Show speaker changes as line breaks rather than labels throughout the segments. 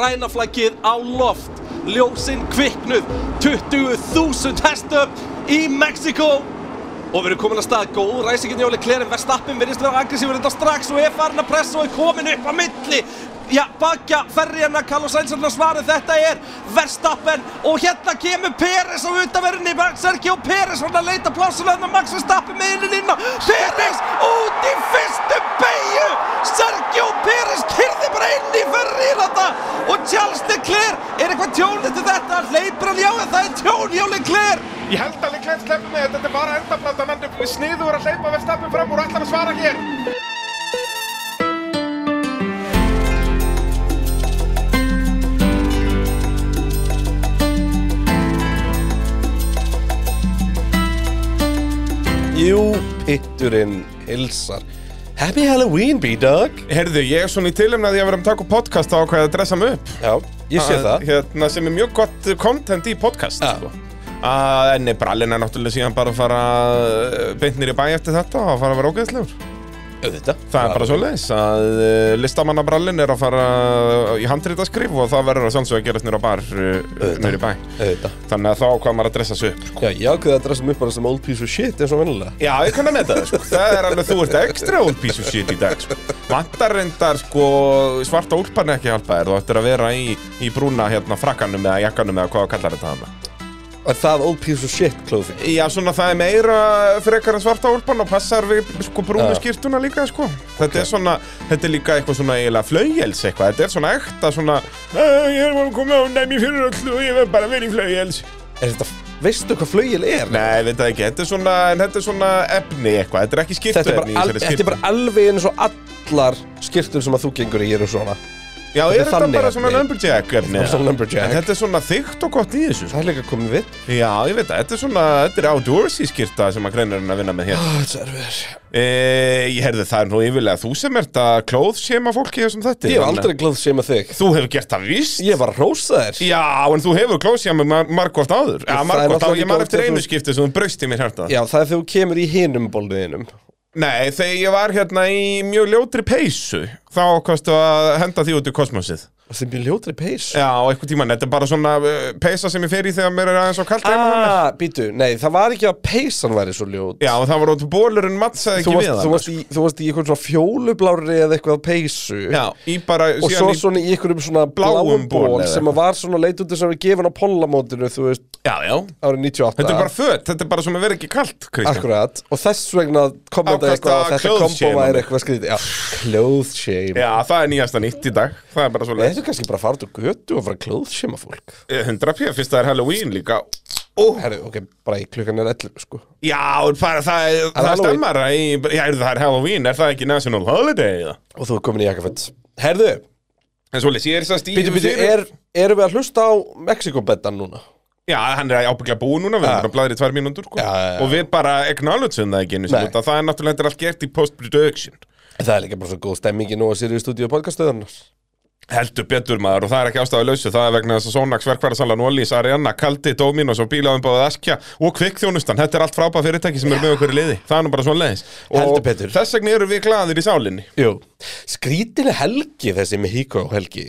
grænaflaggið á loft ljósinn kviknuð 20.000 hestöp í Mexiko og við erum komin að stað góð ræsingin Jóli Klerin Verstappin virðist vera aggressífur þetta strax og er farin að pressa og er komin upp á milli Já, bakja ferjana, Carlos Sainz er að svara þetta er Verstappen og hérna kemur Peres á utaverðinni Sergio Peres var að leita plásulegna Max Verstappen með inn í línna Peres út í fyrstu beigju Sergio Peres kyrði bara inn í ferjina þetta og Charles Leclerc er eitthvað tjón eftir þetta hleypur hann já en það er tjón hjá Leclerc
Ég held að Leclerc sleppur með þetta, þetta er bara endablanda, hann er sniður að hleypa Verstappen fram úr og ætlar að svara hér.
Jú, pitturinn hilsar Happy Halloween, B-Dog
Herðu, ég er svona í tilumna því að vera að taka upp podcast á hvað að dressa mig upp.
Já, ég sé það
Hérna, sem er mjög gott content í podcast,
Já.
sko. Uh, en brallin er náttúrulega síðan bara að fara eh, beint nýri bæ eftir þetta og að fara að vera ógeðslegur.
Auðvitað
Það er bara svoleiðis að uh, listamannabrallin er að fara eh, í handrita og það verður að sjálfsögja að gerast nýra bar uh,
Auðvitað.
nýri bæ.
Auðvitað
Þannig að þá hvað maður að dressa sig upp.
Já, ég ákveði að dressum upp bara sem old piece of shit eins og vennilega
Já, ég kann að meta það, sko. Það er alveg, þú ert extra old piece of shit í dag, sko. Vantar reyndar, sko, svarta úlpan ekki hjálpa þér. Þú ættir að vera í, í brúna, hérna, frakkanum eða jakkanum eða hvað þú kallar þetta hana.
Er það old piece of shit, Klófi?
Já, svona það er meira frekar en svarta úlpan og passar við, sko, brúnu
Já.
skýrtuna líka, sko. Þetta er svona, þetta er líka eitthvað svona eiginlega flaujels eitthvað. Þetta er svona ekta svona, "Æ, ég er komið á næmi fyrir öllu og ég verð bara verið í flaujels.
Er þetta, veistu hvað flögil er?
Nei, ég veit það ekki. Þetta er svona, en þetta er svona efni eitthvað. Þetta er ekki
Þetta er,
skýrtuefni
bara al, þetta er bara alveg eins og allar skirtur sem að þú gengur í hér og svona
Já,
Þetta
er
er
þetta
þannig
bara
efni.
svona lumberjack efni?
Þetta er svona lumberjack.
En Þetta er svona þykkt og gott í þessu sko.
Það er líka komið við
Já, ég veit það, þetta er svona, þetta er outdoorsy skýrta sem að greinarinn að vinna með hér
Ah, Þetta er verið
e, Ég heyrði það er nú yfirlega þú sem ert að klóðsema fólki þessum þetta
Ég hef aldrei glöð sem að þig
Þú hefur gert það víst
Ég var að hrósa þér
Já, en þú hefur klóðsema mar margóft áður Já,
Það er
margóft áður,
náttúrulega
ég man
ekki
eftir einu skipti
oft að þú-
sem þú braust í mér hérna
Já, það er þegar þú kemur í hinum bólniðinum
Nei, þegar ég var hérna í mjög ljótri peysu Þá kostu að henda því út í kosmosið
Það er mjög ljótri peys
Já, og einhvern tímann, þetta er bara svona eh, peysa sem ég fer í þegar mér er aðeins á kalt heima hjá mér.
Ah, býtu, nei, það var ekki að peysan væri svo ljót
Já, og það var út bólurinn mattsaði
Þú
ekki
varst,
við
þú,
hann
varst í, þú varst í einhvern svona fjólublári eða eitthvað peysu
Já, í bara,
Og
síðan
svo
í
svona í einhverjum svona
Bláum
bláum
ból
ból
eða
sem að var svona leitundið sem við gefin á pollamótinu, þú veist,
Já, já
árið 98
Þetta er bara föt, þetta er bara sem að vera ekki kalt, Kristján
Akkurat, og þess vegna kommenta
Ákast
eitthvað
að
að þetta
clothes
kombo
shame.
væri eitthvað skrítið Já, clothes shame
Já, það er nýjasta nýtt í dag Það er bara svo
Nei,
leið
Þetta er kannski bara að fara út úr götu og fara að clothes shame að fólk
100 p, fyrst það er Halloween líka Ó,
Herru, ok, bara í klukkan er 11 sko
já, bara það, er- það
Halloween.
stemmar að í, Já, er það er Halloween, er það ekki National Holiday eða?
Og þú er komin í jakkafett Herðu,
En svo leið, ég er sérst í
býtu, býtu,
fyrir-
er, erum við að hlusta á Mexikobettan núna?
Já, hann er ábygglega búinn núna, við erum bara að blæðir í tvær mínúndur sko.
Ah. Já, já, já.
Og við bara acknowledgeum það ekki einu sinni
Nei.
út af Það er náttúrulega þetta er allt gert í post-production
Það er líka bara svo góð stemmingi nú að sér í stúdíu podcaststöðunar
Heldur betur maður og það er ekki ástæðu lausu Það er vegna þess að Sonax, Verkværasalan, Ólís, Arianna, Kaldi, Dominos og bílaðumbáðið Askja og Kvikkþjónustan Þetta er allt frábæð fyrirtæki sem er með okkur í liði Það er nú bara svona leiðis
Heldur betur.
þess vegna eru við glaðir í sálinni
Jú, skrítin helgi þessi með híkó helgi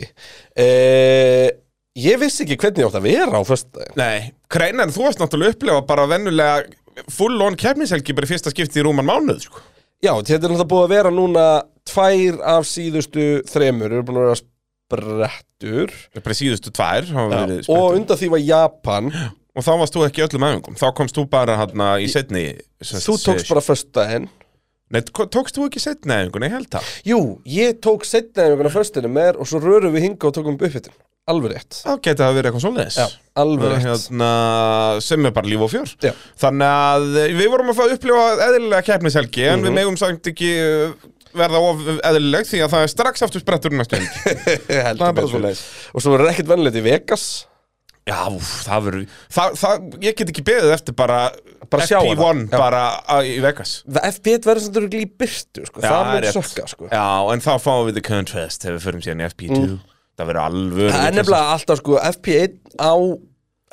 eh, Ég vissi ekki hvernig ég átt að vera á föstudaginn
Nei, Kreinar, þú varst náttúrulega að upplifa bara vennulega full on kefnishelgi bara í fyrsta skipti í rúman mánuð sko.
Já, þetta er náttúrulega búið að vera núna tvær af síðustu þremur eru búin að vera sprettur
Bara síðustu tvær hafa verið sprettur.
og undan því var Japan
Og þá varst þú ekki í öllum æfingum, þá komst þú bara hérna í setni
þú tókst bara föstudaginn
Nei, ko- tókst þú ekki setni æfingun, ég held það
Jú, ég tók setna einhvern föstudaginn með þér og svo rörum við hinga og tókum uppbyttin Alveg rétt
Þá geti það verið eitthvað svoleiðis
Alveg
Og
rétt
Hérna, sem er bara líf og fjör
Já.
Þannig að eh, við vorum að fá að upplifa eðlilega keppnishelgi En
Mhm.
við megum samt ekki eh, verða of eðlileg Því að það er strax aftur sprettur næstu helgi
Heldur
Það er bara
betur.
svoleiðis.
Og svo verður ekkert vennilegt í Vegas
Já, úf, það verður það, það, Ég get ekki beðið eftir bara,
Bara sjá
FP1
það. Já.
bara á- í Vegas
FB1 verður sem þurfið í byrtu sko. Það
er
mun
rétt.
sökka sko. Mm.
Já, en þá fáum við the contrast ef við förum síðan í FP2 Það verður alvöru
Það er nefnilega alltaf sko FP1 á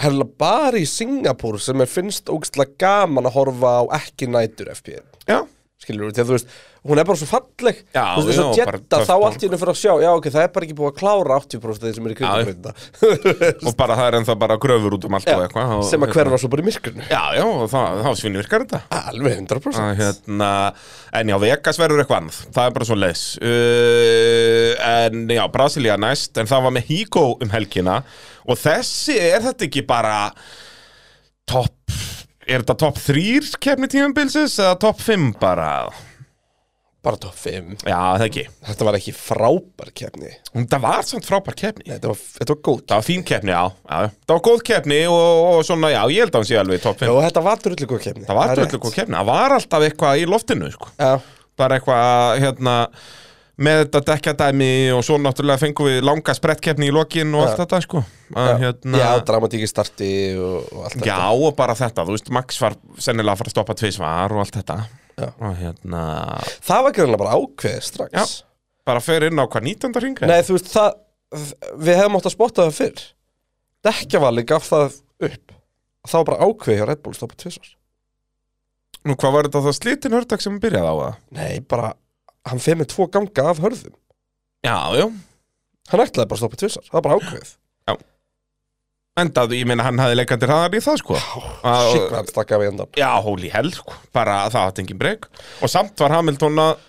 herla bara í Singapur sem er finnst ógstlega gaman að horfa á ekki nætur FP1
Já,
skilur við, þegar þú veist hún er bara svo falleg
Já,
Þú veist, þess að
já, bara
jetta
töff
þá
borg.
allt í henni fyrir að sjá já ok, það er bara ekki búið að klára 80% þeir sem eru í
Já, já.
kringumbreytinda
og bara það er ennþá bara gröfur út um allt og eitthvað og-
sem að hverfa svo bara í myrkurnu
Já, já, og þá, þá svinni virkar þetta
alveg 100%
að, hérna, En já, Vegas verður eitthvað annað Það er bara svo leis uh, En já, Brasilia næst En það var með Higo um helgina Og þessi, er þetta ekki bara Topp Er þetta topp 3 kefni tímumbilsis Eða topp 5 bara
bara top 5
Já, það ekki
þetta var ekki frábær kefni
Það var samt frábær kefni
þetta var, þetta var góð
Það var fín kefni, já, já já. Það var góð kefni og, og svona, já, ég held að hann sé alveg topp 5
Já, og þetta var drullu góð kefni
Það var drullu góð kefni, það var alltaf eitthvað í loftinu sko.
kefni
bara eitthvað hérna, með þetta dekkjadæmi og svo náttúrulega fengum við langa sprettkeppni í lokin og allt þetta sko. að, hérna,
já, dramatíki starti og, og allt
já, og bara þetta, þú veist, Max var sennilega að fara að stoppa tvisvar og allt þetta
Já.
og hérna
þetta það var greinlega bara ákveðið strax
Já. bara fer inn á hvað 19. ringa
Nei, þú veist, það, við hefum átt að spotta það fyrr Dekkjavali gaf það upp Það var bara ákveðið hjá Red Bull stoppa tvisvar
Nú, hvað var þetta það slitin hördag sem byrjaði á það?
Nei, bara, hann feð með tvo ganga af hörðum
Já, já,
Hann ætlaði bara að stoppa tvisvar, það var bara ákveðið
endaði, ég meina hann hafði leikandi hraðar í það sko Að-
Sikk hvað hann stakka af í endan
Já, hóli hell, sko. bara það hatt engin breyk og samt var Hamilton að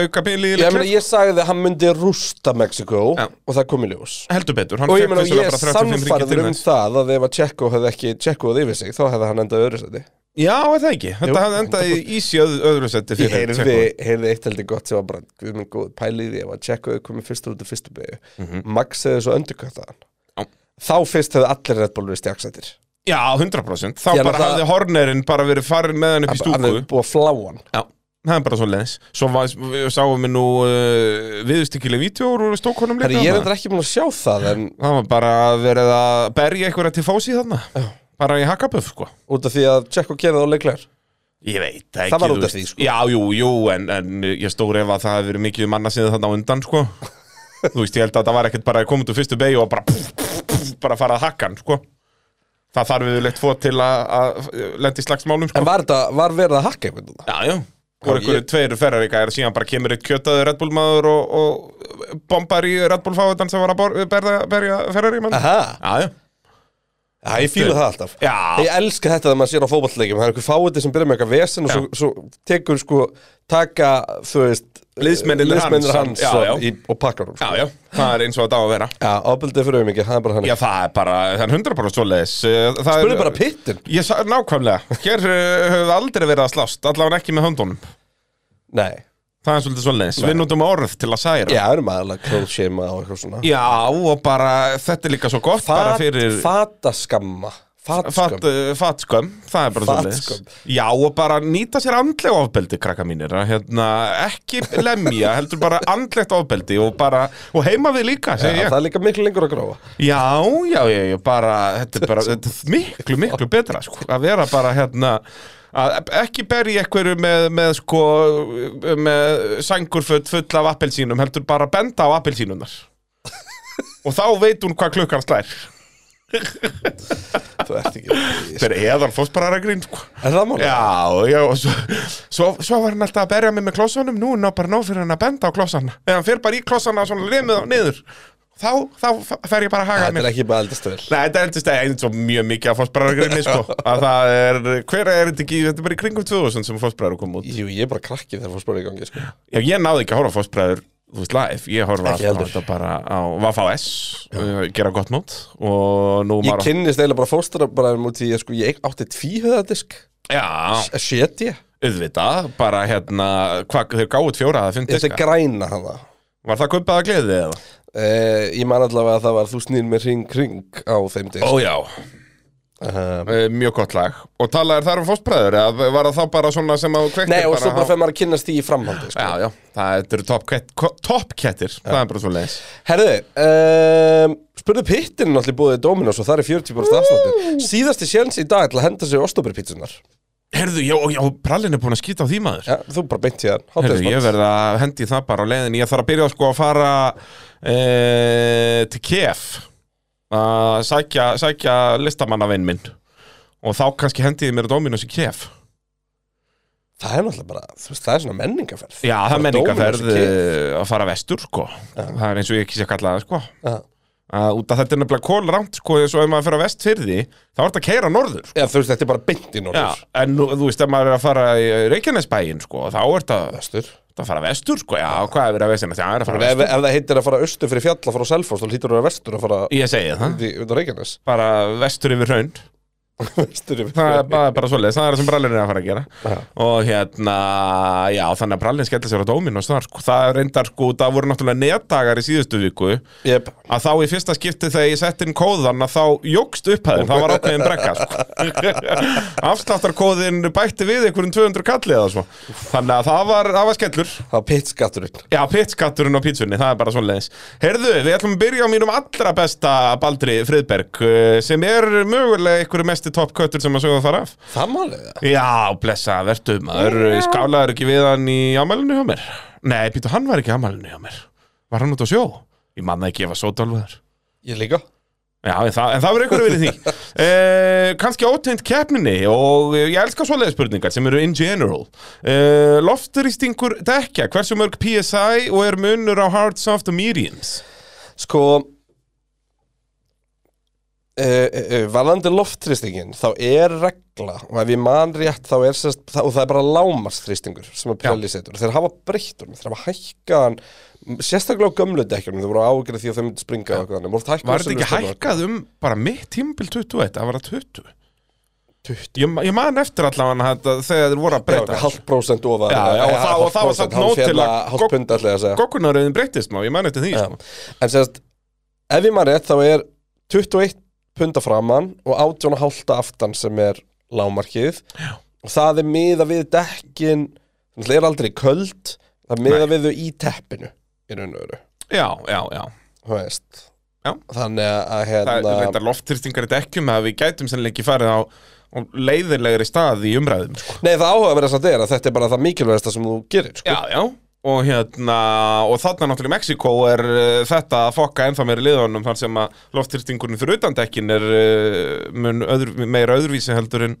auka bíli í
Ég, meina,
Leclerc.
ég sagði að hann myndi rústa Mexiko
Já.
og það kom í ljós
heldur betur, hann
Og ég
fékk
meina,
vissulega
ég
bara 35 ringi til
samfæður um
þess
það að ef að Tjekko hefði ekki Tjekkoð yfir sig, þá hefði hann endað öðru seti
Já, er það ekki,
Jú.
þetta hafði endaði í ísi öð, öðru seti
Ég
fyrir
heyrði,
Tjekkland.
heyrði eitt heldur gott sem var bara Guð minn góð pælið ég var að tjekka þau komið fyrst út af fyrstu begu
Mhm.
Max hefði svo öndurkvættaðan
Já.
Þá fyrst hefði allir Red Bull við stjaksættir
Já, 100% þá
Ég
bara
náttúrulega-
hafði hornerinn bara verið farin með hann upp í
Hann
stúku
hefði búið að flá hann
Já, það er bara svo leins Svo var, við sáum við nú uh, viðstíkileg vídjóur úr stókunum
Herri,
líka
ég er
þarna.
endur ekki búin að sjá það en
Það var bara verið að berja einhverja til fósi þarna bara í hakkaböf, sko
út af því að Tjekko gerði það á leiklegar
Ég veit það ekki
Það var
þú
út af
veist.
því, sko.
Já, jú, jú, en, en ég stóri ef að það hefði verið mikið manna sinni þarna á undan, sko Þú veist, ég held að það var ekkert bara að koma út úr fyrstu beig og bara pff, pff, pff, bara fara að hakka hann, sko Það þarf við leitt fót til að, að lendi slagsmálum, sko
En var, þetta, var verið að hakka einhvern veginn?
Já, já Og
Já,
einhverju
ég-
tveir ferraríka er síðan bara kemur eitt kjötaður Red Bull maður og, og bombar í Red Bull fáðan sem var að bor, berða, berja ferrarí mann Já,
Aha,
já,
já, ég fíla það alltaf
já,
Ég elska þetta þegar maður sér á fótballleikjum Það er einhver fáiði sem byrja með eitthvað vesen og svo, svo tekur sko taka, þú veist
Liðsmennirnir hans.
liðsmennir hans,
Já,
og-
já.
Í, og pakkar hún
já, já Það er eins og þetta á að vera
Já, ábyldið fyrir auðmikið, það er bara hann
Já, það er bara, það er 100% svoleiðis eh, Það
Spurðu
er-
bara pittin
Ég sa, nákvæmlega, hér uh, höfum við aldrei verið að slást, allavega ekki með höndunum
Nei,
Það er svolítið svolítið, við notum orð til að særa
já, erum aðalega klóðsema og eitthvað svona
Já, og bara, þetta er líka svo gott bara fyrir
Fataskamma
fat,
Fataskamma
uh, fatskömm, það er bara
Fatskömm.
svolítið Já, og bara nýta sér andlega ofbeldi, krakka mínir að, hérna, ekki lemja, heldur bara andlegt ofbeldi og bara, og heima við líka, segi
Já,
ég
það er líka miklu lengur að gróa
Já, já, já, já, bara, þetta er bara þetta er miklu, miklu betra, sko, að vera bara hérna, að ekki berja einhverju með, með, sko, með sængurfull full af appelsínum, heldur bara benda á appelsínunar og þá veit hún hvað klukkan slær
Þú ert ekki
Þetta er eðal fóspararagrín, sko
Er það málið?
Já, já, og svo, svo, svo var hann alltaf að berja mig með klossanum, nú er ná bara nóg fyrir hann að benda á klossana eða hann fer bara í klossana og svona limið á niður þá, þá fer ég bara að haga
Þetta er ekki bara eldast vel
Nei, þetta eldist eins og mjög mikið af fósbræðargrinni, sko. Að það er, hver er þetta ekki, þetta er bara í kringum 2000 sem fósbræðar kom út.
Jú, ég er bara krakki þegar fór spurning í gangi sko.
Já, ég náði ekki að horfa á fósbræður, þú veist, live. Ég horfa
Ekki
alltaf á
heldur.
þetta bara á Vafá S, uh, gera gott mót og nú
Ég
maður...
kynnist eiginlega bara fóstra bara um út í ég, sko, ég átti tvíhöðadisk
Já,
Shit ég
auðvitað, bara hérna, hvað, þeir gáðu fjóra að finna
Þetta er
diska.
græna hana
Var það kaupað að gleði eða?
Uh, ég man allavega að það var þú snýr með hring hring á þeim disk
Ó já,
uh,
eh, mjög gott lag. Og talaðir þar um fósbræður, eða var það þá bara svona sem að þú kveiktir
Nei og
bara
svo bara
á-
fyrir maður að kynnast því í framhaldi sko.
Já, já, það þetta eru toppkettir, top kettir. það er bara svo
Herðu, um, spurðu pittin náttúrulega búið í Dominos og það er 40% afsláttur Síðasti sjens í dag til að henda sig ostoberpítsunar
Herðu, já, já, prallin er búin að skýta á því maður
ja, Þú bara beint hér
Herðu, ég verð að hendi það bara á leiðin Ég þarf að byrja sko að fara e, til KF að sækja, sækja listamannavinn minn og þá kannski hendi ég mér Dominos í KF
það er náttúrulega bara, þú veist, það er svona menningaferð
Já, það
Bara
er menningarferð
Dominos
eh,
og
að fara vestur, sko. Það er eins og ég ekki sé að kalla það, sko.
Kid. Já.
Að út af þetta er nefnilega kólránt, sko, eins og ef maður fer að vest fyrir því, þá er þetta að keira norður.
Já, þú veist, þetta er bara beint í
Já,
norður
en nú, þú veist, ef maður er að fara í Reykjanesbæin, sko, þá er þetta
Vestur
að fara vestur, sko. Já, hvað er verið að vesina? Það er að
ef,
fara
ef
vestur.
ef það heitir að fara austur fyrir fjall að fara á Selfoss, þá hlýtur það að vera vestur að fara
Ég segi það.
út í- út á Reykjanes
Bara vestur yfir raund.
Vestur yfir
Það er bara, bara svoleiðis, það er það sem brallin er að fara að gera.
Já.
Og hérna, já, þannig að brallin skellir sér á Dominos þar, sko. Það reyndar, sko, það voru náttúrulega netdagar í síðustu viku.
Jep.
að þá í fyrsta skipti þegar ég sett inn kóðan að þá jógst upphæðin, það var ákveðin brekka sko. afsláttarkóðin bætti við einhverjum 200 kalli eða svo þannig að það var, það var skellur
Það var pitskatturinn
já, pitskatturinn og pítsunni, það er bara svoleiðis herðu, við ætlum að byrja á mínum allra besta Baldri Friðberg eh, sem er mögulega einhverju mesti toppköttur sem að sögða þar af
Það málið það
já, blessa, vertu maður skálaður ekki við hann í ámælinu hjá mér nei, býtu, hann var ekki í ámælinu hjá mér var hann út á sjó? ég manna ekki ef að sótalvöður
Ég líka
Já, en það, en það verður einhverju verið því eh, Kanski ótegnd keppninni og eh, ég elska svoleiði spurningar sem eru in general eh, Loftrýstingur dekja, hversu mörg PSI og er munur á hard, soft og mediums?
Sko Uh, uh, valandi loftþrýstingin þá er regla og ef ég man rétt þá er sérst, það, og það er bara lámarsþrýstingur sem að pjali setur þeir hafa breytt honum, þeir hafa hækkaðan sérstaklega á gömlu dekkjunum þeir voru ágjörð því að þau myndi springa ja. þannig, voru hækkaðan
Var þetta ekki
sömu stöðvar.
hækkað um bara mitt tímbil 21, það var að 20 Ég, ma- ég man eftir allavega þetta þegar þeir voru að
Já,
breyta
ok, hálft prósent ofar
Já, já, og það- og það var samt nóg til að gogg-
hálft pund allir að segja
Gokkunaröðin breytist ná, ég man eftir því
Já.
sko.
En sérst, ef ég maður rétt þá er 21 punda framann og 18,5 aftan sem er lámarkið Já. og það er miða við dekkin það er aldrei köld það er miða við þau í teppinu í raun og veru,
já, já, já
þú veist
Já.
Þannig að
Það er
hérna
þetta loftrýstingar í dekkjum að við gætum sennilega ekki farið á á leiðinlegri stað í umræðum sko.
Nei það áhuga verið að er að þetta er bara það mikilvægasta sem þú gerir sko.
Já, já Og hérna, og þarna náttúrulega í Mexíkó er uh, þetta að fokka ennþá meira liðanum þar sem að loftrýstingurinn fyrir utandekkin er uh, mun öðru, meira öðruvísi heldur en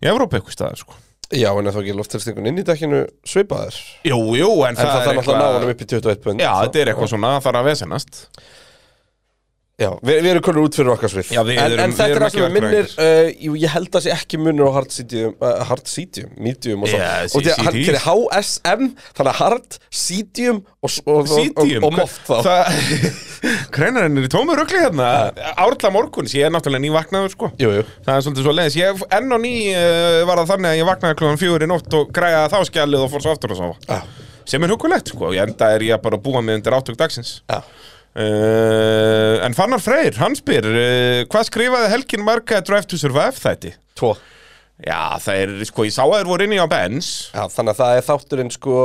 í Evrópa eitthvað staðar, sko.
Já, en er þá ekki loftþrýstingun inn í dekkinu svipaður
Jú, jú, en,
En það, það
er
þarf náttúrulega að ná honum upp í 21 pund sko.
Já, þetta er eitthvað svona, það þarf að vesenast.
Já, við, við erum konur út fyrir okkar svið
Já, við
en,
erum-
en
við
þetta er
erum
það sem
ekki
við minnir uh, jú, Ég held að sé ekki munur á hard sitium uh, Hard sitium, medium og svo
Já,
Og því að hard-
CT.
fyrir HSM Þannig að hard, sitium og, og, og, og,
Sýtjum.
og moft þá
Kreinarinn er í tómu rögli hérna. Árla morguns, ég er náttúrulega nývaknaður, sko.
Jú, jú
Það er svolítið svo leiðis. Ég enn og ný uh, var það þannig að ég vaknaði klokkan fjögur í nótt og græjaði þá skjalið og fór svo aftur að sofa.
Já,
sem er hugulegt, sko, ég enda er ég að bara búa mig undir átök dagsins
já
uh, En Fannar Freyr, hann spyr uh, hvað skrifaði Helgin marga Drive to Survive þætti?
Tvo
Já, það er, sko, ég sá að þeir voru inni á Benz
Já, þannig að það er þátturinn sko,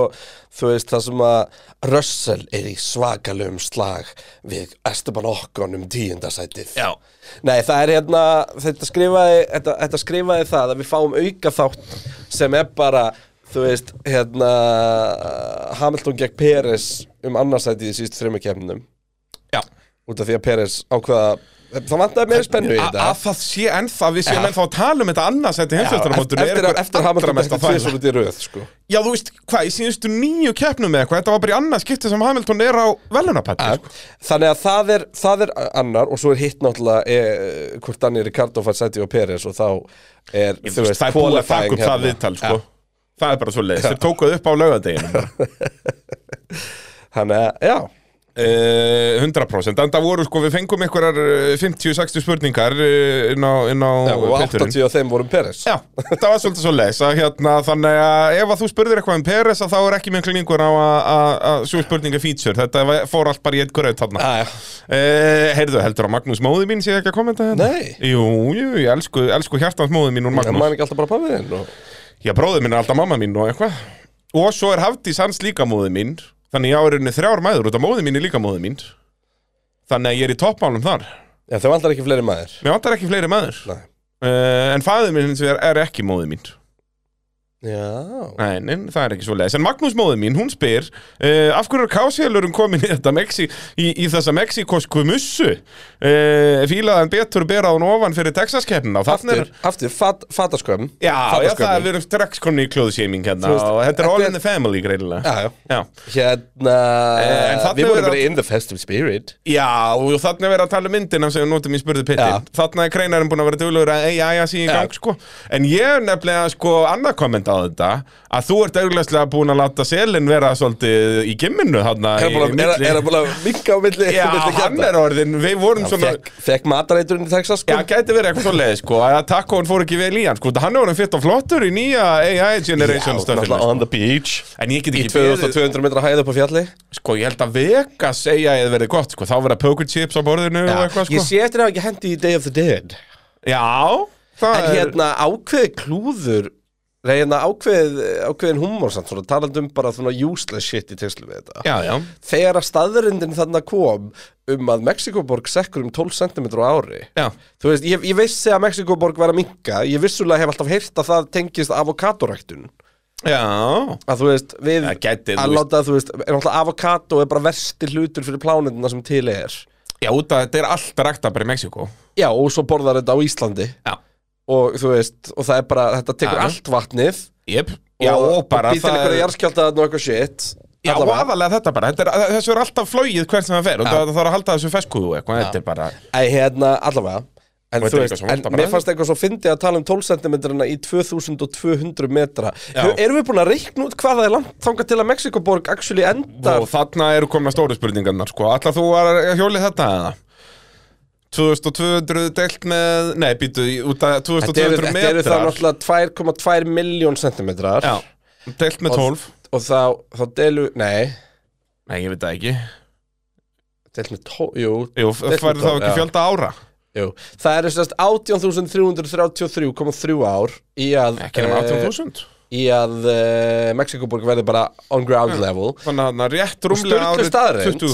þú veist, það sem að Russell er í svakalum slag við Esteban Okkon um tíundasætið.
Já.
Nei, það er hérna, þetta skrifaði, þetta, þetta skrifaði það að við fáum auka þátt sem er bara, þú veist, hérna, Hamilton gegn Peres um annarsætið í síst þreymur kemnum.
Já
Út af því að Peres ákvaða, það vantaði meiri spennu í
Að
þetta.
að það sé ennþá, við séum
Já.
ennþá að tala um þetta annars Þetta
Já, eftir,
heimsveistarmótur
eftir, eftir að Hamilton
mesta
bætti
þvæla
tvisvar út í röð, sko.
Já, þú veist, hvað, í síðustu nýju keppnum eða eitthvað Þetta var bara í annars skipti sem Hamilton er á velunapætti sko.
Þannig að það er, það er annar og svo er hitt náttúrulega e, hvort Danny Ricardo fær sæti og Peres og þá er,
Þú veist, það er búið að taka upp það
hérna.
viðtal, sko Það er bara svo leiðis, þeir tókuð upp á laugardeginu
Þannig að, já,
Eh, 100% en það voru sko við fengum einhverjar eh, 50-60 spurningar eh, inn á, inn á
já og
Twitterinn.
80 af þeim voru um Peres
Já, þetta var svolítið svo leis að hérna, þannig að ef að þú spurðir eitthvað um Peres að þá er ekki mjög klinningur á að- að að svo spurninga feature, þetta var- fór allt bara í einn gröð þarna.
Já, já.
Eh, heyrðu, heldur að Magnús móði mín sé ekki að kommenta hérna?
Nei.
Jú, jú, ég elsku, elsku hjartans móði mín úr
En
Magnús.
maður er ekki alltaf bara pafiðinn og...
Já, bróðið minn er alltaf mamma mín og eitthvað Og svo er Hafdís hans líka móðið mín Þannig ég á rauninni þrjár mæður út af móðið mín er líka móðið mín Þannig að ég er í toppmálum þar
Já, þau vantar ekki fleiri maður
Mér vantar ekki fleiri mæður uh,
Nei.
En fæðið minn hins vegar er ekki móðið mín
Já
Nei, nei, það er ekki svo leiðis. En Magnús móði mín, hún spyr uh, af hverju er kásfélurum komin í, þetta Mexi, í, í þessa mexikosku mussu? Uh, fílaðan betur bera hún ofan fyrir Texas-keppnina og þannig er...
Aftur, aftur fat, fataskömm
Já, já, það er
Fataskömmin.
við erum strax konni í klóðshaming hérna
Þú veist,
og þetta er all
þetta er-
in the family greinilega.
Já, já
Já,
Hérna,
Eh, en þarna
við
er
vorum bara
allt-
in the festive spirit
já og þannig er verið að tala um myndina sem við notum í spurðu
Já.
pittin. Þannig er kreinarinn búin að vera duglegur að eiga aðja síðan í
Já.
gang, sko. En ég er nefnilega, sko, annað komment á þetta, að þú ert auglastlega búin að láta selin vera svolítið í gimminu þarna
Er
í
hann búin að-
milli-
er hann búin að minka á milli
Já,
milli
hann
kjarna?
er orðin, við vorum
Já,
svona
Fekk, fekk matareiturinn í Texas sko
Já, gæti verið eitthvað svo leiði, sko að Takkóin fór ekki vel í hann, sko Hann er orðin fyrst og flottur í nýja AI Generation stöfnum
náttúrulega
sko.
on the beach
En ég get
Í
ekki beðið,
2200 metra hæð upp á fjalli
sko, ég held að Vegas AI verið gott, sko Þá verða poker chips á borðinu og eitthvað,
Ég
sko
sé eftir að hafa ekki hendi í Day of the Dead
Já, það
En
er
hérna ákveði klúður Nei, hérna ákveð, ákveðin humor samt svona, talandi um bara svona useless shit í teslu við þetta.
Já, já,
Þegar að staðurindin þarna kom um að Mexikoborg sekkur um 12 cm á ári.
já
Þú veist, ég, ég vissi að Mexikoborg var að minka, ég vissulega hef alltaf heyrt að það tengist avokadoræktun.
Já,
Að þú veist, við
það gæti, þú
að
veist
láta, þú veist, er náttúrulega avokado er bara versti hlutur fyrir plánetina sem til er.
Já, út að þetta er allt rækta bara í Mexiko
Já, og svo borðar þetta á Íslandi
Já,
og þú veist, og það er bara, þetta tekur
Já.
allt vatnið
jep Já, og bara
býtir
það
einhverja
er
jarðskjálta og eitthvað shit
Já, og
Allavega.
aðalega þetta bara, þetta er, þessu er alltaf flogið hvert sem það fer og það það þarf að halda þessu feskuðu eitthvað, þetta er bara
Ei, hérna, allavega En,
Og þetta
þú
er eitthvað
veist,
svo
en
vont að
mér
bræða.
fannst eitthvað svo fyndi að tala um 12 cm í 2200 metra Hefur- Erum við búin að reikna út hvað það er langt þangað til að Mexikoborg actually endar
Og þarna eru komna stóru spurningarnar sko. Ætla þú að hjóli þetta eða? 2200 deilt með Nei, býtu, út að
Þetta eru,
2200
þetta eru þá
metrar
náttúrulega 2,2 miljón centimetrar
Já, deilt með 12
Og þá, þá delu, nei,
Nei, ég veit það ekki
delu með 12, jú,
Jú,
með
færðu þá
12,
ekki
já.
fjölda ára
jú Það eru sérst 18.333,3 ár í að
Ekki nema
eh,
18.000
í að uh, Mexikoborg verði bara on ground level
Þannig að þarna rétt rúmlega
Sturlu
árið
staðreind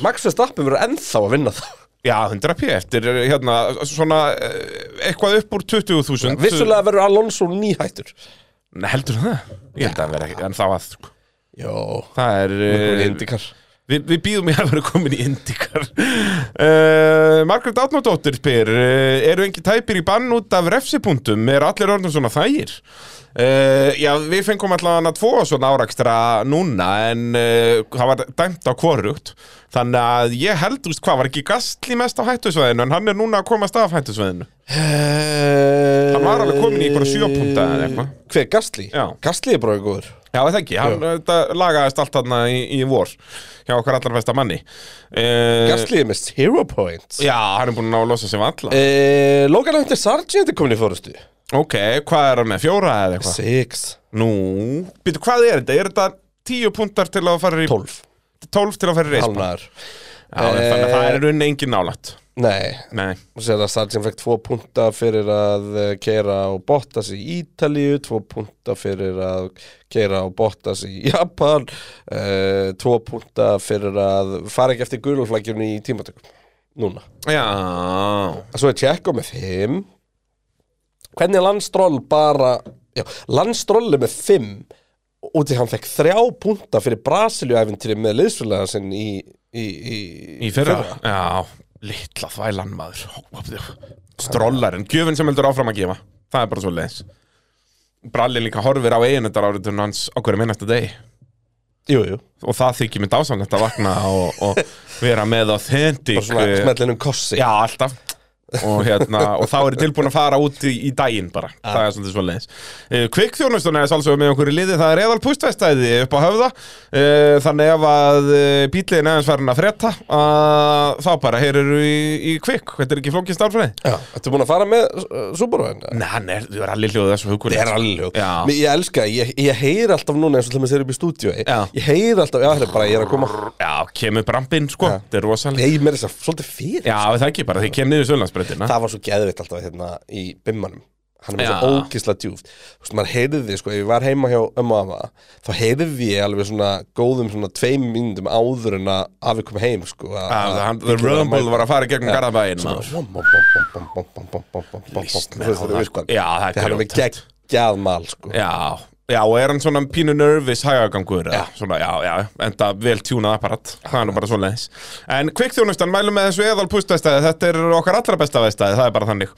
20.000
Max Verstappen verður ennþá að vinna það
Já, 100 p eftir hérna, svona eh, eitthvað upp úr 20.000
Vissulega verður Alonso nýhættur
Nei, Heldur það? Ég held að vera ekki, en þá að sko.
Jó
Það er eh,
Indikar
Við, við býðum ég að vera komin í Indikar uh, Margaret Átnóttóttir spyr uh, Eru engi tæpir í bann út af refsipunktum? Er allir orðnum svona þægir? Uh, já, við fengum allavega að tvo svona árakstra núna en uh, það var dæmt á hvorugt þannig að ég held, þú veist hvað, var ekki gastli mest á hættusvæðinu en hann er núna að komast af hættusvæðinu
Hann
var alveg kominn í einhverja sjö punkta eða eitthvað.
Eh, Hver, Gastli?
Já.
Gastli er bara góður
Já, það ekki, hann þetta lagaðist allt þarna í, í vor hjá okkar allar besta manni uh,
Gastli er með zero points
Já, hann er búin að ná að losa sig um valla
Eh, Logan Hunter Sargent er komin í fórustu
Ok, hvað er hann með? Fjóra eða eitthvað?
Six
Nú, býtu, hvað er þetta? Er þetta tíu puntar til að fara í...
Tólf
Tólf til að fara í reispa?
Halvnaðar
Já, en þannig að það er runni engin nálætt.
Eh. Nei
Nei.
og sér að Sargent fekk tvo punta fyrir að eh, keira og Bottas í Ítalíu, tvo punta fyrir að keira og Bottas í Japan, uh, tvo punta fyrir að fara ekki eftir guluflækjunni í tímatökum, núna.
Já,
Svo er Tjekko með fimm. Hvernig er Landstról bara, já, Landstról er með fimm út í hann fekk þrjá punta fyrir Brasilju-æfintri með liðsfélaga sinn í, í, í,
í fyrra. Já, litla þvælan maður. Strollarinn, gjöfin sem heldur áfram að gefa. Það er bara svo leiðis. Brallin líka horfir á eiginundar áriðun hans okkur um einasta degi.
Jú, jú,
Og það þykir mér dásamlegt að vakna og, og vera með authentic...
bara svona
eh,
smetlinum kossi.
Já, alltaf og, hérna, og þá er ég tilbúin að fara út í, í daginn bara, það er svolítið svoleiðis uh, Kvikkþjónustun er sjálfsögum með okkur í liði það er eðal pústvestæði upp á höfða uh, þannig ef að uh, bíliðin aðeins farin að frétta að þá bara heyrir í, í kvikk þetta er ekki flókið starfræði
Já, ertu búin að fara með uh, Subaru henni?
Nei, hann er, þú er allir hljóðið þessu hugur
Það er alveg ljótt
Já.
Mér- Ég elska, það, ég, ég heyri alltaf núna eins og til að þeir eru upp í stúdíu Ég,
Já.
ég heyri alltaf, já þetta er bara, ég er að koma
Já, kemur brampinn sko, þetta er rosalega
Nei, mér er þess að svolítið fyrir
Já, það ekki bara, þið kemur niður Sjölandsbreytina
Það var svo geðvitt alltaf hérna í bimmanum Hann er með svo
Já.
ógisla djúft Þú veist, maður heyrði því, sko, ef ég var heima hjá ömmu og amma Þá heyrði ég alveg svona góðum svona tveim myndum áður en að afi kom heim, sko að-
Já,
að-
hann- The Rumble var að fara í gegnum Garðabæinn
Svona,
maður.
bom, bom, bom, bom, bom, bom, bom, bom, bom, bom, bom, bom,
Líst
þú
mér á
veist,
það,
þetta er
sko.
utan.
Já, það er
Þegar hann er með
grjótart.
geggjað mál, sko
Já, Já, og er hann svona pínu nervis hægagangur eða
Já.
Svona, já, já, enda vel tjúnað apparat Það er nú bara svoleiðis En kvikkþjónustan, mælum með þessu eðal pústæðstæði Þetta er okkar allra besta veistæði, það er bara þannig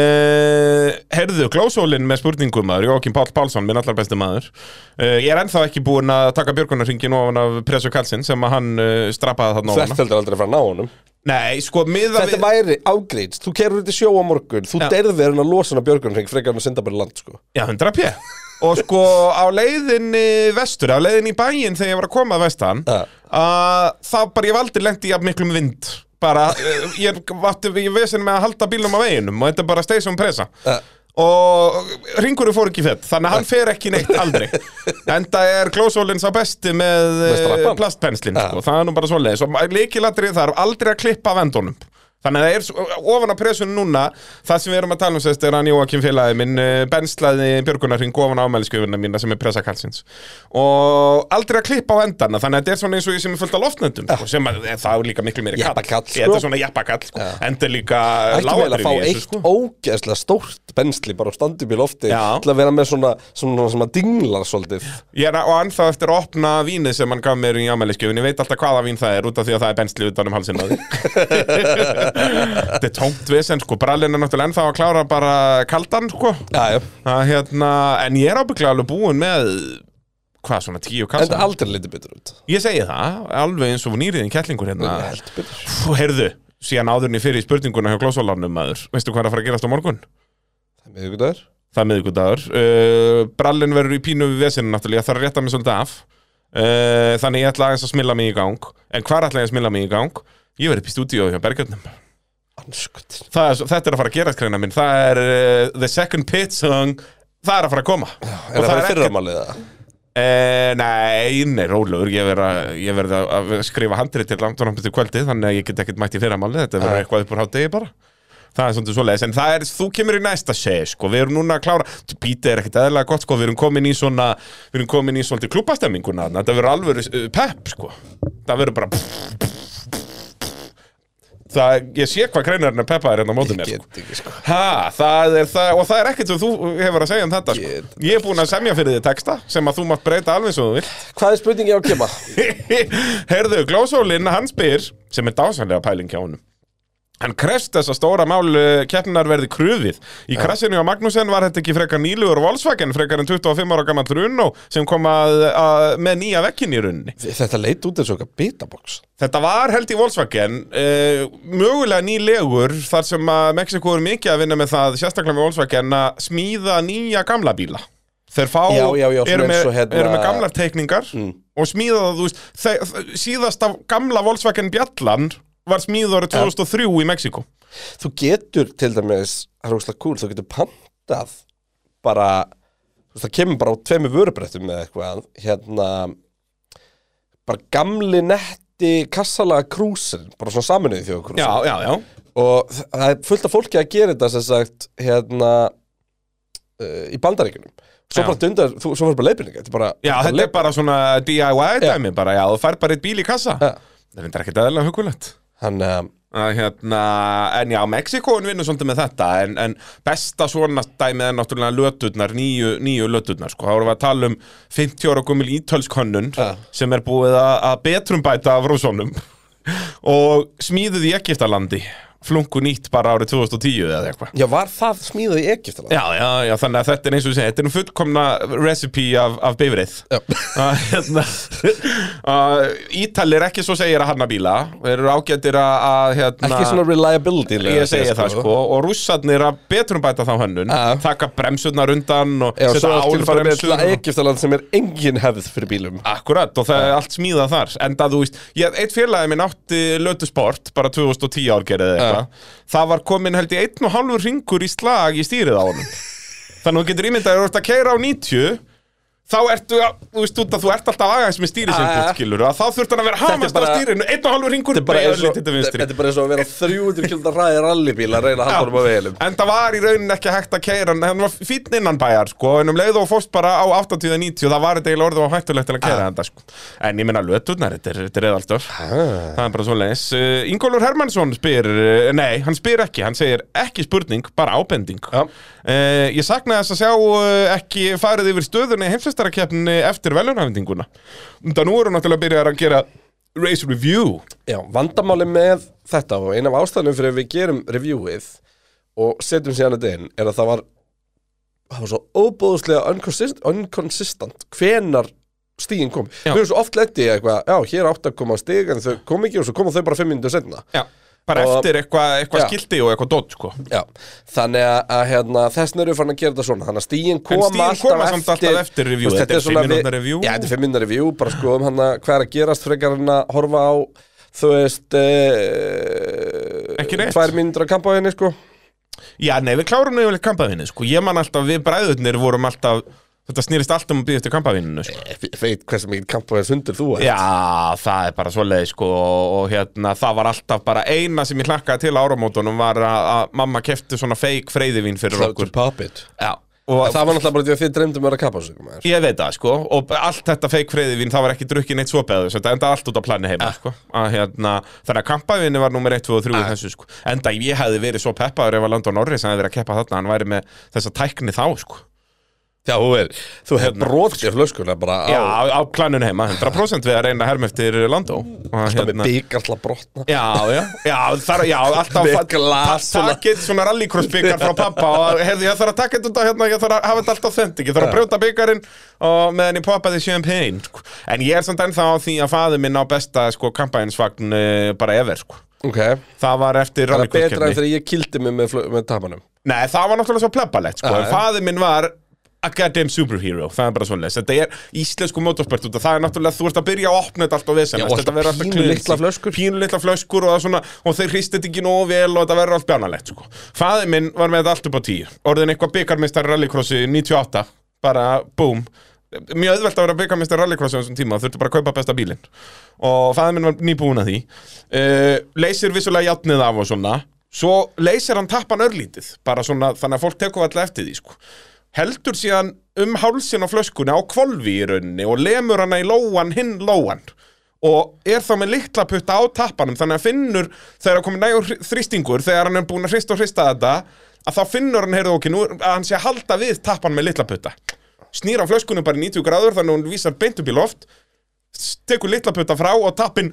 uh, Herðu, glósólin með spurningum maður Jókim Páll Pálsson, minn allar besti maður uh, Ég er ennþá ekki búinn að taka björgunarringin ofan af Presu Kalsin Sem að hann uh, strappaði þarna ofan
Þetta
af.
heldur aldrei að fara að ná honum
Nei, sko, miða
Þetta væri ágreins, þú kerur út í sjó á morgun Þú hérna
Já.
deyrði verið að losa hana björgunring frekar en að synda bara í land sko
Já, 100 p Og sko á leiðinni vestur, á leiðinni í bæinn þegar ég var að koma að vestan
Ja.
að Það bara, ég hef aldrei lent í jafn miklum vind Bara, eh, ég vatti, ég vesin með að halda bílum á veginum og þetta er bara steig sem pressa
Ja.
Og ringurinn fór ekki í fett, þannig að hann fer ekki neitt aldrei Enda er glósólinn sá besti með,
Með
með
strappan.
plastpenslinn,
Ja.
sko, það er nú bara svoleiðis Og líkilatrið þarf aldrei að klippa vendunum Þannig að það er svo- ofan á pressunum núna Það sem við erum að tala um sérst er hann Jóakim félagi minn eh, Benslaði Björgunarring ofan ámælisköfuna mína sem er pressa kallsins Og aldrei að klippa á endana Þannig að þetta er svona eins og ég sem er fullt af loftnöndum sko, Sem að eh, það er líka miklu meiri
Jeppakall, sko.
Þetta er svona jappakall sko. Enda líka
Ættum við að
lágadrif
fá
í þessu
eitt
sko.
ógeðslega stórt bensli bara á standum í lofti
Já.
til að vera með svona, svona, svona dinglar svolítið
Ég er á ennþá eftir að opna vínið sem hann gaf mér í ámælisköfun Ég veit alltaf hvaða vín það er út af því að það er bensli utan um halsinn á því Þetta er tómt vesen sko Brallin er náttúrulega ennþá að klára bara kaldan sko
Já, já,
að hérna, en ég er ábygglega alveg búinn með hvað svona tíu
en það
kassa
aldrei lítið betur út
ég segi það, alveg eins og nýriðin kettlingur hérna,
Heldur betur
Pff, heyrðu síðan áðurinn í fyrir spurninguna hjá glósólanum maður veistu hvað er að fara að gerast á morgun?
Það er miðvikudagur
það er miðvikudagur uh, brallin verður í pínu við vesinu náttúrulega það er að rétta mig svolítið af uh, þannig ég ætla aðeins að smilla mig í gang en hvar ætla ég að smilla mig í gang? ég verður upp í stúdíu hjá Bergjörnum
Anskutin
Það er, svo- þetta er að fara að gerast greina minn það er uh, the second pit song það er að fara að koma
Er það bara fyrramálið það?
Eh, nei, nei, rólegur Ég verð að, ég verð að- að skrifa handrið til langt og náttúrulega kvöldið Þannig að ég get ekkert mætt í fyrramáli Þetta verður
Nei.
eitthvað upp úr hátegi bara Það er svona svoleiðis En það er, þú kemur í næsta sé sko. Við erum núna að klára Bítið er ekkert eðlilega gott sko. Við erum komin í svona Við erum komin í svolítið klúbastemminguna þarna. Þetta verður alvöru eh, pepp sko. Það verður bara Það, ég sé hvað kreinarinn er peppaðir hérna á mótum mér sko.
Get ekki sko
Ha, það er það, og það er ekkert sem þú hefur að segja um þetta sko.
Get-
Ég er búinn að semja fyrir því texta sem að þú mátt breyta alveg svo þú
Hvað er spurningi á að kema?
vilt Herðu, Glósólinn, hann spyr sem er dásanlega pæling hjá honum Hann krefst þess að stóra mál uh, keppnar verði krufið. Í krassinu á Magnussen var þetta ekki frekar nýlugur Volkswagen, frekar en 25 ára gammal Runo sem kom að, að, með nýja vekkin í runni.
Þetta leit út eins og eitthvað bitabox
Þetta var held í Volkswagen uh, mögulega nýlegur þar sem að Mexiko er mikið að vinna með það sérstaklega með Volkswagen að smíða nýja gamla bíla Þeir fá,
Já, já, já, svona
eru,
eins
með,
og hérna- Mm.
eru með gamlar teikningar og smíða það, þú veist þe- þ- síðasta gamla Volkswagen Bjallan var smíð árið 2003 í Mexiko
Þú getur til dæmis Það er óslega cool Þú getur pantað bara þú veist, Það kemur bara á tveimur vörubrettum með eitthvað Hérna Bara gamli netti kassalaga krúsin Bara svona saminuði þjóðkrúsin
Já, já, já
og þa- það er fullt af fólki að gera þetta sem sagt hérna uh, í bandaríkunum svo
Já.
bara dundar, þú, svo verður bara leifinninga þetta er bara,
Já, þetta er bara svona DIY
Já.
dæmi bara, já, þú fær bara eitt bíl í kassa
Já.
Það finnst ekki aðeinslega hugulegt
hann, um,
að hérna, en já, Mexikóin vinnur svolítið með þetta, en, en besta svona dæmið er náttúrulega löturnar nýju, nýju löturnar, sko, þá vorum við að tala um 50 ára gummil ítölsk hönnun
Ja.
sem er búið að, að betrumbæta af rússonum og smíðið í Egiptalandi flungu nýtt bara árið 2010 eða eitthvað
já var það smíðað í Egyptaland
Já, já, já, þannig að þetta er eins og segja, þetta er um fullkomna recipe af, af bifrið Að, hérna, að Ítalir ekki svo segir að hanna bíla Þeir eru ágættir að, að hérna,
ekki svona reliability
Ég segi það sko Og rússarnir að betrum bæta þá hönnun
Já.
Taka bremsurnar undan og
Já, svo
setja
ertu bara með til
álbremsur
að
og-
Egyptaland sem er engin hefð fyrir bílum
Akkurat og það er allt smíðað þar En það þú veist, ég, eitt félagi minn átti Lötusport, bara 2010 árgerið eða eitthvað Það var komin held ég einn og hálfur ringur í slag í stýrið á honum Þannig að þú getur ímyndað að þú ert að keira á 90 þá ertu, að- þú veist út að þú ert alltaf aðeins með stýri sem
Ja, ja.
þú skilur að þá þurft hann að vera
er
hamast á
bara-
stýrinu, einn og hálfur ringur
Þetta er bara eins og-
til vinstri
þetta er bara eins og að vera 300 km ræði rallybíl að reyna að halda honum á veginum
En það var í rauninni ekki hægt að keira hann, hann var fínn innan bæjar sko, en um leið og fórst bara á 80-90 það var þetta eiginlega orðið og hættulegt til að
Ah.
keira þetta sko. En ég meina löturnar, þetta er, þetta er eðaldöf Það er bara svoleiðis uh, Ingólfur Hermannsson spyr, uh, nei, hann spyr ekki, hann segir ekki spurning, bara ábending
Já.
uh, Ég saknaði þess að sjá uh, ekki farið yfir stöðunni heimslistarakefjunni eftir velunhæfendinguna Það nú eru náttúrulega að byrja að gera race review
Já, vandamáli með þetta og eina af ástæðanum fyrir að við gerum reviewið og setjum síðan þetta inn er að það var það var svo óbóðslega unconsistent, unconsistent hvenar stíðin kom
Já.
Við erum svo oft lett í eitthvað, já, hér átt að koma stíg en þau kom ekki og svo koma þau bara 5 minnum setna
Já, bara
Og-
eftir eitthvað eitthva
Já.
skilti og eitthvað dót sko.
Já, þannig að, að hérna, þessin eru farin að gera þetta svona Þannig að stíin koma
stigin
alltaf
koma samt alltaf eftir review.
Þú veist,
Þetta er
svona
fimm mínútna
við-
review.
Já, þetta er fimm minna review, bara skoðum hann að hvað er að gerast frekar en að horfa á Þú veist eh,
Ekki neitt.
Tvær mínútur að kampa á henni sko
Já, nei, við klárum yfirleitt kampaðvinni, sko. Ég man alltaf, við bræðurnir vorum alltaf, þetta snýrist alltaf um að býða eftir kampaðvinninu, sko.
Ég ve- Eh, veit hversu mikið kampa á henni sundur þú ert.
Já, það er bara svoleiði, sko, og hérna, það var alltaf bara eina sem ég hlakkaði til á áramótunum var að, að mamma kefti svona feik freyðivín fyrir
Slow to
okkur.
pop it
Já, og
Það var náttúrulega bara því að þið dreymdum að kappa á sig maður.
ég veit það, sko, og allt þetta feik freyðivín, það var ekki drukkin eitt svopeðu, þetta enda allt út á plani heima, sko. Að, hérna, þannig að kampaðvinni var nummer 1, 2 og 3 í þessu, sko. Enda ég hefði verið svo peppaður ef að Landon Norris hefði verið að keppa þarna, hann væri með þessa tækni þá, sko.
Já, þú er, þú hefur brotið flöskuna bara
Hérna. Já,
á,
á, á planun heima, 100% við að reyna að herma eftir Landó og hérna-
alltaf með bygg alltaf brotna
Já, já, já, þar, já alltaf
Með glas svona.
Takkið svona rallycross byggar frá pappa og hefði ég þarf að taka þetta út af hérna ég þarf að hafa þetta allt authentic, ég þarf að brjóta byggarinn og meðan ég poppaði champagne sko. en ég er samt ennþá á því að faði minn á besta sko, kampænsvagn uh, bara ever, sko.
Ok, það
það var eftir
er betra en
rallycross
þegar ég kildi mig með, flö- með tapanum
Nei, það var náttúrulega svo plebbalegt sko.
Já,
En
já.
faðir minn var a goddamn superhero Það er bara svoleiðis Þetta er íslensku motorsport út af Það er náttúrulega, þú ert að byrja að opna þetta allt og vesen
Já, og alltaf pínu litlar flöskur.
Pínu litla flöskur og, það svona, og þeir hristi þetta ekki nóg vel Og þetta verður allt bjánalegt sko. Faðir minn var með þetta allt upp á tíu Orðin eitthvað byggarmistar rallycrossi 98 Bara boom Mjög auðvelt að vera byggarmistar rallycrossi á þessum tíma Þurfti bara að kaupa besta bílinn Og faðir minn var nýbúin að því uh, Leysir vissulega játnið af og svona Svo leysir hann tappan örlítið Bara svona, þannig að fólk tekur alltaf eftir því sko. Heldur síðan um hálsin á flöskunni á kvolfi í rauninni Og lemur hana í lóan, hinn lóan og er þá með liklaputta á tappanum þannig að finnur þegar komið nægur þrýstingur þegar hann er búin að hrista og hrista þetta að þá finnur hann, heyrðu ok, nú, er- að hann sé að halda við tappan með liklaputta snýr á flöskunum bara í 90 gráður þannig að hún vísar beint upp í loft s- tekur liklaputta frá og tappin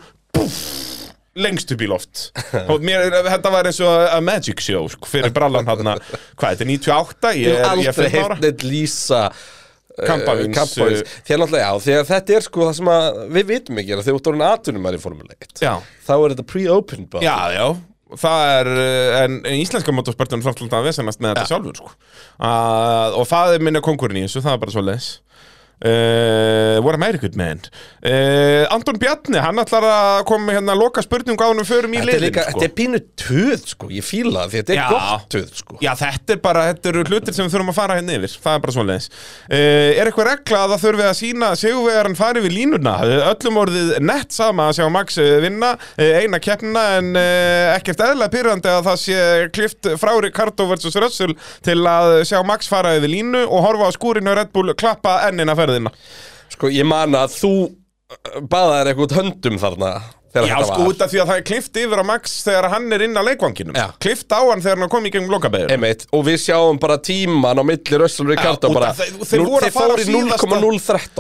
lengst upp í loft og mér, þetta var eins og að Magic Show sko, fyrir brallan hann hvað, þetta er 98,
Ég
ég
hef
er, ég er 5
aldrei
ára Eh,
heyrt neitt lýsa
Kampavíns,
Kampavíns Því að eh, náttúrulega, já, því að þetta er sko það sem að við vitum ekki er að þegar þú ert orðin aðtunum er í Formule 1
Já.
Þá er þetta pre-open bara
Já, já Það er, eh, en, en íslenska motorsportin er framtlunda að vesennast með þetta sjálfur sko. að, og það er minna konkurinn í þessu það er bara svo leis uh, What am I good man uh, Anton Bjarni, hann ætlar að koma með hérna að loka spurningu á hann um förum í
Þetta er
liðin
líka,
sko.
þetta er pínu töð sko, ég fíla það því að þetta er
Já.
gott töð sko
Já, þetta er bara, þetta eru hlutir sem við þurfum að fara hérna yfir Það er bara svona leis Er eitthvað regla að það þurfi að sína Sigurvegarinn fari við línuna Eh, Öllum orðið nett sama að sjá Max eh, vinna eh, Eina keppnina en eh, ekkert eðla pyrrandi að það sé klift frá Ricardo vs. Russell Til að sjá Max fara yfir línu Og horfa á skúrinu Red Bull klappa ennina ferðina
Sko, ég man að þú eh, baðaðir eitthvað höndum þarna þegar
Já,
þetta
sko,
var.
út af því að það er klift yfir á Max Þegar hann er inn á leikvanginum
Já.
Klift á hann þegar hann kom í gegnum lokabegur
Einmitt, og við sjáum bara tíman á milli Russell og Ricardo
út
bara,
af þeir- þeir
núll-
voru að
þeir
fara
fóru í
síðasta-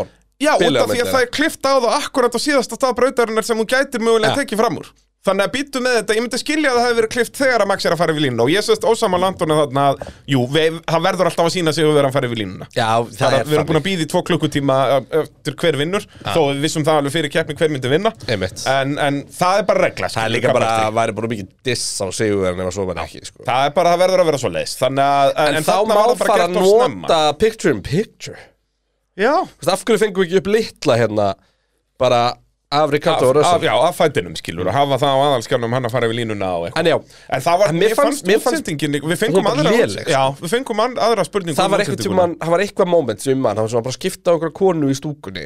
0,013
Já, út
Bilið á
af því að
milli
það er klift á það akkurat á síðasta stað brautarinnar sem hún gæti mögulega
Já.
tekið fram úr Þannig að býtu með þetta, ég myndi skilja að það hefur verið klift þegar að Max er að fara yfir línuna og ég sést ósama landunum þarna að jú, við, hann verður alltaf að sína sig að vera að fara yfir línuna
Já, það
Bara,
er
Við erum búin að býða í tvo klukkutíma ö, eftir hver vinnur þó við vissum það alveg fyrir keppni hver myndi vinna
Einmitt.
en, en það er bara regla
Það er
skilur,
líka
hvað
bara,
maður til.
væri bara mikið diss á sigurverðin ef að svo verði ekki, sko.
Það er bara, það verður að vera svo leis Þannig að,
En, þá
þarna var
má
það bara
fara að
gert of snemma.
nota picture in picture.
Já,
Þú veist, af hverju fengum við ekki upp litla hérna, bara af Ricardo
af, af,
og Russell
já, af fætinum skilur að hafa það á aðalskjánum hann að fara yfir línuna og eitthvað
En já,
En það var,
En
mér fannst, mér fannst Við
hún
fengum
var
aðra,
léleg, sko.
já, við fengum an- aðra spurningu
það
um
var eitthvað
útsendinguna.
tímann, það var eitthvað moment sem mann, það var svona bara að skipta okkur konu í stúkunni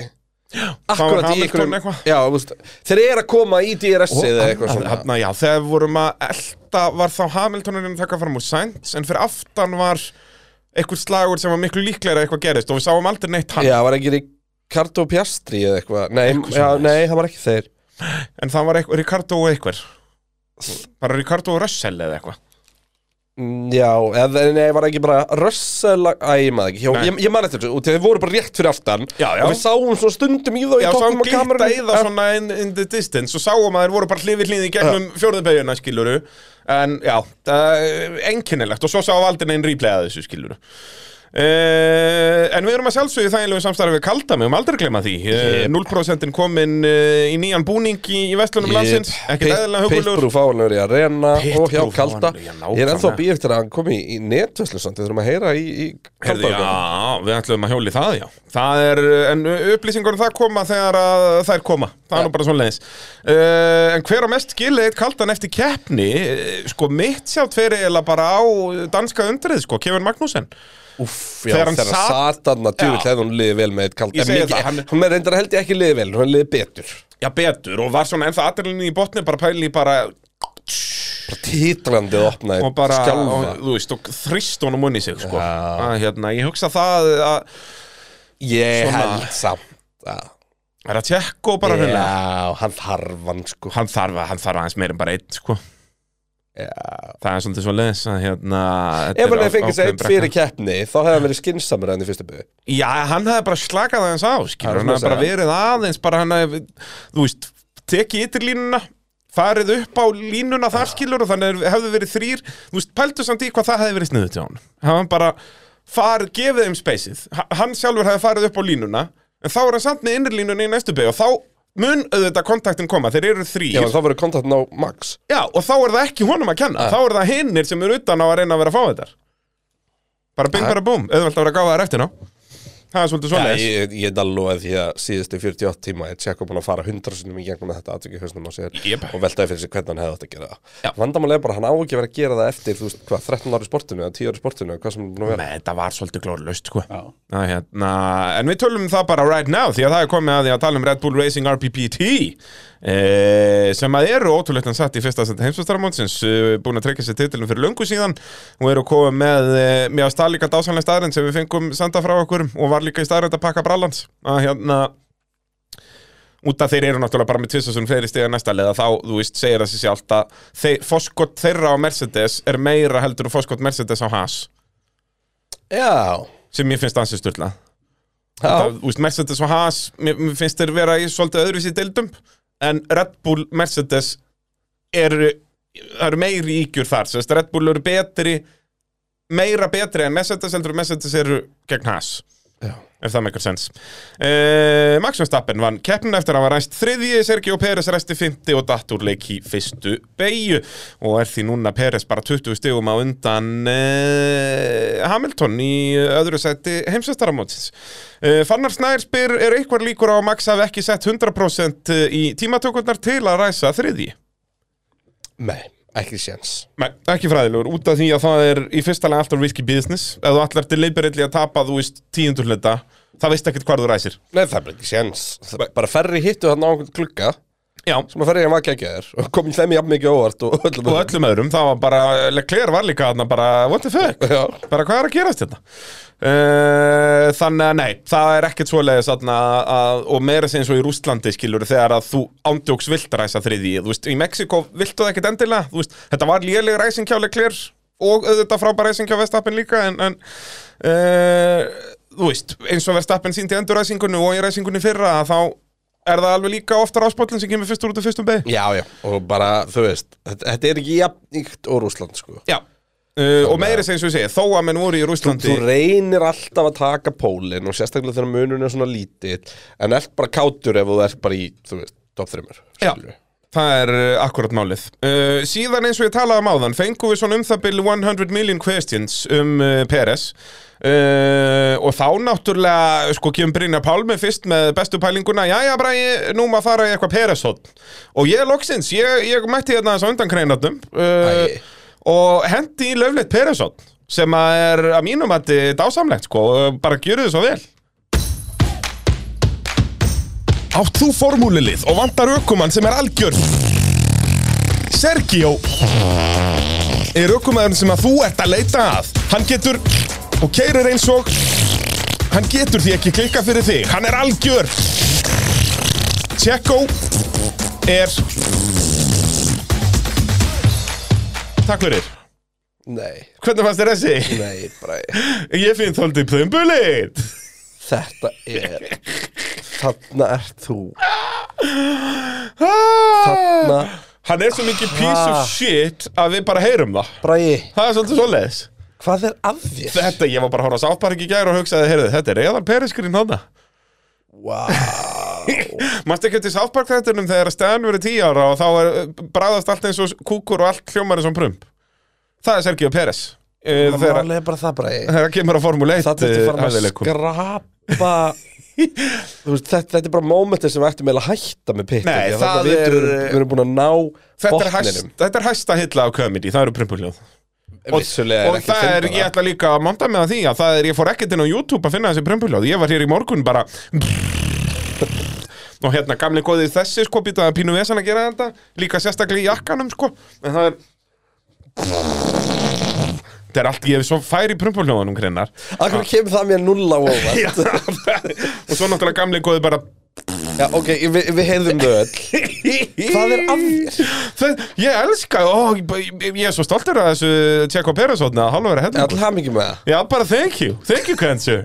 það
Akkurat
var
í
Hamilton
einhverjum
eitthvað.
já, þú veist, Þeir eru að koma í DRS
Og
eða eitthvað
annað
svona
þarna, já, þegar við vorum að elta var þá Hamiltonurinn að taka fram úr Sainz en fyrir aftan var eitthvað slagur sem var miklu líklega eitthvað gerist og við sáum aldrei neitt hann
Já, var ekki Ricardo Piastri eða eitthvað Nei,
Eitthvað
já,
svoleiðis.
nei, það var ekki þeir
en það var eitthvað, Ricardo og eitthvað bara Ricardo og Russell eða eitthvað
Mm, Já, eða nei, var ekki bara Russell, æ, ég maður ekki hjá,
Nei.
ég, ég maður eftir þessu, og þeir voru bara rétt fyrir aftan
Já, já.
Og við sáum svona stundum í þá
Já,
í
sáum
toppum á
glitta í
kamerunni
það svona in, in the distance og sáum að þeir voru bara hlifið hlýði gegnum fjórðubegjuna skiluru en já, uh, einkennilegt og svo sáum við aldrei neinn replay að þessu skiluru Uh, en við erum að sjálfsögðu þægilegu samstarfi við Kaldami, við um aldrei að glemma því uh, 0% komin uh, í nýjan búning í, í vestlunum landsins, ekkert eðlilega hugulegur
Pitbrú fáanlegur í arena og hjá
Pitbrú
Kalda
fáanlegur, já,
Ég er ennþá
nákvæmlega.
að býja eftir að hann komi í, í netvæslu samt, við þurfum að heyra í, í
Herði,
Kalda
já, við ætlum að hjóli það, já Það er, en upplýsingur um það koma þegar að þær koma Það er nú bara svona leiðis uh, En hver á mest gilið eitt kaldan eftir keppni eh, Sko mitt sjátt fyrir eða bara á danska undrið, sko, Kevin Magnussen
Úff, já,
Þegar hann
þegar
sat-
satan að djúvill
Já.
hefði hún liðið vel með eitt kalda
Ég
En
segi
mikið-
það, hann-
Hún er reyndar held ég ekki liðið vel, hún liðið betur
Já, betur, og var svona ennþá aðrinni í botni bara pæli í bara
Bara titlandið opnaði,
og bara,
skjálfa
og, þú veist, og þrýst honum munni sig, sko að, hérna, Ég hugsa það að,
Ég
Svona-
held samt að
er að tjekka og bara hérna
Já, hann þarf hann sko
Hann þarf, að- hann þarf aðeins meir en bara einn, sko
Já.
Það er svolítið svo leiðis að hérna þetta
Ef
er
hann hefði
á-
fengið sér
ákveðin
eitt
brekka.
fyrir keppni þá hefði hann verið skinsamur enn í fyrstu byggu
Já, hann hefði bara slakað aðeins á, skilur,
Það er
hann
það
hefði
að
bara verið aðeins, bara hann hefði, þú veist, tekið ytterlínuna, farið upp á línuna
Ah.
þar, skilur, og þannig hefði verið þrýr, þú veist, pældu samt í hvað það hefði verið sniðut hjá hann. Hann bara farið, gefið þeim speysið, hann sjálfur hefði farið upp á línuna, en þá er hann samt með innrlínuna í næstu beig og þá mun auðvitað kontaktin koma, þeir eru
Já, en
þrýr,
þá verið kontaktin á Max
já, og þá er það ekki honum að kenna, þá er það hinnir sem eru utan á að reyna að vera að fá þetta. Bara bing, bara búm, auðvitað að vera að gáða þær eftir ná. Það er svolítið
Já,
svoleiðis.
ég, ég dal loðið því að síðustu 48 tíma ég tjekka búin að fara 100 sinnum í gegnum með þetta atviki hausnum á sér
Jep.
og veltaði fyrir sig hvernig hann hefði átt að gera
Já.
það Vandamál er bara, að hann á ekki að vera að gera það eftir þú veist, hvað, 13 ári sportinu eða 10 ári sportinu eða hvað sem hann er búin að vera
Nei, þetta var svolítið glórlaust sko. Ná, hérna, En við tölum það bara right now Því að það er komið að því að tala um Red Bull Racing RPPT eh, Sem að eru ótrúleitt en satt í fyrsta sett heimsvöstaramótsins eh, Búin að trekja sér titilin fyrir löngu síðan Og eru komið með eh, Mér að staðlíka dásanlega staðrind sem við fengum senda frá okkur Og var líka í staðrind að pakka brallans Að hérna út af þeir eru náttúrulega bara með tvisasun fleiri stiga næsta leða þá, þú veist, segir það sér sjálft að þeir, foskot þeirra á Mercedes er meira heldur og foskot Mercedes á Haas
Já,
sem ég finnst ansið styrla
já,
Þú veist, Mercedes og Haas, mér, mér finnst þeir vera í svolítið öðruvísi deildum en Red Bull, Mercedes eru, það eru meiri ígjur þar sérst, Red Bull eru betri meira betri en Mercedes heldur en Mercedes eru gegn Haas
Já.
ef það meikar sens uh, Max Verstappen vann keppnuna eftir að hann var ræst þriðji, Sergio Pérez ræsti fymti og datt úr leik í fyrstu beigju og er því núna Pérez bara 20 stigum á undan uh, Hamilton í öðru seti heimsvestaramótsins uh, Fannar Snær spyr, er eitthvað líkur á að Max hafi ekki sett 100% í tímatökurnar til að ræsa þriðji?
nei, ekki séns
Nei, ekki fræðilegur, út af því að það er í fyrsta lega alltaf risky business ef þú allar til leipirilli að tapa, þú veist, tíundur hluta það veist ekkert hvar þú ræsir
Nei, það er bara ekki séns Það- Bara ferri hittu hann á einhvern klukka
Já,
sem að ferri hann var geggjaður og kom í hlæmi jafn mikið á óvart og öllum
og öllum öðrum, það var bara Leclerc var líka þarna bara, what the fuck
Já.
bara hvað er að gerast hérna uh, þannig að nei, það er ekkert svoleiðis þarna að, og meira sem eins og í Rústlandi skilur þegar að þú ándjóks vilt ræsa þriði, þú veist, í Mexiko viltu það ekkert endilega, þú veist, þetta var léleg ræsing hjá Leclerc og auðvitað frábær ræsing hjá Vestappen líka en, en uh, þú veist, eins og Vestappen síndi enduræsingunni og í ræsingunni fyrra að þá er það alveg líka oftar áspóllin sem kemur fyrstur út af fyrstum beig
Já, já, og bara, þú veist þetta, þetta er ekki jafn íkt og Rússland sko
Já uh, Og meira sem ég segi, þó að menn voru í Rúslandi
Þú reynir alltaf að taka pólinn og sérstaklega þegar munurinn er svona lítill en ert bara kátur ef þú ert bara í, þú veist, top 3
Já. Það er uh, akkurat málið. Uh, síðan eins og ég talaði um áðan, fengum við svona um það byrju 100 million questions um uh, Peres uh, og þá náttúrulega, sko, kemur Brynjar Pálmi fyrst með bestu pælinguna, jæja Bræði, nú maður fara í eitthvað Peres-hótt. Og ég loksins, ég, ég mætti hérna þess að undan kreinatnum uh,
Æi.
og hendi í löfleitt Peres-hótt sem að er að mínum að dásamlegt, sko, uh, bara gjöru þið svo vel. Átt þú formúlilið og vantar ökumann sem er algjör Sergio Er ökumann sem að þú ert að leita að Hann getur og keirir eins og Hann getur því ekki klikka fyrir þig Hann er algjör Tjekko er Takk fyrir
Nei,
Hvernig fannst þér þessi?
nei, bræði
Ég finn þóldið plumbulit
Þetta er Þarna ert þú
Þarna
Þarna,
Hann er svo mikið piece
Ha.
of shit að við bara heyrum það
bræði,
Það er svolítið svoleiðis
hvað er að þér?
Þetta, ég var bara að horfa á South Park í gær og hugsaði, heyrðu, þetta er eðal periskurinn hana
Vá
Manstu ekki til South Park þættunum þegar stæðan verið 10 ára og þá er bræðast allt eins og kúkur og allt hljómar eins og prump Það er Sergio Peres Eh,
Það var
Þegar
alveg bara það bræði
þegar kemur að Formule 1
Það ertu farin að
eh, hæfileikum.
skrapa Þú veist, þetta, þetta er bara mómentin sem við ættum eiginlega að hætta með pitt
Nei, það
Við
er-
við erum búin að ná
Þetta er, hæst,
botninum
þetta er hæsta hilla á comedy, það eru prumpuhljóð Og,
Vissulega
og
ekki
það er,
fyndara.
ég ætla líka að monta með því að það er, ég fór ekkert inn á YouTube að finna þessi prumpuhljóð Ég var hér í morgun bara Og hérna gamli góðið þessi sko, býtaði að pínu vesan að gera þetta Líka sérstaklega í jakkanum sko En það er Þetta er allt, ég er svo fær í prumpuhljóðanum greinar
Akkur kemur það mér nulla á óvart
Já, Og svo náttúrulega gamli góðið bara
Já, ok, við vi heyrðum þau öll Hvað er að þér?
Það, ég elska, ó, ég, ég, ég er svo stoltur að þessu Tjekko Perasotna, halvöra hellingur
All hamingi með það
Já, bara thank you, thank you cancer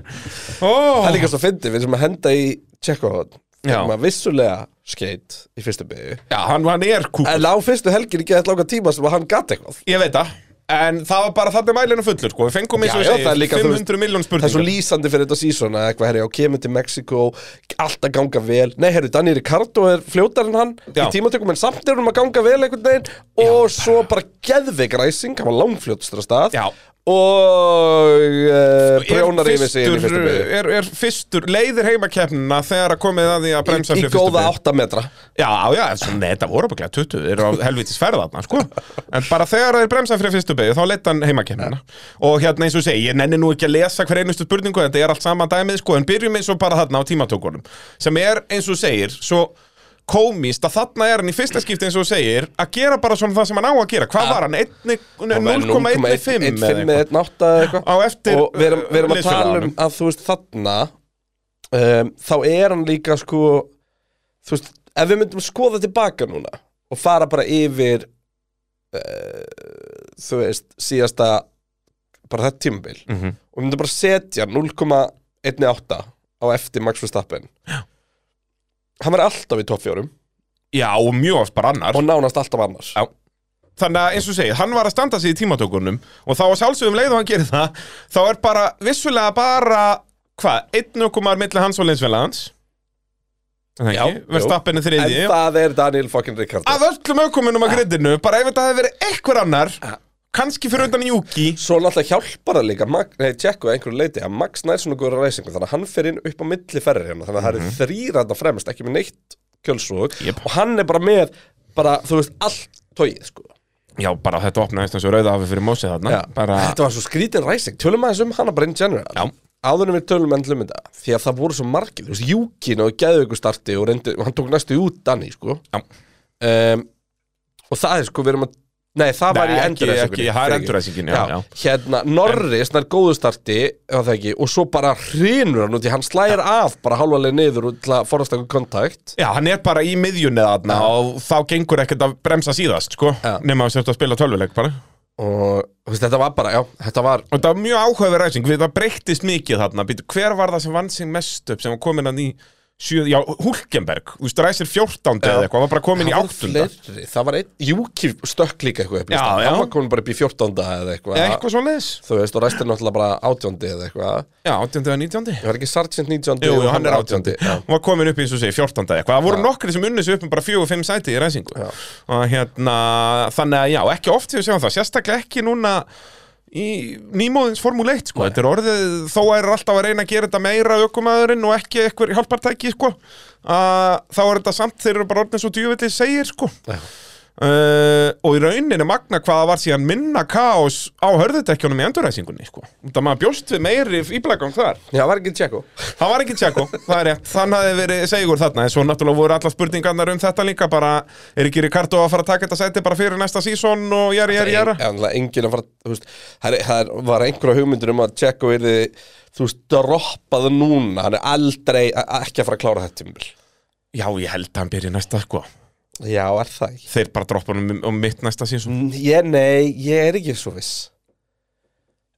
oh.
Það er líka svo fyndið, við sem að henda í Tjekkóhótt
Já.
Þegar maður vissulega skeit í fyrstu byggju
Já, hann, hann er kúk
En á fyrstu helgin ekki eitthvað langa tíma sem að hann gat eitthvað
Ég veit það En það var bara þarna mælinu fullur, sko Við fengum eins
Já,
og
já,
segir
það er líka, þú
500 miljón
Það er svo
spurningar
lýsandi fyrir þetta sísón að eitthvað, herri, já, kemur til Mexiko, allt að ganga vel. Nei, herri, Daniel Ricardo er fljótar en hann
Já.
í tímatökum, en samt er hann að ganga vel einhvern veginn og svo bara geðveik ræsing, hann var langfljótastur að stað
Já. Sko,
og uh, brjónar
Er
yfir sig inn í fyrstu
fyrstur- eh,
byrju.
er, er fyrstur, leiðir heimakeppnina þegar að komið að því að bremsa
Í
fyrir fyrstu
góða
beygju.
8 metra.
Já, já, en svona, þetta voru bara 20, þeir eru á helvitis ferðarna, sko En bara þegar þeir bremsa fyrir fyrstu beigju, þá leitt hann heimakennina Og hérna eins og ég segi, ég nenni nú ekki að lesa hver einustu spurningu Þetta er allt sama dæmið, sko, en byrjum eins og bara þarna á tímatökunum Sem er, eins og þú segir, svo komist að þarna er hann í fyrsta skipti eins og þú segir Að gera bara svona það sem hann á að gera Hvað var hann? Einni- 0,15 eða
1,5
eitthvað?
með 1,8 eða
Á
eitthvað
eftir,
og við erum, við erum að tala um
liðsfélaganum.
að þú veist þarna um, þá er hann líka sko þú veist, ef við myndum skoða tilbaka núna og fara bara yfir uh, þú veist, síðasta bara þetta tímabil
Mhm.
og við myndum bara setja 0,18 á eftir Max Verstappen Já. hann verður alltaf í topp fjórum
Já, og mjög oft bara annar
og nánast alltaf annars
Já. Þannig að eins og segið, hann var að standa sig í tímatökunum og þá að sjálfsögum leið og hann gerir það þá er bara, vissulega bara hvað, einn ökumar milli hans og linsfélagans
Já, jú.
verðstappinu þriði
en það er Daniel fucking Ricardo
af öllum ökumunum á griddinu bara ef þetta hefði verið einhver annar kannski fyrir utan Juki
Svo náttúrulega hjálpar það líka Mag- Nei, Tjekko að einhverju leiti að Max nær svona góður ræsingu þannig að hann fer inn upp á milli ferri hérna þannig að það eru þrýranda fremst, ekki með neitt kjölsvog
Jep.
og hann er bara með bara, þú veist, allt tóið sko.
Já, bara þetta opnaðist eins og rauða hafi fyrir mósið þarna bara,
Þetta var svo skrítin ræsing, tölum aðeins um hana bara in general
Já.
Áðurum við tölum enn hluminda því að það voru svo margir, þú veist, Júkin og geðu ykkur starti og reyndi, hann tók næstu út Danni, sko
Já.
um, og það er sko, við erum að Nei, það var
Nei,
í
ekki-
enduræsingunni
ekki- það er
Fyrir ekki.
endurræsingin, já, já.
Hérna, Norris nær góðu starti ef það ekki, og svo bara hrinur hann út í hann slægir af bara hálfalega niður út til að forðast eitthvað kontakt
Já, hann er bara í miðjunni þarna og þá gengur ekkert að bremsa síðast, sko
Já.
nema að sérst að spila tölvuleik bara
og þú veist, þetta var bara, já, þetta var
Og það var mjög áhugaverð ræsing, við það breyttist mikið þarna Býtu, Hver var það sem vann sig mest upp sem var komin hann í sjö, já, Hulkenberg, þú veist, Ræsir 14 eða
Já.
eitthvað, hann var bara komin í
Það voru
8
fleiri, það var einn, Júki stökk líka eitthvað upp
Já,
listan.
já.
Hann var komin bara upp í 14. eða eitthvað
eitthvað svo leiðis
Þú veist, og ræstir náttúrulega bara 18. eða eitthvað
já, 18 eða 19
Ég var ekki Sargent 19.
Jú,
og
jú, hann er
var
18. Hún var komin upp í, eins og segir, 14. eða eitthvað. Það voru nokkri sem unnu sig upp um bara 4-5 sæti í ræsingu.
Já.
Og hérna, þannig að já, ekki oft við sjáum það. Sérstaklega ekki núna í nýmóðins Formule 1, sko. Þetta er orðið, þó er alltaf að reyna að gera þetta meira aukumæðurinn og ekki eitthvað hjálpartæki, sko. Uh, þá er þetta samt, þeir eru bara orðin svo djúvillig segir, sko.
Já.
Uh, og í rauninni magna hvaða var síðan minna kaos á hörðutekjunum í endurræsingunni sko. Það maður bjóst við meiri íblægang þar
Já, var ekki Tjekko
Það var ekki Tjekko, það er rétt, þann hafði verið segjur þarna, en svo náttúrulega voru allar spurningarnar um þetta líka, bara er ekki Ricardo að fara að taka þetta sæti bara fyrir næsta sísón og jæri, jæri, jæra
En enginn að fara, þú veist Það er- það er- var einhverja hugmyndur um að Tjekko yrði Þú veist, droppað núna Hann er aldrei a- a- ekki að fara að klára þetta tímul
Já, ég held að hann byrja næsta, sko,
Já, er það ekki
þeir bara droppa hann um, um mitt næsta sísón
Ég, nei, ég er ekki svo viss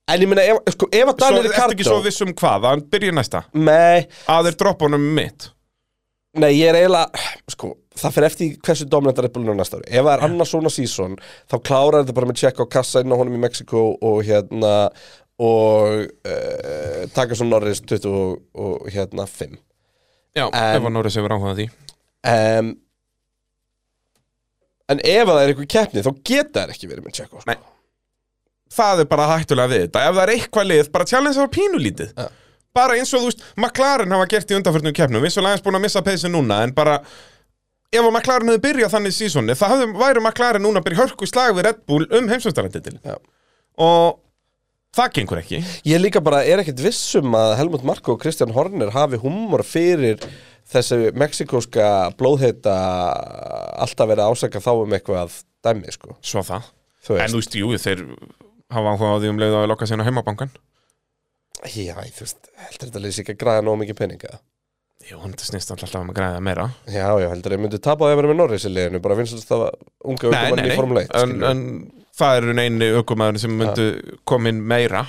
En ég meina, ef, sko, ef að
Svo
Daniel
ertu ekki
Ricardo
svo viss um hvað, að hann byrja næsta,
Nei,
að þeir droppa hann um mitt
Nei, ég er eiginlega, sko, það fyrir eftir í hversu dominantar Red Bullin er næsta ári. Ef það er annars svona sísón, þá klárar þetta bara með tjekka á kassa inn á honum í Mexiko og hérna, og uh, taka svo Norris 20 og, og hérna 5.
Já,
En-
ef hann orðið sem verið áhugað því
Um, en ef það er einhver keppni, þá geta það ekki verið með tjekka. Sko.
Nei. það er bara hættulega við þetta ef það er eitthvað lið, bara challenge það pínulítið
Ja.
bara eins og þú veist, McLaren hafa gert í undanförnum keppnum, eins og lagins búin að missa peysi núna en bara, ef að McLaren hefði byrjað þannig í sísoni, það hefði, væri McLaren núna að byrja hörku í slag við Red Bull um heimsvöldarandindil
Já.
og það gengur ekki
Ég líka bara er ekkert viss um að Helmut Marko og Kristján Horner hafi humor fyrir þessi mexikóska blóðheita alltaf verið að ásaka þá um eitthvað dæmi, sko.
svo það,
Þú veist.
en þú veist, jú, þeir hafa áhuga á því um leið að lokka sérna heimabankan
Já, ég, þú veist, heldur þetta leysi ekki að græða nóg mikið peninga
Jú, hann þetta snýst alltaf um að græða meira
Já, já, heldur ég myndi tapa á að vera með Norris í liðinu bara vinsast það var unga aukumann í Formule 1
en, en það eru einu aukumæður sem myndu koma inn meira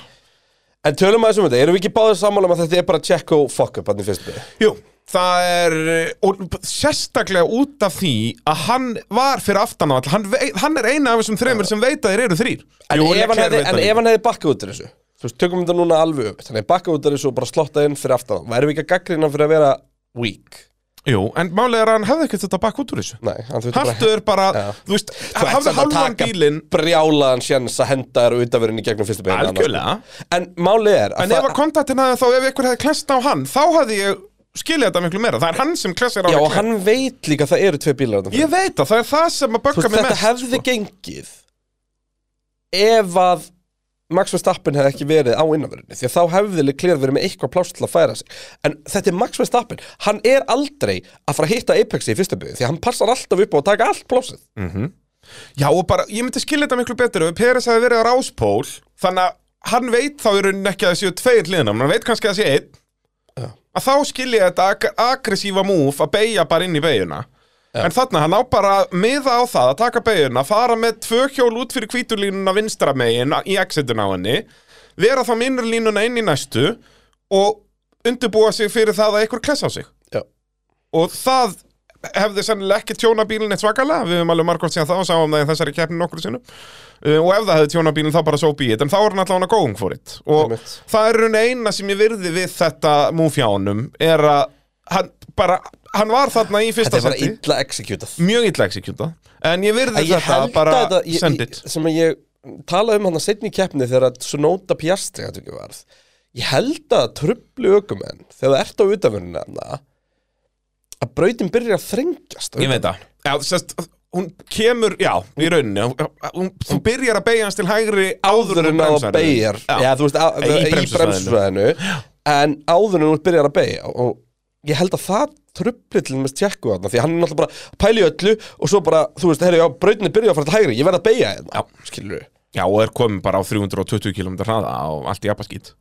en tölum aðeins um þetta, erum við ekki báðið sammála um að þetta er bara check og fuck up hann í fyrstu byrju?
Jú, það er eh, og sérstaklega út af því að hann var fyrir aftan á all hann, vei- hann er eina af þessum þremur sem veit að þeir eru þrýr
En, ef, hann hefði, en ef
hann...
hann hefði bakkað út úr þessu Þú veist, tökum þetta núna alveg upp Þannig bakkað út úr þessu og bara slottað inn fyrir aftan Værum við ekki að gaggrina fyrir að vera weak?
Jú, en málið er að hann hefði ekkert þetta bakk út úr þessu
Nei, hann þurfti bara
Haltu er bara,
Já.
þú veist,
Þú ert
hafði
samt að
halvan
taka
bílinn
Brjálaðan séns að henda þér utaverinn í gegnum fyrstu beina
Algjörlega.
En málið er að
En ef
það-
að kontaktin hefði þá, ef ykkur hefði klest á hann þá hefði ég skilja þetta miklu meira Það er hann sem klesir á
Já, og
Leclerc.
hann veit líka að það eru tvei bílar þarna fyrir.
Ég veit að það er það sem að
Þú
bögga
veist,
mig
þetta
mest sko.
hefði gengið ef að Max Verstappen hefði ekki verið á innanverðinni því að þá hefði Leclerc verið með eitthvað pláss til að færa sig en þetta er Max Verstappen hann er aldrei að fara að hitta Apexi í fyrsta byrju því að hann passar alltaf upp á að taka allt plássið
Já og bara, ég myndi skilja þetta miklu betur ef Peres hefði verið á ráspól þannig að hann veit þá í rauninni ekki að það séu tveir hliðinum, hann veit kannski að það sé einn
Já.
að þá skilja ég þetta ag aggressífa múf að beigja bara inn í beiguna en þarna hann á bara að miða á það að taka beiguna, fara með tvö hjól út fyrir kvítulínuna vinstra megin í exitun á henni, vera þá minnur línuna inn í næstu og undirbúa sig fyrir það að einhver klessa á sig
Já.
og það hefði sennilega ekki tjóna bílinn eitt svakalega við höfum alveg margótt síðan það og sáum það í þessari keppni nokkur sinnum uh, og ef það hefði tjóna bílinn þá bara so be it en þá er hann allavega going for it og
Einmitt.
það er raun eina sem ég virði við þetta múfjánum er að hann, bara, hann var þarna í
þetta
fyrsta
er bara
seti
illa executað
mjög illa exekjúta en ég virði
Að ég
þetta
held að
bara
þetta- ég-
send
ég-
it
sem að ég talaði um hann að setni í keppni þegar að Sonota Piastri þetta ekki varð ég held að trublu ökumenn þegar það ert á utaförunni að brautin byrjar að þrengjast
ég veit það já, sest, hún kemur, já, í rauninni hún, hún, þú byrjar að beigja hans til hægri áður
áður
en þú
en á að
bremsar.
beigja
Já.
Já, þú veist, á-
Í
í bremsusvæðinu En áður en þú byrjar að beigja Og ég held að það trubli til þess tjekku þarna Því hann er náttúrulega bara pæli öllu Og svo bara, þú veist, herri, já, brautinni byrja að fara til hægri Ég verð að beigja hérna, skilur við
Já, og er komin bara á 320 km hraða og allt í apaskýt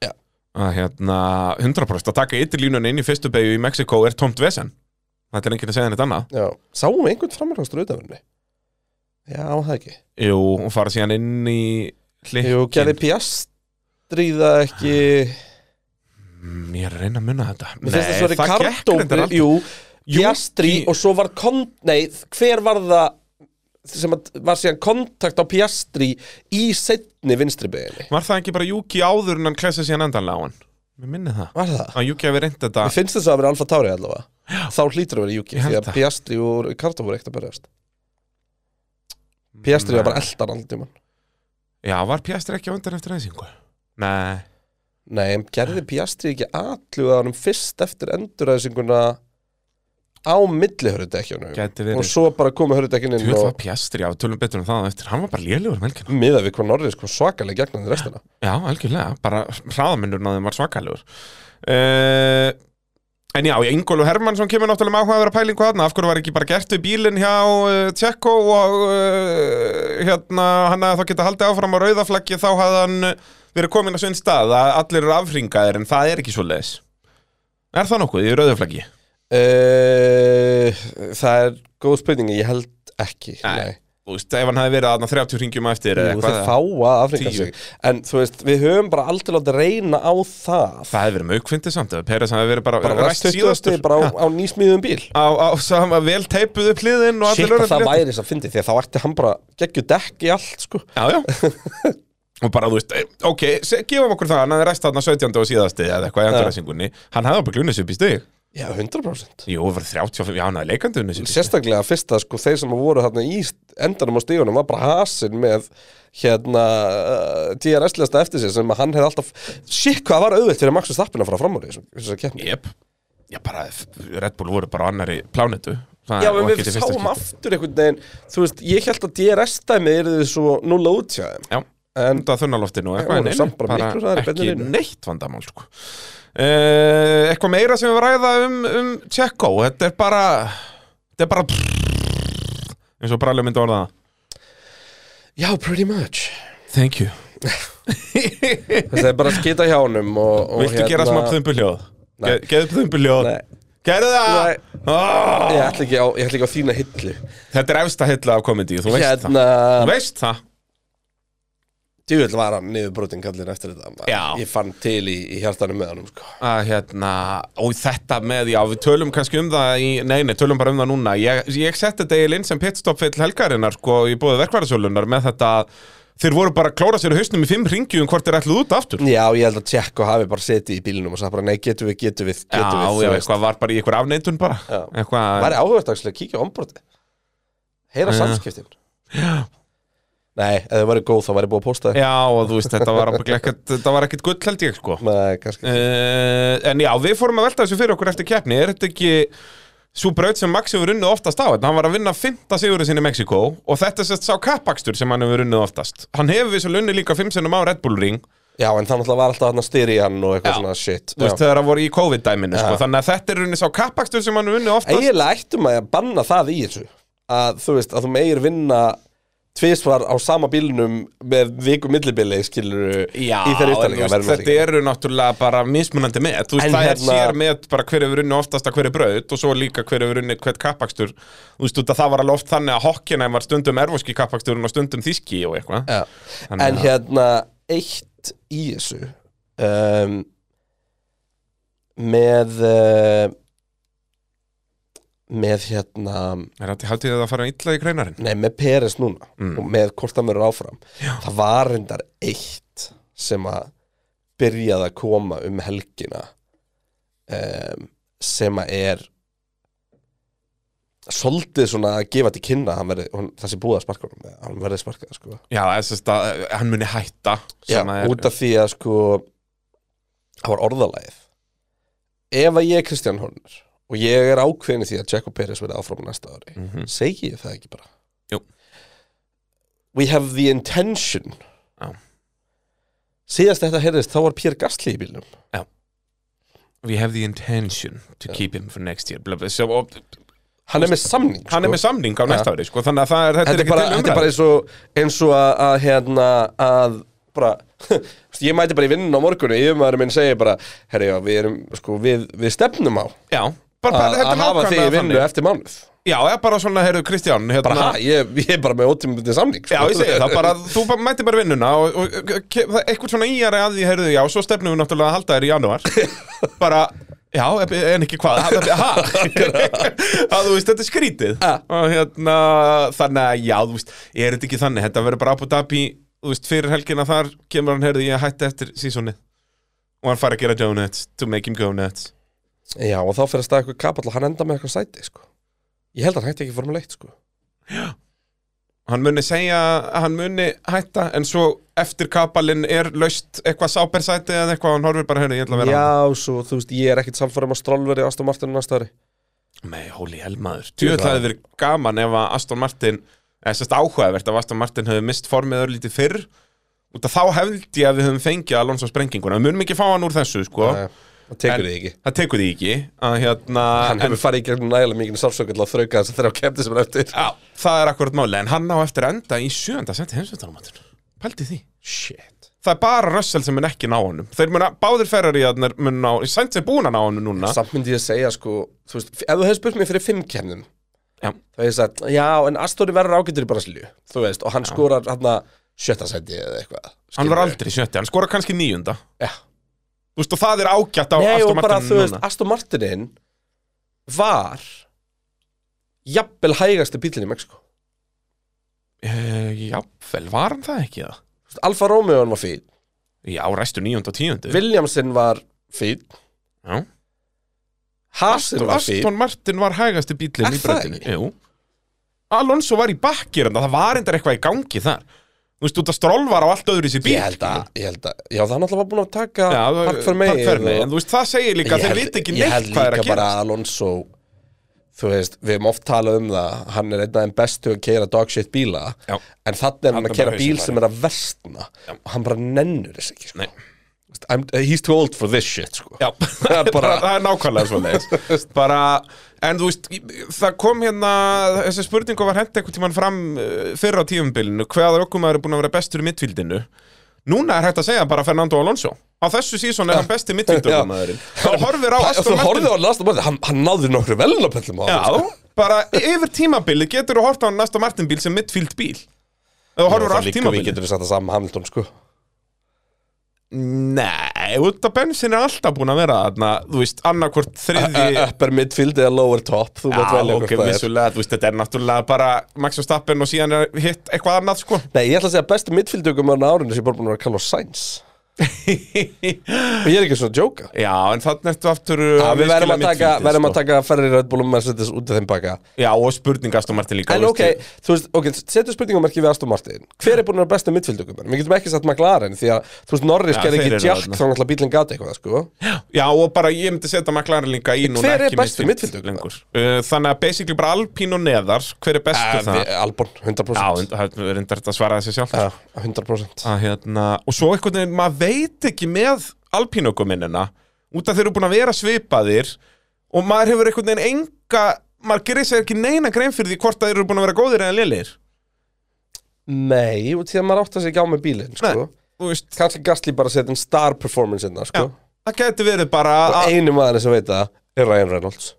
Já.
að hérna, 100% að taka ytterlínuna inn í fyrstu beigju í Mexiko er tómt vesen Þetta er enginn að segja neitt annað
Já, sáum við einhvern framarhástur auðvörni? Já, það ekki
Jú, og fara síðan inn í hlikkinn
Jú, gerði Piastri það ekki
Mm, Ég er að reyna að munna þetta
Mér finnst það svo
það gekk reyndar
Ricardo
aldrei.
Jú,
Jú,
Piastri
í-
og svo var kon, Nei, hver var það sem að, var síðan kontakt á Piastri í setni vinstri beginni
Var það ekki bara Juki áður en hann klesa síðan endanlega á hann? Mér minni það
Var það?
Að Juki hefði reynd þetta
Mér finnst þess að vera Alfa Tauri allavega Þá hlýtur að vera Juki
Ég held
Því að
það.
Piastri og Ricardo voru ekkert að berjast Piastri var bara eldan allir tíman
Já, var Piastri ekki á undan eftir reysingu? Nei
Nei, en gerði Piastri ekki aðlugaðanum fyrst eftir enduræsinguna á milli hörðudekkjunum
Gæti
og
verið
svo bara komið hörðudekkinn inn
Tjöð
og
var Piastri, já, við tölum betur um það á eftir Hann var bara lélugur um helgina
miða við hvað Norris kom svakalega gegnaði restina
Já, algjörlega, bara hraðamennurinn á þeim var svakalegur uh, En já, Ingólu Hermannsson kemur náttúrulega með áhuga að vera pælingu þarna Af hverju var ekki bara gert við bílinn hjá uh, Tjekko og uh, hérna, hann að þá geta haldið áfram á rauðaflaggi þá hafði hann uh, verið komin á svinn stað að allir eru afringaðir en það er ekki svo leis Er það nokkuð í rauðaflaggi?
Uh, það er góð spurning, ég held ekki
Nei. Þú veist, ef hann hefði verið aðna 30 ringjum á eftir
Nei.
eða
Jú,
eitthvað,
þeir fá að afringa
Tíu.
sig En þú veist, við höfum bara aldrei látið reyna á það
Það hefði verið mögkvindið samt ef Peres hefði verið bara,
Bara ræst 20 stið bara á, á nýsmíðum bíl
á, á sama vel teipuð upp hliðin og
Shit
allir
að
lögreglu-
það væri þess að fyndi því að þá ætti hann bara geggju dekk í allt sko
Já, já Og bara, þú veist, eh, ok, se- gefum okkur það, hann hefði ræst þarna 17. og síðasti eða eitthvað í anduræsingunni Hann hefði bara glunnið sér upp í stig
Já, 100%
Jú, það var 35, já, hann hefði leikandi unnið sér upp í stig
Sérstaklega fyrsta sko, þeir sem voru þarna í endanum á stígunum var bara hasinn með hérna uh, DRS-lista eftir sér sem að hann hefði alltaf Shit, hvað var auðvilt fyrir Maxus Stappin að fara fram úr í þessum- þessari keppni
Jep, já, bara, f- Red Bull voru bara á annari plánetu það,
Já,
og
en
ekki
við
til fyrsta
sáum
skipti.
aftur einhvern veginn Þú veist, ég held að DRS-dæmið eru þið svo nú lótja þeim
Já,
En
enda að þunnaloftinu og
Já,
eitthvað en
voru
nei,
samt bara miklu hraðari í beinni
ekki
línu.
neitt vandamál sko. uh, Eitthvað meira sem við ræða um, um Tjekko Þetta er bara Þetta er bara eins og Bralli myndi orða það
Já, pretty much
Thank you
Þessi er bara að skita hjá honum og, og hérna-
Viltu gera smá þumbuljóð?
Nei.
Geðu þumbuljóð
Nei.
Gerðu
Nei.
það!
Ég
Oh,
ætla ekki á, ég ætla ekki á þína hillu
þetta er efsta hilla af komedi, þú veist það Þú
Hérna,
veist það
djúvill var hann niðurbrotin kallin eftir þetta maður.
Já.
Ég fann til í, í hjartanum með honum sko.
að hérna, og þetta með, já, við tölum kannski um það í, nei, nei, tölum bara um það núna ég, ég setti þetta eiginlega inn sem pitstop fyrir helgarinnar, sko, í bóði verkvarðasölunar með þetta, þeir voru bara að klóra sér í hausnum í fimm ringjum hvort þeir ætluð út aftur
Já, ég held að Tjekko hafi bara setið í bílinum og sagði bara, nei, getum við, getum við,
já,
getum við
já, eitthvað var bara í eitthvað afneitun bara,
Já.
eitthvað
Það er áhugast að kíkja á ombroti Heyra
Já.
samskiptin Nei, ef það væri góð þá væri búið að posta
já, og þú veist, þetta var ábyggilega ekkert, þetta var ekkert gull, held ég, sko
Nei, kannski
uh, en já, við fórum að velta þessu fyrir okkur eftir keppni er þetta ekki svo braut sem Max hefur unnið oftast á hann var að vinna fymta sigurinn sinni í Mexiko og þetta er sérst sá kappakstur sem hann hefur unnið oftast hann hefur við svo unnið líka fimm sinnum á Red Bull ring
Já, en það náttúrulega var alltaf hann að styri hann og eitthvað
Já.
svona shit
þú veist,
Já.
þegar hann voru í COVID-dæminu sko.
Já.
þannig að þetta er unnið sá kappakstur sem hann hefur unnið oftast
Eiginlega ættum að banna það í þessu að þú veist, að þú meir vinna tvisvar á sama bílnum með viku millibili, skilur
Já,
í
en
þeirri
þú
yttarlega
veist, þetta eru náttúrulega bara mismunandi met Þú veist,
En
það er
hérna-
sér met bara hver hefur unnið oftast að hverju braut og svo líka hver hefur unnið hvert kappakstur Þú veist, út að það var alveg oft þannig að hokkina var stundum erfoski kappaksturinn og stundum þíski og eitthvað
Já.
Þannig
En
að-
hérna, eitt í þessu um, með uh, með hérna
Er þetta haldið þið að fara illa í greinarinn?
nei, með Peres núna
Mm.
og með hvort það mörur áfram Já. það var reyndar eitt sem að byrjaði að koma um helgina um, sem að er svolítið svona að gefa til kynna að hann verið, hún, það sé búið að sparka honum, að hann verið sparkað sko.
Já, þess að eh, hann muni hætta
Já, út af því að sko það var orðalagið Ef að ég er Kristján Horner og ég er ákveðin í því að Jaco Pérez verið áfram næsta ári
Mhm.
segi ég það ekki bara
Jú.
We have the intention
Já.
Síðast þetta heyrðist þá var Pér Gastli í bílnum
We have the intention to keep him for next year blah, blah, so, og,
Hann er með samning sko.
Hann er með samning á næsta ári, sko Þannig að það er, þetta
Þetta
er
er
ekki
bara,
til
þetta er
umræð
bara eins og, eins og að, að hérna að bara, ég mæti bara í vinnun á morgunni yfirmaður minn segir bara, herri já, við erum sko, við, við stefnum á
Já, bara,
að,
þetta er
að hafa
nákvæmlega
þig í vinnu
þannig.
eftir mánuð
Já, eða bara svona, heyrðu, Kristján hérna,
Bara, ha, ég, ég er bara með ótímabundið samning sko."
Já, ég segi það bara, þú bara mætti bara vinnuna og, og, og ke- það- eitthvað svona íjari að því, heyrðu, já, svo stefnum við náttúrulega að halda þér í janúar bara, já, en ekki hvað ha, ha, að þú veist, þetta er skrítið
Ja.
og hérna, þannig að, já, þú veist er þetta ekki þannig, þetta verður bara Abu Dhabi þú veist, fyrir helgina þar kemur hann, heyrðu, ég hætti eftir sísónið og hann fari að gera donuts, to make him go nuts
Já, og þá fyrir að staða eitthvað kapall og hann enda með eitthvað sæti, sko Ég held að hann hætti ekki formuleitt, sko
hann muni segja að hann muni hætta en svo eftir kapalinn er laust eitthvað sábersæti eða eitthvað hann horfir bara hérna, ég ætla að vera
Já, svo, þú veist, ég er ekkit samfærum að strólveri á Aston Martinu næsta ári
hann með hóli helmaður það hefði verið gaman ef að Aston Martin eða sérst áhugavert ef Aston Martin hefði mist formið örlítið fyrr út af þá hefði ég að við höfum fengið Alonso sprenginguna, við munum ekki fá hann úr þessu sko,
Nei, Eh, Það tekur
En-
þig ekki
það tekur því ekki að hérna
Hann
en-
hefur farið í gegnum nægilega mikið sálsöku til að þrauka þess að þeirra kemdi sem er eftir
Já, það er akkurat máli, en hann á eftir að enda í sjönda senti heimsvöldanumatur. Pældi því. Shit. Það er bara Russell sem mun ekki ná honum. Þeir mun að, báðir Ferrari að mun ná, Sainz er búin að ná honum núna.
Samt myndi ég að segja, sko, þú veist, ef þú hefur spurt mér fyrir fimm kemnum
Já.
þá hefði ég sagt, já, en Astori verður ágætur í Brasilíu, þú veist, og hann skorar hann að sjötta sæti eða eitthvað
Hann var
skilurðu.
aldrei í sjötti, hann skora kannski níunda.
Já.
Þú veist, og það er ágætt á
Nei, og
Aston
bara,
Martin
þú veist,
núna.
Aston Martinin var jafnvel hægasti bílinn í Mexiko
Uh, Jafnvel, var hann það ekki það?
Alfa Romeo var fín,
Já, restu níunda og tíundi.
Williamson var fín
Já.
Hasin
Aston,
var fín
Aston Martin var hægasti
Er
bílinn í
það
bröndinu.
ekki?
Jú. Alonso var í bakkir, það var endar eitthvað í gangi þar. Þú veist, út að stról var á allt öðru í sér bíl.
Ég held að, ég held að, já það er náttúrulega var búin að taka
Já,
Park for May
Park Fermi, en þú veist, það segir líka að þeir viti ekki neitt hvað er að
Ég held líka bara
gera
að Alonso Þú veist, við hefum oft talað um það Hann er einn af þeim bestu að keira dogshit bíla
Já.
En þannig
Hann er
er hann að
bara
keira bíl
hausinn
sem er að versna Og hann bara nennur þess ekki sko.
Nei.
Þú veist, I'm, He's too old for this shit sko.
Já,
Það er bara-
það er nákvæmlega svo leiðis bara, en þú veist það kom hérna, þessi spurningu var hent eitthvað tíman fram uh, fyrr á tíumbilinu hvaða ökumæður er búin að vera bestur í mittfíldinu núna er hægt að segja bara Fernando Alonso á þessu sísón er hann besti mittfíldumæðurinn þá horfir á
Ef Þú
Aston Martin
horfið á lasta maður, hann, hann náði nokkru velnapöllum á
Já,
hann, sko.
bara yfir tímabilið getur þú hort á Aston Martin bíl sem mittfíld bíl þú
Og
horfir á
Það
allt
líka við
tímabilið
getum við satt að saman Hamilton sko.
Nei, út af bensin er alltaf búin að vera þarna, þú veist, annarkvort þriði
Ö- Upper midfield eða lower top Þú mátt velja hvort
ok,
það er.
vissulega, þú veist, þetta er náttúrulega bara Max Verstappen og síðan er hitt eitthvað annað, sko
Nei, ég ætla að segja að bestu midfieldugum á árinu sem bara búin að vera Carlos Sainz og ég er ekki svona að jóka
Já, en þannig ertu aftur
ja,
að
Við verðum að,
miskilja
taka,
mittfieldið,
verðum að
sko.
taka ferri Red Bull og Mercedes út af þeim baka
Já, og spurningast og Martin líka
En
þú
ok,
veist,
þú veist, ok, setjum spurningumarki við Aston Martin Hver er búin að vera bestu midfieldugum? Við getum ekki sett McLaren því að, þú veist, Norris
Já,
gerði
þeir
ekki
eru
Jack
þarna.
þá náttúrulega bílinn gata eitthvað, sko
Já, og bara ég myndi setja McLaren líka í núna
hver er
ekki
bestur
mittfield
mittfieldurinn?
lengur Uh, Þannig að basically bara Alpín og neðar Hver er bestu
Eh,
það?
við- Albon,
Já,
100%
það er reyndar þetta að svara þessi sjálf
Já, 100%
að hérna, og svo einhvern veginn, maður veit ekki með alpínuguminnina út af þeir eru búin að vera svipaðir og maður hefur einhvern veginn enga maður gerir sér ekki neina grein fyrir því hvort að þeir eru búin að vera góðir eða lélir
Nei, og því að maður átt að segja á með bílinn, sko
þú veist,
Kanski Gastli bara setja en star performance innan,
já, Ah.
sko
það gæti verið bara
Og
að-
einu maður sem veit það er Ryan Reynolds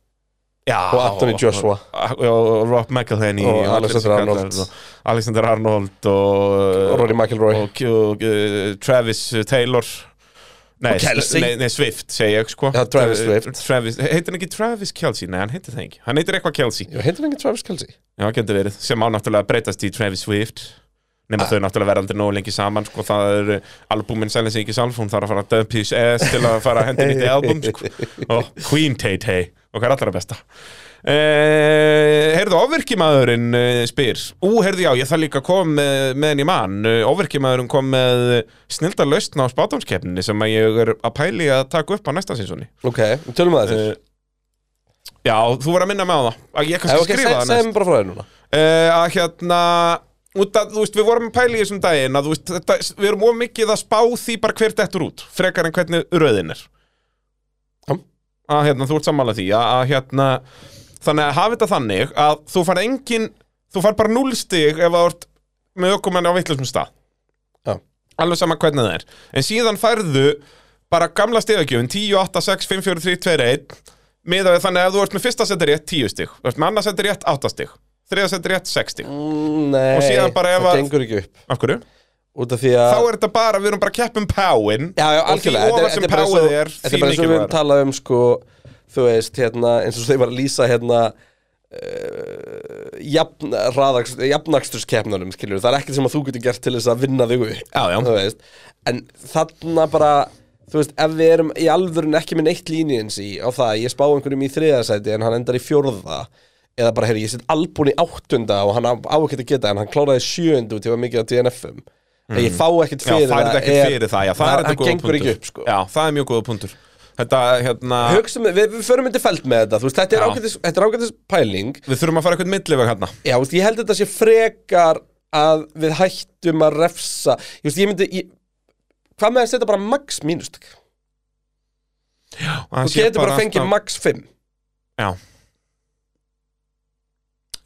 já,
og Anthony Joshua.
og, og, og Rob McElhenney
Og
allir
Alexander
sem kallar
Arnold.
það, og Alexander Arnold og,
og Rory McIlroy
og, og uh, Travis Taylor Nei,
Og Kelsey.
nei, nei, Swift segi ég sko
Já, Travis Swift.
Travis, heitir hann ekki Travis Kelsey? Nei, hann heitir það ekki Hann heitir eitthvað Kelsey
Jú, heitir hann ekki Travis Kelsey?
Já, getur verið, sem á náttúrulega að breytast í Travis Swift nema þau náttúrulega verða aldrei nógu lengi saman sko, það eru albúmin selja sig ekki sjálf hún þarf að fara að dump his ass til að fara að hendi nýtt í album sko. og Queen Tay Tay og hvað er allra besta eh, Heyrðu, ofvirkimaðurinn eh, spyr, ú, heyrðu já, ég þarf líka að koma með, með henni mann, ofvirkimaðurinn kom með snilda lausn á spátumskeppninni sem að ég er að pæli að taka upp á næsta sínsoni
Ok, við tölum að þessu
eh, Já, þú voru að minna með á það Að Ég kannski
Eh, Ok,
skrifa
seg-
það næst
segðu mér bara frá þér núna
uh, að hérna út að, þú veist, við vorum að pæla í þessum daginn að, þú veist, þetta, við erum of mikið að spá því bara hver dettur út, frekar en hvernig röðin er
Já.
að hérna, þú ert sammála því að, að hérna, þannig að hafa þetta þannig að þú far engin, þú far bara núlstig ef það ert með ökumenn á vitlausum stað
Já.
alveg sama hvernig það er en síðan færðu bara gamla stegagjöfin 10, 8, 6, 5, 4, 3, 2, 1 miðað við þannig að ef þú ert með fyrsta seti rétt 10 stig, þú ert með annað seti rétt 8 stig, þriða seti rétt 6 stig.
Nei,
Og síðan bara ef
það
að-
gengur ekki upp
Af hverju?
Út af því
Þá
að
er þetta bara, við erum bara að keppa um páin
Já, já,
og því
algjörlega Þetta
ofar sem
er- þetta er bara
páið
svo-
er,
Þetta
því
er bara eins og við höfum
mikilvægur.
talað um sko, þú veist, hérna, eins og þeir var að lýsa hérna uh, jafn, raðaks, jafnakstuskeppnunum skilur, það er ekkert sem að þú getur gert til þess að vinna þig upp,
Já, já.
þú veist en þarna bara, þú veist ef við erum í alvörun ekki með neitt línins í á það, ég spá einhverjum í þriðasæti en hann endar í fjórða eða bara, heyrðu, ég set albún í áttunda og hann á, á ekki að geta en hann kláraði sjöundu til að mikið á DNF-um mm. ég fá ekkert
Já,
fyrir
færið ekki
er-
fyrir það, já, það er þetta góða
gengur ekki
punktur
upp, sko.
Já, það er mjög góða punktur Þetta, hérna,
Hugsum, við, við förum myndi felt með þetta, þú veist, þetta er
Já.
ágætis- þetta er ágætis pæling
við þurfum að fara eitthvað milliveg hérna
Já, þú veist, ég held að þetta sé frekar að við hættum að refsa Ég veist, ég myndi, ég, hvað með að setja bara max mínustak? Þú getur bara að fengið max 5
Já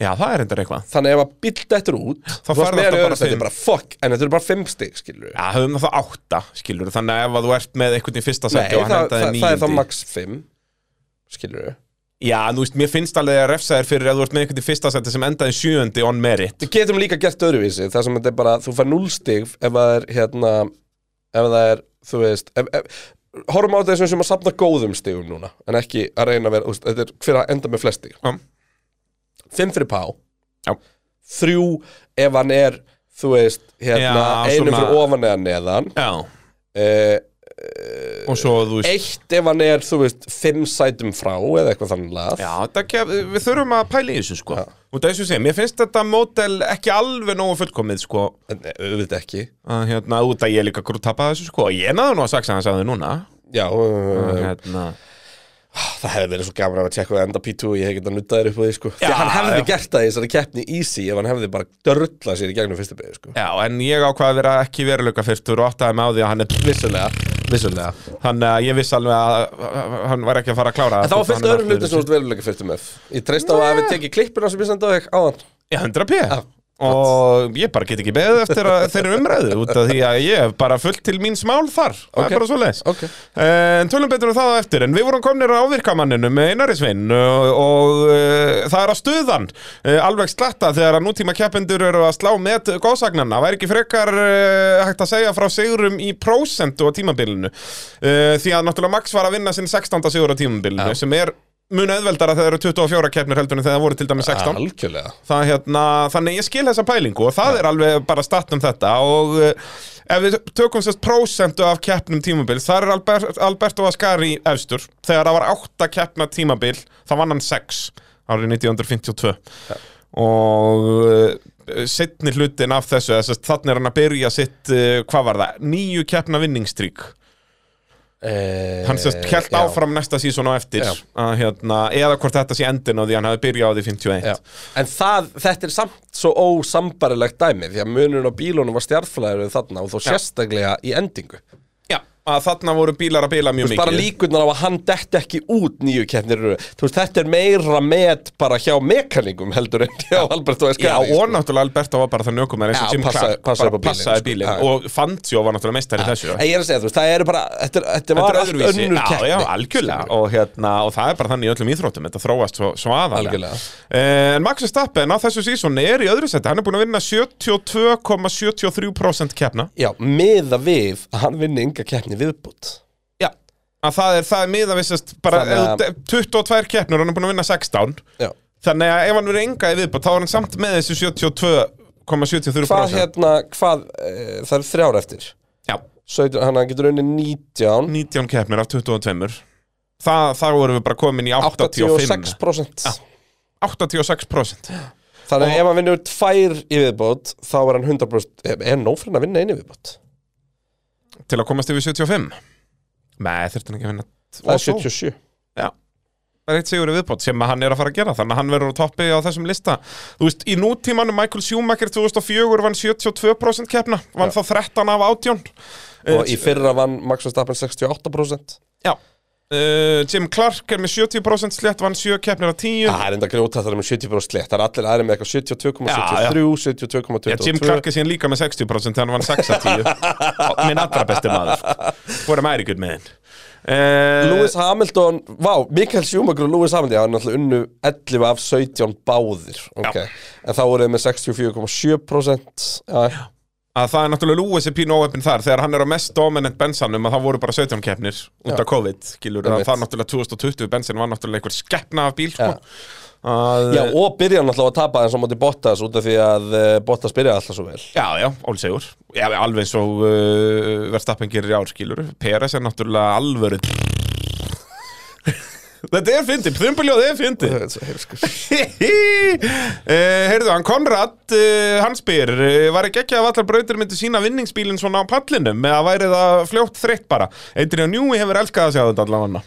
Já, það er endur eitthvað
Þannig ef að bíll þetta er út
Þá
þú varst
færðu
með
þetta
í
bara
öðru sæti,
fimm.
bara fuck, en þetta eru bara 5 stig, skilur
Já, höfum það þá átta, skilur Þannig að ef að þú ert með einhvern í fyrsta
Nei,
seti og
það,
hann
það,
endaði
það er þá
níundi
max 5 Skilur
Já, en þú veist, mér finnst alveg að refsa þér fyrir að þú ert með einhvern í fyrsta seti sem endaði sjöundi on merit
Við getum líka gert öðruvísi þar sem þetta er bara, þú fær 0 stig ef það er hérna, ef það er þú veist, ef, ef, horfum á þetta eins og sem að safna góðum stigum núna en ekki að reyna að vera, þú veist, þetta er hver að enda með flest stig
Já.
5 fyrir pá
Já.
3 ef hann er, þú veist hérna,
Já,
einum
svona-
fyrir ofan eða neðan
Já,
uh,
og svo, þú veist
eitt ef hann er, þú veist, 5 sætum frá eða eitthvað þannig lað
Já, þetta kef, við þurfum að pæla í þessu sko Út af þessu sem, mér finnst þetta mótel ekki alveg nógu fullkomið sko
en eh, auðvitað ekki
að, hérna, út að ég er líka grútt tappa þessu sko Ég náðu nú að saksa hans að þau núna
Já,
Að,
uh,
hérna.
Það hefði verið svo gaman að tjekka við enda P2 Ég hefði getað nuttað þér upp á því sko Því
Já,
að hann hefði
já.
gert það í þessari keppni easy Ef hann hefði bara dörrlað sér í gegnum fyrstu byrju sko
Já, en ég ákvað að vera ekki veruleika fyrstur og áttaði með á því að hann er
Vissulega, vissulega
Þannig að ég viss alveg að að hann var ekki að fara að klára
En það var fyrst
Hann er
öðrum hlutum sem þú ert veruleika fyrstu með Ég treyst á að ef við tekið klippina sem ég senda á þig áðan
Já, 100 p
Já.
Og ég bara get ekki beðið eftir að þeirri umræðu út af því að ég hef bara fullt til mín smál þar Það
Ok.
er bara svo leis
Ok.
En tölum betur um það á eftir En við vorum komnir á eh, virkamanninu með Einari Sveinn Og, og uh, það er á stuðan uh, Alveg slatta þegar að nútíma keppendur eru að slá með góðsagnanna Væri ekki frekar uh, hægt að segja frá sigurum í prósentu á tímabilinu uh, Því að náttúrulega Max var að vinna sinn 16. sigur á tímabilinu Sem er mun auðveldara þegar eru 24 keppnir heldur en þegar það voru til dæmis 16
Algjörlega
það, hérna, þannig ég skil þessa pælingu og það er alveg bara statt um þetta og uh, ef við tökum sérst prósentu af keppnum tímabils, þar er Albert, Alberto Ascari efstur, þegar það var átta keppna tímabil, það vann hann sex árið 1952 og uh, setni hlutin af þessu, þess að þannig er hann að byrja sitt, uh, hvað var það, níu keppna vinningstrík
eh,
hann sérst kelt
já,
áfram næsta sísón á eftir
Já.
að, hérna, eða hvort þetta sé endin á því hann hafi byrjað á því 51
já. En það, þetta er samt svo ósambarilegt dæmi Því að munurinn á bílunum var stjartflæður þarna Og þó sérstaklega í endingu
Já, að þarna voru bílar að bila mjög
Þú veist,
mikið
bara líkurnar á að hann detti ekki út nýju keppnir í röð. Þú veist, þetta er meira met bara hjá mekaningum heldur en hjá sko. Albert og
Já,
Eskari
og náttúrulega Alberto var bara þannig ökum eins og
Já,
Jim
passaði-
Clark
passaði
bara
upp á bílinn,
passaði
sko.
bílinn
Já.
og Fantjó var náttúrulega meistari í þessu
En ég er að segja, þú veist, það eru bara Þetta, þetta var
Þetta er
allt
öðruvísi.
önnur keppni
Já, já, algjörlega og, hérna, og það er bara þannig í öllum íþróttum Þetta þróast svo, svo aðalega
Algjörlega.
En Max Verstappen á þessu sísónu er í öðru seti Hann er búin að vinna 72,73% keppna
Já, miða við að hann vinni ynga keppni viðbútt
Já Að það er, það er miðavissast bara eh,
Þannig að-
ef þú- 22 keppnur, hann er búin að vinna 16
Já
Þannig að ef hann verið enga í viðbútt þá er hann samt með þessu 72,73%
Hvað hérna, hvað, e, það eru þrjár eftir
Já
17, hann getur unni 19
19 keppnir af 22 Þa, þá erum við bara komin í 85
86%
86%
Þannig að ef hann vinnur tvær í viðbútt Þá er hann 100% Er- Er nófrinn að vinna einu viðbútt?
til að komast yfir 75 Nei, þurfti hann ekki að vinna
Það
Og
er
svo.
77
Já Það er eitt sigur í viðbót sem að hann er að fara að gera Þannig að hann verður á toppi á þessum lista Þú veist, í nútímanu Michael Schumacher 2004 vann 72% keppna Vann þá 13 af 18
Og í fyrra vann Max Verstappen 68%
Já Uh, Jim Clark er með 70% slett vann 7 keppnir af 10
Ah, Það er enda grjóta það er með 70% slett Það er allir aðri með eitthvað 72,73, 72,22
Já, Jim Clark er síðan líka með 60% þegar hann vann 6 af 10 minn allra besti maður vorum æri gutt með henn Eh,
Lewis Hamilton, vá, Mikael Schumacher og Lewis Hamilton, já, hann er náttúrulega unnu 11 af 17 báðir, ok En þá voruð þið með 64,7% Já,
að það er náttúrulega Lewis er pínu óöfn þar þegar hann er á mest dominant bensanum að það voru bara 17 keppnir út af COVID skilur, að
Einmitt.
það er náttúrulega 2020 bensin var náttúrulega einhver skeppna af bíl sko.
Já.
að,
já og byrja hann náttúrulega að tapa eins og móti Bottas út af því að uh, Bottas byrjaði alltaf svo vel
já, já, ólsegur já, alveg eins og uh, verðstappin gerir í ár skilur Peres er náttúrulega alvöru þetta er fyndið, þumbuljóð er fyndið
Þetta
uh, heyrðu, hann Konrad uh, hann spyr, uh, var ekki ekki að allar brautir myndu sína vinningsbílinn svona á pallinum eða væri það fljótt þreytt bara Adrian Newey hefur elskað að sjá þetta allavega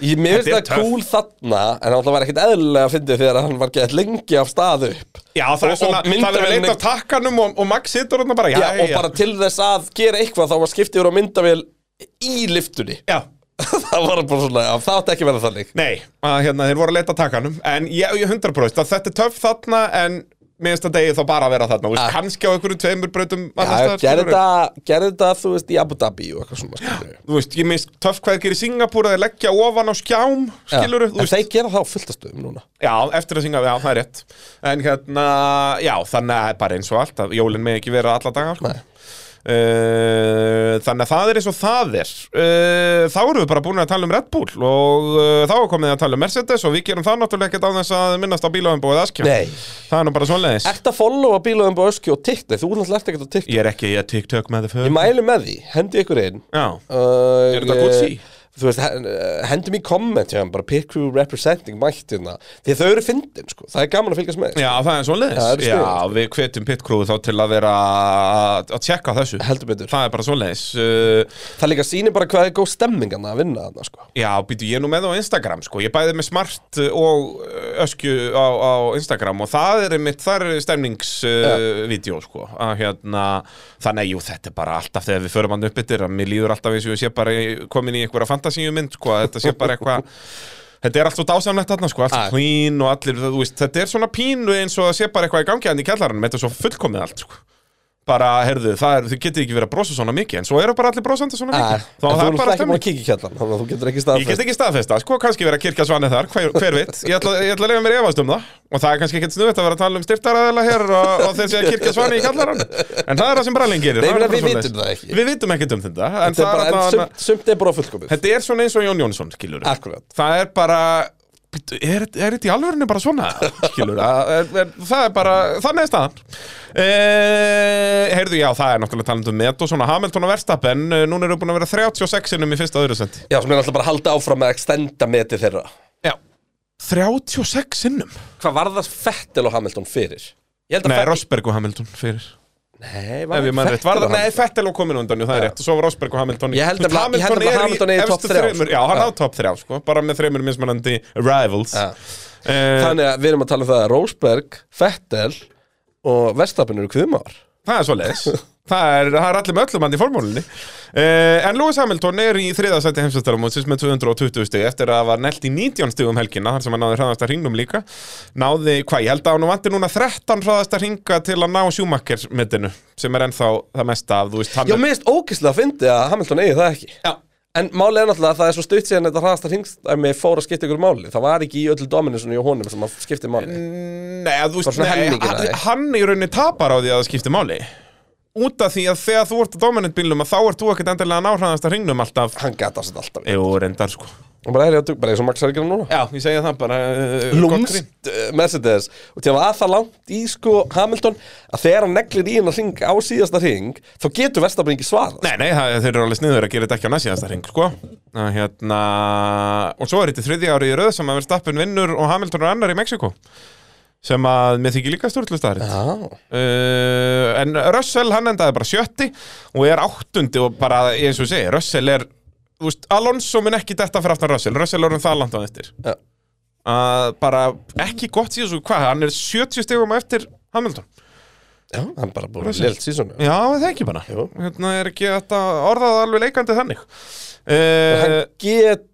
Ég
Þetta
mér
er
finnst það
töff.
cool þarna, en náttúrulega var ekkit eðlilega að fyndi þegar hann var gett lengi af stað upp
Já, það
Og-
er svona, það
og
er
myndavélin-
leitt af takkanum og, og Max situr hann bara, já,
Já,
já,
og bara til þess að gera eitthvað þá var skiptið úr á myndavél í liftunni
já.
Það var bara svona, já, það átti ekki að vera þannig
Nei, að, hérna, þeir voru að leita takkanum En ég, ég hundra bróðist að þetta er töff þarna En minnst að degi þá bara að vera þarna ja.
Ah.
Kannski á einhverjum tveimur brautum annars
Já,
staðar,
gerði
skilurðu.
þetta, gerði þetta, þú veist, í Abu Dhabi og eitthvað svona, skilur
Þú veist, ég minnst töff hvað þeir gerir í Singapúr að þeir leggja ofan á skjám, skilur
En þeir gera það á fullt af stöðum núna
Já, eftir að syngja, já, það er rétt En hérna, já, þannig að bara eins og allt að Jólin með ekki vera alla daga sko. uh, Þannig að það er eins og það er uh, Þá erum við bara búin að tala um Red Bull Og uh, þá er komið að tala um Mercedes Og við gerum það náttúrulega ekkert á þess að minnast á bílaðumbúið Askja
Nei.
Það er nú bara svoleiðis
Ertu að followa bílaðum á Öskju og TikTok? Þú náttúrulega ert ekkert á TikTok
Ég er ekki í að TikTok með þau
Ég mælu með því, hendi ykkur inn
Já,
uh,
Er þetta Gucci?
Þú veist, hen- eh, hendum í komment hjá hann bara Pick Crew Representing mætti hérna Því að þau eru fyndin, sko, það er gaman að fylgjast með
já það er svoleiðis
Já, það er
Já,
sniðugt,
við hvetjum pitkrúðu þá til að vera að að tjekka á þessu
Heldur betur
Það er bara svoleiðis uh,
Það líka sýnir bara hvað er góð stemmingana að vinna þarna, sko
Já, býtu, ég er nú með á Instagram, sko. Ég er bæði með smart uh, og uh, öskju á, á Instagram og það er mitt, það er stemningsvídeó, sko. Að, hérna, þannig að, jú, þetta er bara alltaf þegar við förum hann upp yttir, að mér líður alltaf eins og ég sé bara í- komin í einhverja fantasíu mynd, sko. að Þetta sé bara eitthvað, þetta er allt svo dásamlegt þarna, sko. Allt
Ah.
clean og allir, þú veist, þetta er svona pínu eins og það sé bara eitthvað í gangi hann í kjallaranum. Þetta er svo fullkomið allt, sko. Bara, herðu, það er, þið getið ekki verið að brosa svona mikið, en svo eru bara allir brosandi svona
Ah,
mikið.
en
Þá
Þú
það er bara
er náttúrulega ekki
stemning.
búin að kíkja í kjallan Þannig að þú getur ekki
Ég get
staðfest
ekki staðfesta, sko, kannski vera kirkja svanið þar, hver, hver veit, ég ætla, ég ætla að leiða mér að efast um það og það er kannski ekkert snuðvægt að vera að tala um styrtaraðala hér og, og þessi að kirkja svanið í kallarann en það er það sem bralinn gerir það er
Nei, ég meina,
bara
við
svoleiðis.
vitum það ekki.
Við vitum ekkert um þetta, en
Þetta er
það er
bara, en
allavega-
sumt- sumt er bara fullkomið
þetta er svona eins og Jón Jónsson, skilur
Akkurat
það er bara Bíddu, er, er þetta í alvörinu bara svona skilur, að, að, að, það er bara þannig er staðan e, heyrðu, já, það er náttúrulega talandi um met og svona Hamilton og Verstappen, eh, núna eru búin að vera 36 innum í fyrsta og öðru sendi
Já, sem er alltaf bara að halda áfram með að stenda meti þeirra
Já 36 sinnum?
Hvað var það Fettel og Hamilton fyrir? Ég held að
Nei,
Vettel-
Rosberg og Hamilton fyrir
Nei,
Ef ég mann rétt var það,
Vettel og
Nei,
Hamilton?
Fettel og komin undan, jú, það er
Já.
rétt og Svo var Rosberg og Hamilton
Ég held
Þú veist,
nefnilega- ég held nefnilega að Hamilton er í topp
efstu
þrjá,
þremur-
sko.
Já, hann
Já.
á topp þrjá, sko Bara með þreymur mismunandi rivals
Já.
Eh,
Þannig að við erum að tala um það að Rósberg, Fettel og Verstapin eru kviðmáður
Það er svo leis Það er, það er allir með öllum hann í formúlinni uh, En Lewis Hamilton er í þriðasætti heimsvættaramótsins með 220 stig eftir að var nelt í 19 stigum helgina þar sem hann náði hraðasta hringnum líka Náði, hvað, ég held að hann vanti núna 13 hraðasta hringa til að ná sjúmakker mittinu sem er ennþá það mesta af, þú veist, hann
Já,
er-
mér finnst ógislega að fyndi að Hamilton eigi það ekki
Já,
En málið er náttúrulega að það er svo stutt síðan þetta hraðasta hringstæmi fór að skipta ykkur máli Það var ekki í öllu dominusinu hjá honum sem að skipti máli
Mm. Nei, að þú
Bara
veist,
svona
nei,
helmingina,
hann,
nei.
hann í rauninni tapar á því að það skipti máli Út af því að þegar þú ert á dominant bílnum að þá ert þú ekkert endilega að ná hraðasta hringnum alltaf
Hann gata sér alltaf
Jú, reyndar sko
Og bara er ég að dug, bara eins og Max er ekki núna
Já, ég segja það bara uh,
Lúmst eh, Mercedes og til að var það langt í sko Hamilton að þegar hann neglir í hennar hring á síðasta hring þá getur Verstapin ekki svarað
Nei, nei, það, þeir eru alveg sniður að gera þetta ekki á næstíðasta hring, sko Ná, hérna, Og svo er þetta þriðja ári í röð sem að Verstappen vinnur og Hamilton er annar í Mexiko sem að mér þykir líka stúrtlustaritt ja.
Já,
uh, En Russell, hann endaði bara sjötti og er áttundi og bara, eins og ég segi, Russell er þú veist, Alonso mun ekki detta fyrir aftan Russell Russell er um það langt á eftir
Já.
að bara ekki gott síðan svo hvað, hann er 70 stegum eftir Hamilton
já, hann bara búið
Russell.
lilt sísonu
Já, það er ekki bara
Jú.
Hérna er ekki þetta orðað alveg leikandi þannig uh,
Hann get,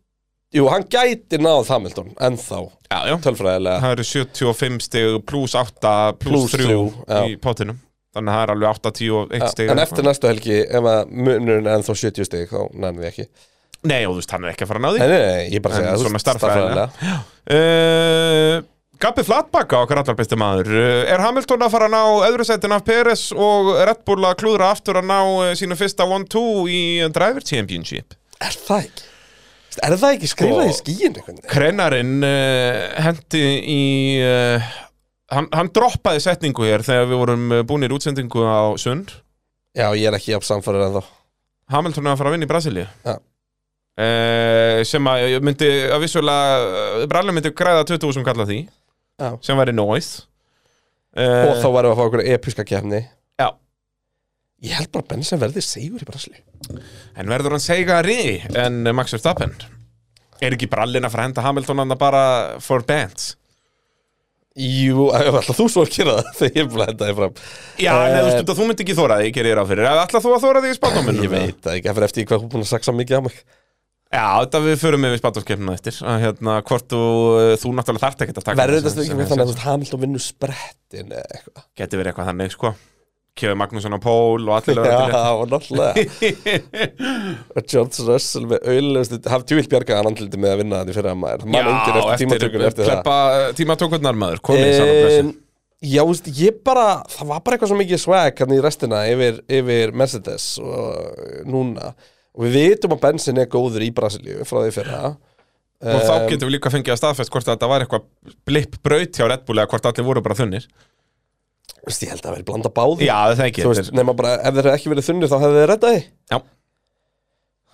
jú, hann gæti náð Hamilton ennþá
Já, já
tölfræðilega
Það eru 75 stig pluss 8
Plús
pluss 3
þrjú, já.
í pottinum Þannig að það er alveg 8, 10 og 1
Já,
stig
En eftir næstu helgi, ef að munurinn er ennþá 70 stig þá nefnum við ekki
Nei, og þú veist, hann er ekki að fara að ná því
Nei, nei, nei, ég er bara að
En
segja þú
svona
veist,
starffræðilega. Uh, Gabi Flatbaka, okkar allar besti maður uh, Er Hamilton að fara að ná öðru setin af Peres og Red Bull að klúðra aftur að ná uh, sínu fyrsta 1-2 í eh, Driver Championship?
Er það ekki? Er það ekki skrifað í
Sko-
skíin einhvern veginn?
Krenarinn uh, hendi í uh, hann, hann droppaði setningu hér þegar við vorum uh, búinir útsendingu á Sund
Já, ég er ekki jafn samfærir en þá
Hamilton er að fara að vinna í Brasilíu
Já.
Eh, sem að ég myndi að vissulega Brallin myndi græða 20.000 kalla því
Já.
sem væri noise Eh,
Og þá varum við að fá okkur episka kefni
já,
Ég held bara að Benson verði sigur í Brasli
En verður hann segari en Max Verstappen? Er ekki brallin að fara að henda Hamilton hann bara for bands?
Jú, alltaf þú svo að gera það þegar ég er búin að henda þið fram
Já,
Eh,
uh, neðu, þú myndi ekki þóra því, gerir ég ráð fyrir. Ætla þú að þóra því í spátuminu?
Ég veit það ekki, það fyrir eftir í hvað hún búin að saksa mikið á mig
Já, þetta við förum yfir spátumskeppnuna eftir. Að, hérna, hvort þú, þú náttúrulega þarft ekki að taka
Verður
þessa-
þetta ekki með
þessa-
þannig að þú veist, Hamilton vinnur sprettin eða eitthvað
Geti verið eitthvað þannig, sko. Kjöfi Magnússon á pól og allir lögur til
Já, og náttúrulega
þetta.
Og George Russell með auðlustu Hafði tjúvilt bjargað hann andliti með að vinna þetta í fyrra maður Man engin eftir tímatökun eftir það
kleppa eh, tímatökurnar maður. Komið í saman
Ehm, Já, þú veist, ég bara Það var bara eitthvað svo mikið swag hann í restina yfir, yfir Mercedes og eh, núna Og við vitum að Benson er góður í Brasilíu frá því í fyrra
Og þá getum við líka fengið að staðfest hvort þetta var eitthvað blipp braut hjá Red Bull eða hvort allir voru bara þunnir.
Þú veist, ég held að það verið blanda báði
Já, það er ekki
Þú veist, nema bara, ef þeir hefðu ekki verið þunnið þá hefðu þeir rettaði
Já.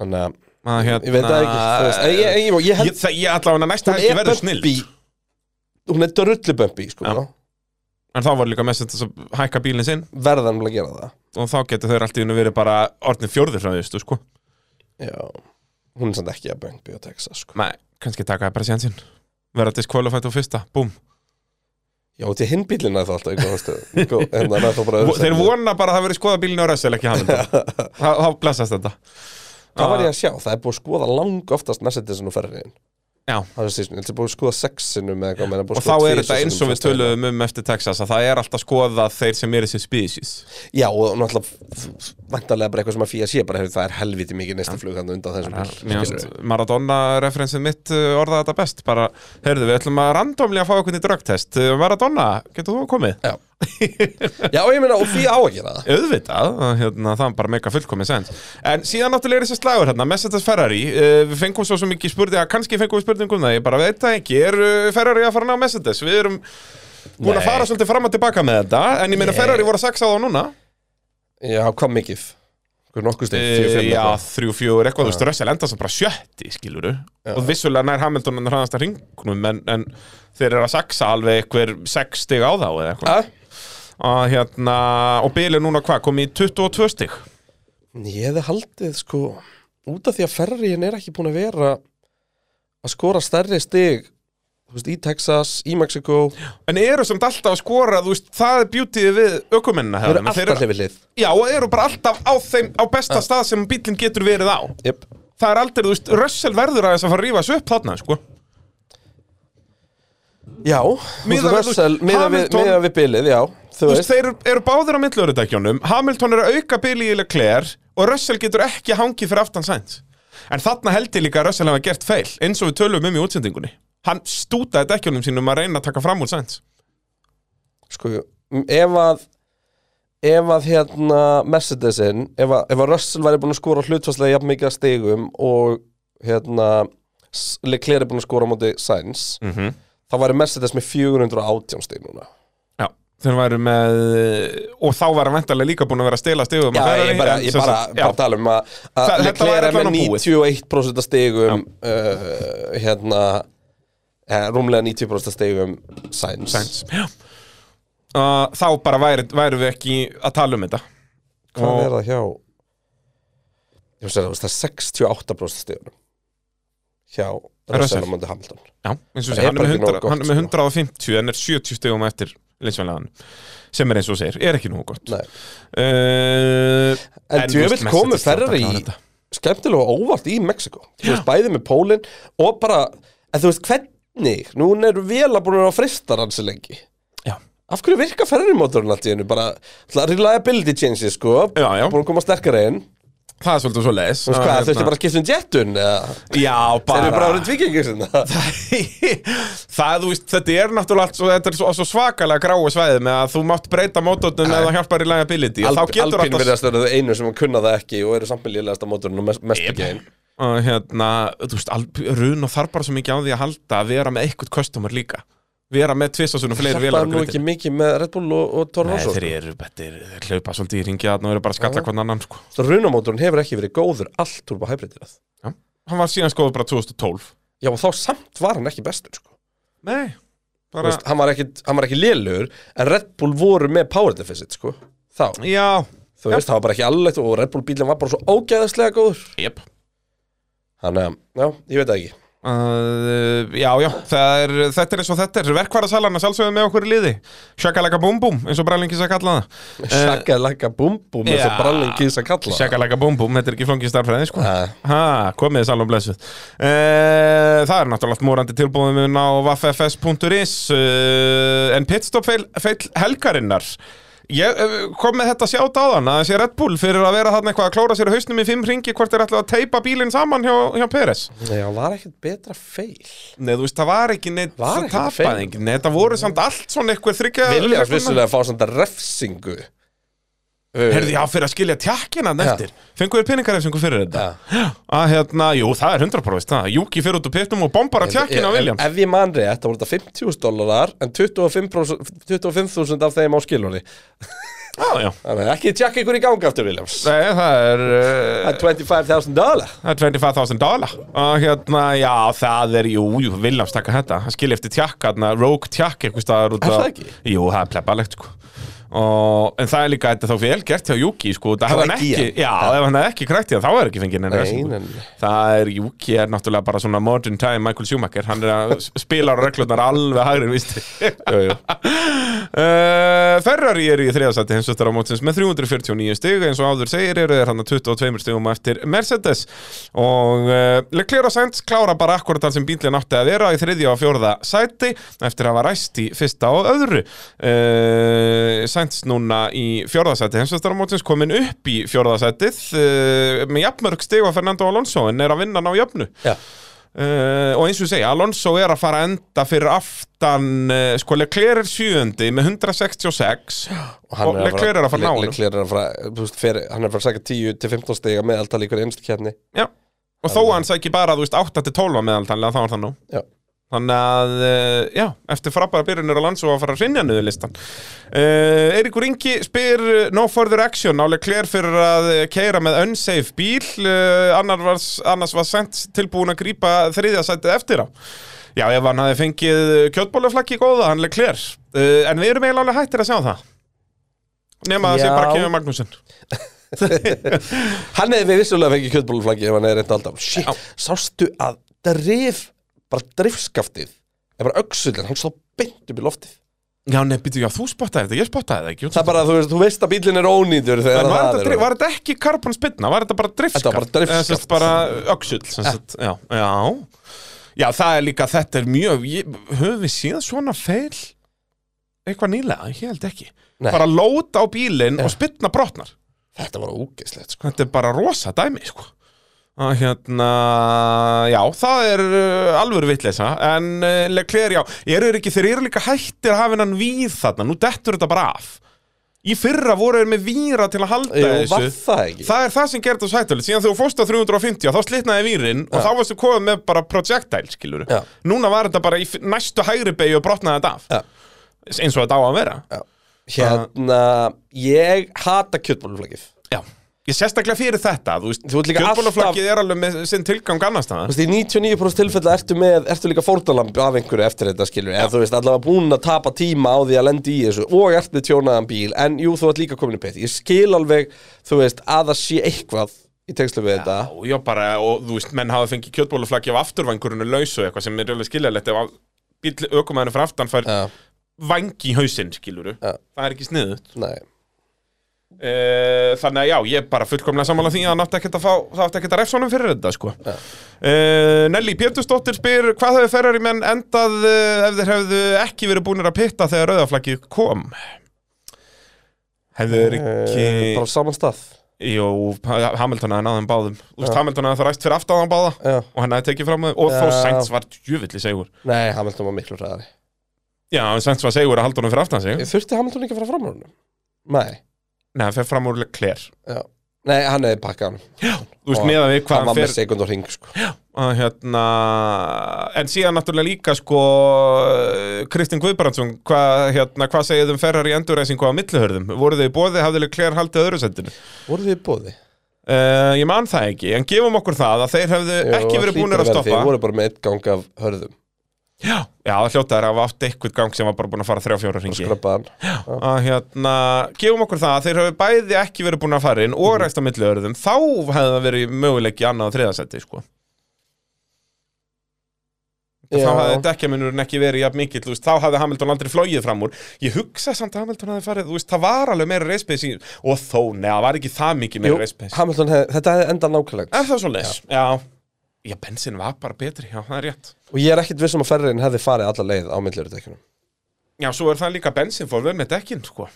Þannig að,
Að, hérna,
ég veit það ekki þú veist, ég, ég, ég, ég
Ég,
held,
það- ég allavega hann að næsta
Hún
helgi
er
verður
bumpy.
snill
hún er drullubömbi, sko
Já. En þá var líka mest að hækka bílinn sinn
Verðan að gera það
Og þá getur þeir allt í unni verið bara orðnir fjórðir frá viðstu, sko
Já, hún er samt ekki að bömbi á Texas, sko
Nei, kannski taka það bara sjansinn Verða diskvalifætt á fyrsta, búm
Já, til hinn bílinn er það alltaf í góða stöðu Gó- hérna, hann er þá bara öðru
Vo- Þeir
sæti.
vona bara að það verið skoða bílinn á Russell ekki Hamilton Þá þá blessast þetta
Hvað
Ah.
var ég að sjá? Það er búið að skoða lang oftast Mercedes nú ferriðin
Já,
Það er síðan, þetta er búið að skoða sexinu með eitthvað menn er búið
og
að
þá
skoða
er
sko, tvisvar
þetta eins
sinnum
og við
fyrsta ferðina.
töluðum um eftir Texas að það er alltaf skoða þeir sem eru sér species
Já, og náttúrulega vantarlega bara eitthvað sem að fíja sé bara, heyrðu, það er helviti mikið næsta flug þannig undan þessum bíl
Mér
skilurðu.
finnst Maradona-referensið mitt uh, orðaði þetta best bara, heyrðu, við ætlum að randomlega fá okkur í drögtest Maradona, getur þú komið?
Já, já og ég meina, og því á að gera það
Auðvitað, að, hérna, það var bara meika fullkomið sens En síðan náttúrulega er þessi slagur hérna, Mercedes Ferrari uh, Við fengum svo sem ekki spurði, að kannski fengum við spurningum það Ég bara veit það ekki, er uh, Ferrari að fara að ná Mercedes? Við erum búin
Nei.
að fara svolítið fram og tilbaka með þetta En ég meina
Nei.
Ferrari voru að sexa þá núna
Já, hvað mikið? Hvað nokkuð stið?
Eh, Já, þrjú, fjögur, eitthvað, þú veist, Russell enda sem bara sjötti, skiluru Og vissulega nær Hamilton en hraðast að ringnum en, en þeir eru að saxa alveg einhver sex stig á þá eða eitthvað Og hérna, og Bale er núna hvað, komið í 22 stig
Ég hefði haldið sko út af því að Ferrariin er ekki búin að vera að skora stærri stig þú veist, í Texas, í Mexiko
En eru samt alltaf að skora, þú veist, það er beautyið við ökumennina
Það eru
hérna. Þeir
alltaf hlifið hlið
Já, og eru bara alltaf á þeim, á besta stað sem bílinn getur verið á
Jep.
Það er aldrei, þú veist, Russell verður aðeins að fara að rífa þessu upp þarna, sko
Já, þú veist,
Miðað við-
Russell, miða við,
Hamilton-
miða við bilið, já Þú
Þú veist,
veist,
þeir eru- eru báðir á millurudækjónum Hamilton er að auka bíli í Leclerc og Russell getur ekki hangið fyrir aftan sæns En þarna held ég líka að Russell hafa gert feil eins og við tölum um í útsendingunni Hann stútaði dækjónum sínum að reyna að taka fram úr sæns
sko, m- ef að ef að hérna Mercedesin, ef að, ef að Russell væri búin að skora hlutfarslega jafn mikið að stigum og hérna S- Leclerc er búin að skora á móti Sainz
mm -hmm.
þá væri Mercedes með 418 stig núna
Já, þeir væru með og þá var hann vendarlega líka búin að vera að stela stigum
Já,
að Ferrari,
ég bara,
en
ég
sem
bara,
sagt- já.
bara tala um að
Þa-
að
þetta var
Leclerc er
allan
með
á búið.
91% af stigum uh, hérna eh, rúmlega 90% af stigum Sainz
um Sainz Já. Uh, Þá bara væri, væri við ekki að tala um þetta
Hvað
Og-
er það hjá? Ég veist að það er 68% af stigum hjá
Russell.
Russell Mondi Hamilton
Já, eins og sé,
Það er
hann er
bara
með
ekki
100,
nógu gott,
hann er með
sko.
150 en er 70 stegum eftir linsvænlegan sem er eins og segir, er ekki nú gott uh,
Nei. Eh, En
En
djöfull komu Ferrari í-
þetta.
skemmtilega og óvart í Mexiko þú veist, bæði með Pólinn og bara en þú veist, hvernig, núna eru vel að búin að frista hann sér lengi
Já.
af hverju virka ferrarimotorinn allt í hennu bara, ætla, reliability changes sko
Já, já.
búin að koma sterkara inn
það er svolítið svo leis
Þú veist hvað, þurftu bara að skipta um jettun eða
Já,
Þeir
bara
eru bara hérna. orðin tvíkengir sinna
það, þú veist, þetta er náttúrulega allt svo, þetta er svo, svo svakalega gráu svæði með að þú mátt breyta mótornum eða hjálpar í lagability og þá getur
Alpín
alltaf
verðast verður þau einu sem kunna það ekki og eru samt með lélegasta mótorinn og mest, mest ekki einn
og hérna, þú veist, alp, run og þarf bara svo mikið á því að halda að vera með eitthvað customer líka vera með tvisasunum fleiri
Það
vélar á
er nú
griddinu.
ekki mikið með Red Bull og, og Toro
Nei,
Rosso sko.
þeir eru betur, þeir hlaupa svolítið í ringi að og eru bara að skalla hvern annan sko.
sko. Runamótorinn hefur ekki verið góður allt turbo hybridið
Hann var síðan skoður bara 2012
Já og þá samt var hann ekki bestur sko.
Nei,
Þú
bara,
veist, hann, var ekki, hann var ekki lélugur en Red Bull voru með power deficit sko. þá,
já
þú veist, það var bara ekki allegt og Red Bull bílinn var bara svo ógæðaslega góður
Jep
Þannig að, já, ég veit það ekki
Uh, já, já, það er, þetta er eins og þetta er verkvarðasalana sjálfsögðu með okkur í liði Shakalaka Bum Bum, eins og brælingis að kalla það uh,
Shakalaka bum bum eins og
já.
brallin kýðs að kalla Eh, það.
Shakalaka Bum Bum, þetta er ekki flóngið starfræði sko.
Nei.
ha, komið þið salum blessuð uh, Það er náttúrulega allt morandi tilbúðum mun á vaffs.is uh, en pitstop feil, feil helgarinnar Ég uh, kom með þetta sjátt áðan að þessi Red Bull fyrir að vera þarna eitthvað að klóra sér í hausnum í fimm ringi hvort er alltaf að teipa bílinn saman hjá, hjá Peres
Nei, hann var ekkert betra feil
Nei, þú veist, það var ekki neitt
Var
það
ekki feil.
tapaði enginn, Nei, þetta voru samt allt svona eitthvað þryggja
Vilja vissulega að fá svona refsingu Eh,
Herði, já, fyrir að skilja tjakkina eftir Fengu við peningarefsingu fyrir þetta
Já.
Já, að hérna, jú, það er 100% það Júki fyrir út úr pitnum og bombar að tjakkina á
Ef-
Williams
eh, Ef ég man rétt, þá voru þetta 50.000 dólarar en 25% 25.000 af þeim á skilunni
Já, já,
Þannig að ekki tjekka ykkur í gangi aftur Williams
Nei, það er
Það
uh,
er 25.000 dólar
það er 25.000 dólar Og hérna, já, það er, jú, jú, Williams taka þetta Hann skilja eftir tjakka, hérna, rogue tjakk eitthvað staðar út
Er
á-
það ekki?
Jú, það er plebbalegt, sko Og, en það er líka þetta þá vel gert hjá Júki sko, það hefði hann
Krækt í
ekki,
hann.
já, ef hann hefði ekki krækt í það þá er ekki fengið neina refsingu.
Nei, nei, nei.
Það er, Júki er náttúrulega bara svona modern time Michael Schumacher, hann er að spila á reglurnar alveg hægri, víst
jú.
uh, Ferrari eru í þriðasætti heimsvöldar á mótsins með 349 stig eins og áður segir eru þeir hann að 22 stigum eftir Mercedes og uh, Leclerc og Sainz klára bara akkurat þar sem bílinn átti að vera í þriðja og fjórða sæti eftir að hafa ræst í fyrsta og öðru uh, Sainz núna í fjórða sæti heimsvöldar á mótsins komin upp í fjórða sætið uh, með jafnmörg stig á Fernando Alonso en er að vinna ná jafnu
Já,
Uh, og eins og ég segja, Alonso er að fara að enda fyrir aftan, uh, sko Leclerc er sjöundi með 166 og,
hann að
Leclerc er að fara að ná
Le-
honum
Leclerc er að fara, þú veist, fer, hann er að fara að sækja 10 til 15 stiga með alltaf líkur einstu kjarni
Já. og þó að hann sæki bara, þú veist, 8 til 12 meðaltanlega þá er það nú
Já,
Þannig að, uh, já, eftir frábæra byrjunir á lands og að fara að rinja niður listan. Uh, Eiríkur Ingi spyr uh, no further action, nálega klær fyrir að keira með unsafe bíl, uh, annar var, annars var sent tilbúin að grípa þriðjasætið eftir á. Já, ef hann hafi fengið kjötbólaflakki góða, hann leik klær. Uh, en við erum eiginlega alveg hættir að sjá það. Nefna að það sé
Já.
bara Kevin Magnússon.
Hann hefði vissulega fengið kjötbóluflaggi ef hann hefði reyndi alltaf Shit, sástu að drif, bara drifskaftið er bara öxullin, hann stóð beint upp í loftið
Já, nefn, býtu, já, þú spottaði þetta, ég spottaði þetta ekki.
Það er bara, þú veist, þú veist að bílinn er ónýtur
En
þegar
var
það
þetta,
er
drif, var þetta ekki karbonspinna? Var þetta bara driftskaft?
Þetta var bara
Eða
driftskaft.
sem sagt bara uh, öxull, sem sagt, já, já. Já, það er líka, þetta er mjög, ég, höfum við séð svona feil eitthvað nýlega? Ég held ekki.
Nei.
Bara lóta á bílinn og spinna brotnar.
Þetta var ógeðslegt, sko
Þetta er bara rosa dæmi, sko. Að hérna, já, það er uh, alvöru vitleysa, en uh, Leclerc, já, eru þeir ekki, þeir eru líka hættir að hafa hennan víð þarna, nú dettur þetta bara af. Í fyrra voru þeir með víra til að halda
Jú,
þessu.
var það ekki?
Það er það sem gerði þessu hættulegt Síðan þú fórst á 350 þá slitnaði vírin og þá varstu komið með bara projectile skilur
Já.
Núna var þetta bara í f- næstu hægri beigju og brotnaði þetta af eins og þetta á að vera Já,
Hérna, ég hata kjötbóluflaggið Þú
Ég sérstaklega fyrir þetta Þú veist,
Þú ert líka
kjötbólaflaggið er alveg með sinn tilgang annars það
veist, í 99% tilfella ertu með, ertu líka fórnalamb af einhverju eftir þetta, skilur Eða þú veist, allavega búin að tapa tíma á því að lendi í þessu Og ert með tjónaðan bíl, en jú, þú ert líka komin í pitt Ég skil alveg, þú veist, að það sé eitthvað í tengslu við þetta
Já, já, bara, og þú veist, menn hafa fengið kjötbólaflaggið af afturvængurinu lausu eitthvað sem er alveg skiljalegt ef að bíll ökumæðinu frá aftan fær
Já,
vangi í hausinn, skiluru
Já.
Það er ekki sniðut
nei
Eh, þannig að já, ég er bara fullkomlega sammála því að hann átti ekkert að fá, það átti ekkert að refsa honum fyrir þetta sko.
Já.
uh, Nelly Pétursdóttir spyr hvað hefur ferrar í menn endað uh, ef þeir hefðu ekki verið búinir að pitta þegar rauðaflaggið kom hefðu þeir ekki
Eh, Bara á saman stað
Jú, Ha- Hamilton hafði náðum báðum Þú veist, Hamilton hafði það ræst fyrir aftan hann báða
Já.
og hann hafði tekið fram á þau og
Já.
þó Sainz var djöfulli segur
Nei, Hamilton var miklu ræðari
Já, en Sainz var segur að halda honum fyrir aftan sig
Ég Þurfti Hamilton ekki að fara fram úr honum? Nei,
Nei, hann fer fram úr Leclerc
já Nei, hann hefði pakkað hann
Þú veist,
Og
neða við
Hann
hvað
var
hann
með
fer
sekund og ring, sko
að, hérna, En síðan náttúrulega líka sko Kristinn Guðbrandsson hvað, hérna, hvað segið þið um Ferrari endurreysingu á millihörðum? Voru þau í bóði, hafði Leclerc haldið öðru sendinu?
Voru þið í bóði?
Uh, ég man það ekki, en gefum okkur það að þeir hefðu ekki verið búinir að stoppa
Þið voru bara með eitt gang af hörðum
Já, já það hljótaður að hafa átt eitthvað gang sem var bara búin að fara þrjá fjóra ringi
Skröpaðan
að hérna, gefum okkur það að þeir hafi bæði ekki verið búin að fara inn og ræst á milli öðruðum, þá hefði það verið möguleik í annað og þriðasetti, sko þá hefði dekkjamunurinn ekki verið jafn mikill, þú veist, þá hefði Hamilton aldrei flogið fram úr ég hugsa samt að Hamilton hefði farið, þú veist, það var alveg meira reispeis í, og þó, neða, var ekki það mikið
Jú,
meira reispeis,
Hamilton hefði, þetta hefði endað nákvæmlega
er það svo leis já, já, bensin var bara betri já, það er rétt
Og ég er ekkit vissum að ferriðin hefði farið alla leið á millurudekjunum
já, svo er það líka bensin fór vel með dekkin, sko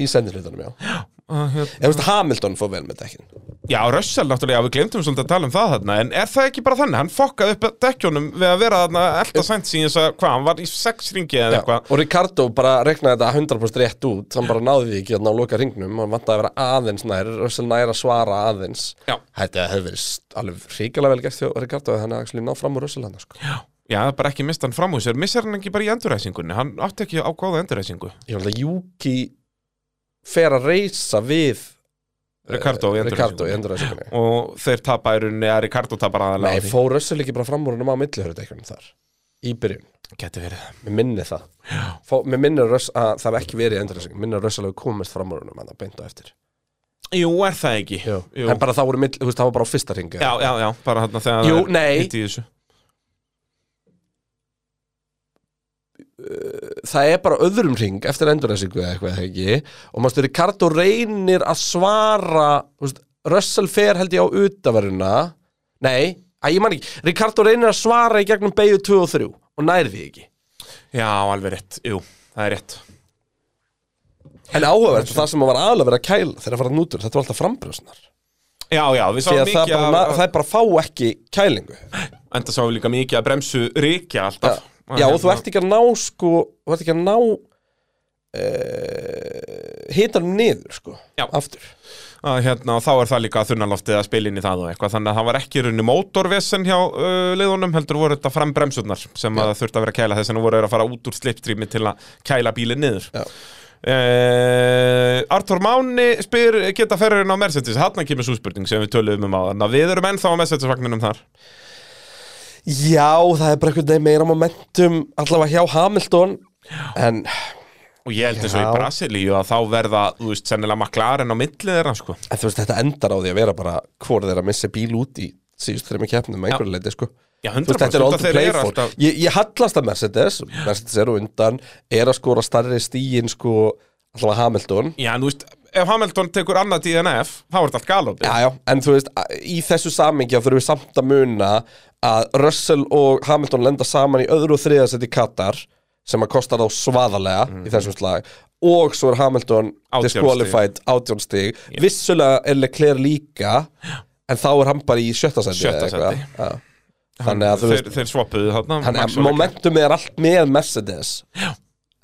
Í sendinhlutunum, já
að, hérna,
Ég veist að Hamilton fór vel með dekkin
Já, Russell náttúrulega, já, við glemtum svolítið að tala um það þarna En er það ekki bara þannig, hann fokkaði upp dekkjónum Við að vera þarna elda sænt síðan þess að, hvað, hann var í sex ringi eða
Já,
eitthvað
Og Ricardo bara reknaði þetta 100% rétt út Hann bara náði því ekki að ná loka ringnum Hann vantaði að vera aðeins nær Russell nær að svara aðeins
Já.
Þetta hefði verið st- alveg hrikalega vel gert hjá Ricardo að Hann hefði actually náð fram úr Russell hann sko.
Já, það er bara ekki mist hann fram úr sér, missar hann ekki bara í enduræsingunni Hann átti ekki á góða enduræsingu
Ég held að Juki fer að reysa við
Ricardo í
Eh, Ricardo í
enduræsingunni
enduræsingunni
Og þeir tapa í rauninni, að Ricardo tapar aðalega
Nei, fór Russell ekki bara fram úr hann á millihörudekjunum þar Í byrjun
Geti verið það
Mér minni það Fó, Mér minni Russ, að það hef ekki verið í endurlýsing Mér minni að Russell hefur komist fram úr honum En það beint á eftir
Jú, er það ekki Jú.
En bara það voru mill, þú veist, það var bara á fyrsta ringu
Já, já, já, bara þarna þegar
Jú,
það er
nei.
hitt í þessu.
Það er bara öðrum ring eftir endurlýsingu eða eitthvað eða ekki Og mástu Ricardo reynir að svara þú veist, Russell fer held ég á utaveruna Nei, að ég man ekki Ricardo reynir að svara í gegnum beigju 2 og 3 Og nær því ekki
Já, alveg rétt, jú, það er rétt
En áhugavert, það sem var aðlega verið að kæla þegar að fara nútur, þetta var alltaf frambrjósnar
Já, já, við sáum
Því að það
mikið
bara,
af-
na- það er bara fá ekki kælingu
Enda sáum við líka mikið að bremsu ríkja
Já,
alltaf hérna-
já og þú ert ekki að ná sko, þú ert ekki að ná e, hitanum niður sko,
Já.
aftur
að hérna, og þá er það líka þunnaloftið að spila inn í það og eitthvað þannig að það var ekki runni mótorvesen hjá uh, liðunum heldur voru þetta frambremsurnar sem að þurfti að vera að kæla þess að voru þeir að fara út úr slipstreami til að kæla bílinn niður
Já.
Uh, Artur Máni spyr geta ferðurinn á Mercedes, hann kemur svo spurning sem við töluðum um á þannig að við erum ennþá á Mercedes vagninum þar
Já, það er bara einhvern veginn meira momentum allavega hjá Hamilton en
og ég held eins og
Já.
í Brasilíu að þá verða, þú veist, sennilega maklarinn á millið þeirra sko.
En þú veist, þetta endar á því að vera bara hvort þeir að missa bíl út í síðust þeirra með keppnum með einhverju leiti, sko.
Já,
Þú veist,
100%,
þetta er
þetta
all to
þeir
play
eru
for.
alltaf-
Ég, ég hallast að Mercedes, Mercedes eru undan, er að skora starri stíin, sko, allavega Hamilton.
Já, en þú veist, ef Hamilton tekur annað DNF þá er þetta allt galopið
Já, já, en þú veist, í þessu samingja þurfum við samt að muna að Russell og Hamilton lenda saman í öðru og þriðasett í Katar sem að kosta þá svaðalega í þessum slag og svo er Hamilton
Mhm. Átján stig.
disqualified átjón stig vissulega er Leclerc líka en þá er hann bara í sjötta seti
Sjötta sæti.
þannig að þú
þeir,
veist
þeir swappuðu þarna Max
þannig að
og Leclerc.
momentum er allt með Mercedes já.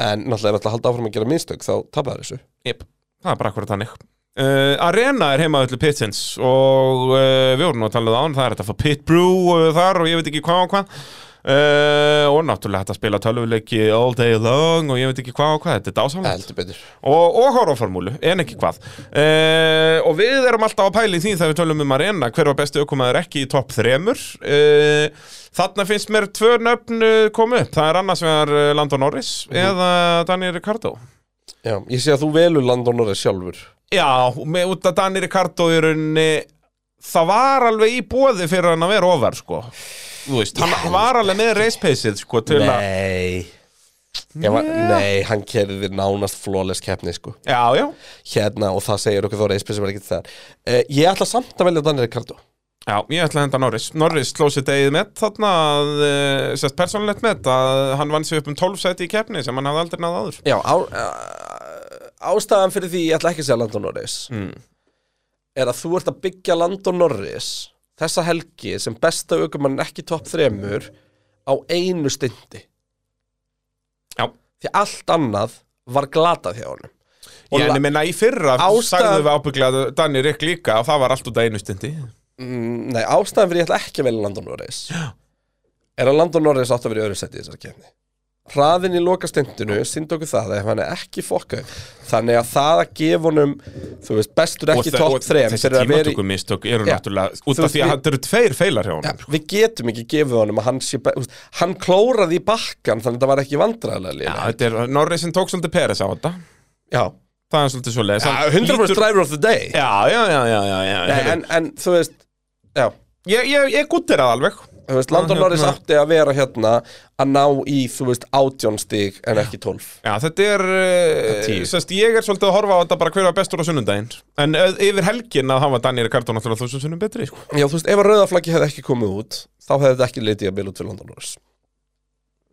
en náttúrulega er alltaf að halda áfram að gera minnstök þá tapaði þessu
Jep, það er bara akkurat þannig uh, Arena er heima öllu pitsins og uh, við vorum nú að tala um það án það er þetta að fá pit brew uh, þar og ég veit ekki hvað og hvað Uh, og náttúrulega þetta að spila tölvuleiki all day long og ég veit ekki hvað og hvað þetta er dásamlegt
heldur betur
og, og horrorformúlu, en ekki hvað uh, og við erum alltaf að pæla í því þegar við tölum um arena, hver var besti aukumæður ekki í topp þremur uh, þarna finnst mér tvö nöfn eh, komu upp, það er annars vegar eh, Landon Norris eða Daniel Ricardo
já, ég sé að þú velur Landon Norris sjálfur
Já, með, út að Daniel Ricardo í rauninni það var alveg í bóði fyrir hann að vera ofar sko Þú veist, hann var alveg með race pace-ið sko til að
Nei Ég var, Nei, hann kerði nánast flawless keppni sko.
Já, já,
hérna og það segir okkur þó reispi sem er ekkert það uh, Ég ætla samt að velja Daniel Ricardo
já, ég ætla að henda Norris Norris sló sér degið með þarna að, eh, sérst persónlegt með að hann vann sér upp um 12 seti í keppni sem hann hafði aldrei náð áður
eh, Hmm. Já, á, uh, ástæðan fyrir því ég ætla ekki að segja Landon Norris mm. er að þú ert að byggja Lando Norris þessa helgi sem besta aukumann ekki topp þremur á einu stundi
Já.
því allt annað var glatað hjá honum Og
Ég
la-
enni minna í fyrra
Ástæðan-
sagðum við ábygglega Danni Rick líka og það var allt út af einu stundi
Mm, Nei, ástæðan fyrir ég ætla ekki að velja Landon Norris Já. er að Landon Norris átt að vera í öðru seti í þessari kefni hraðin í loka stendinu sýndi okkur það ef hann er ekki fokka þannig að það að gefa honum þú veist, bestur ekki
þe-
topp þrem
þessi
fyrir að vera í-
tímatökum mistök eru
Já.
náttúrulega út af
Þú veist,
því að
við-
þetta eru tveir feilar hjá honum
Já, við getum ekki gefið honum að hann sé be- þú veist, hann klóraði í bakkan þannig að það var ekki vandræðilega
Já,
lína
þetta er Norris sem tók svolítið Peres á þetta
Já,
Það er svolítið svo leiðis
100% driver of the day
Já, já, já, já, já, já.
Nei,
Heyrðu,
en, en þú veist já,
Ég, ég, ég guttir það alveg
þú veist, Landon
Hann,
Norris
hérna-
átti að vera hérna að ná í, þú veist, átjónstig en ekki 12
Já, þetta er,
tíu.
eh, sest, ég er svolítið að horfa á þetta bara hver var bestur á sunnundaginn En eh, yfir helgin að hann var Daniel Ricardo náttúrulega þúsund sunnum betri sko.
Já, þú veist, ef að rauðaflaggi hefði ekki komið út þá hefði þetta ekki litið að bila út fyrir Landon Norris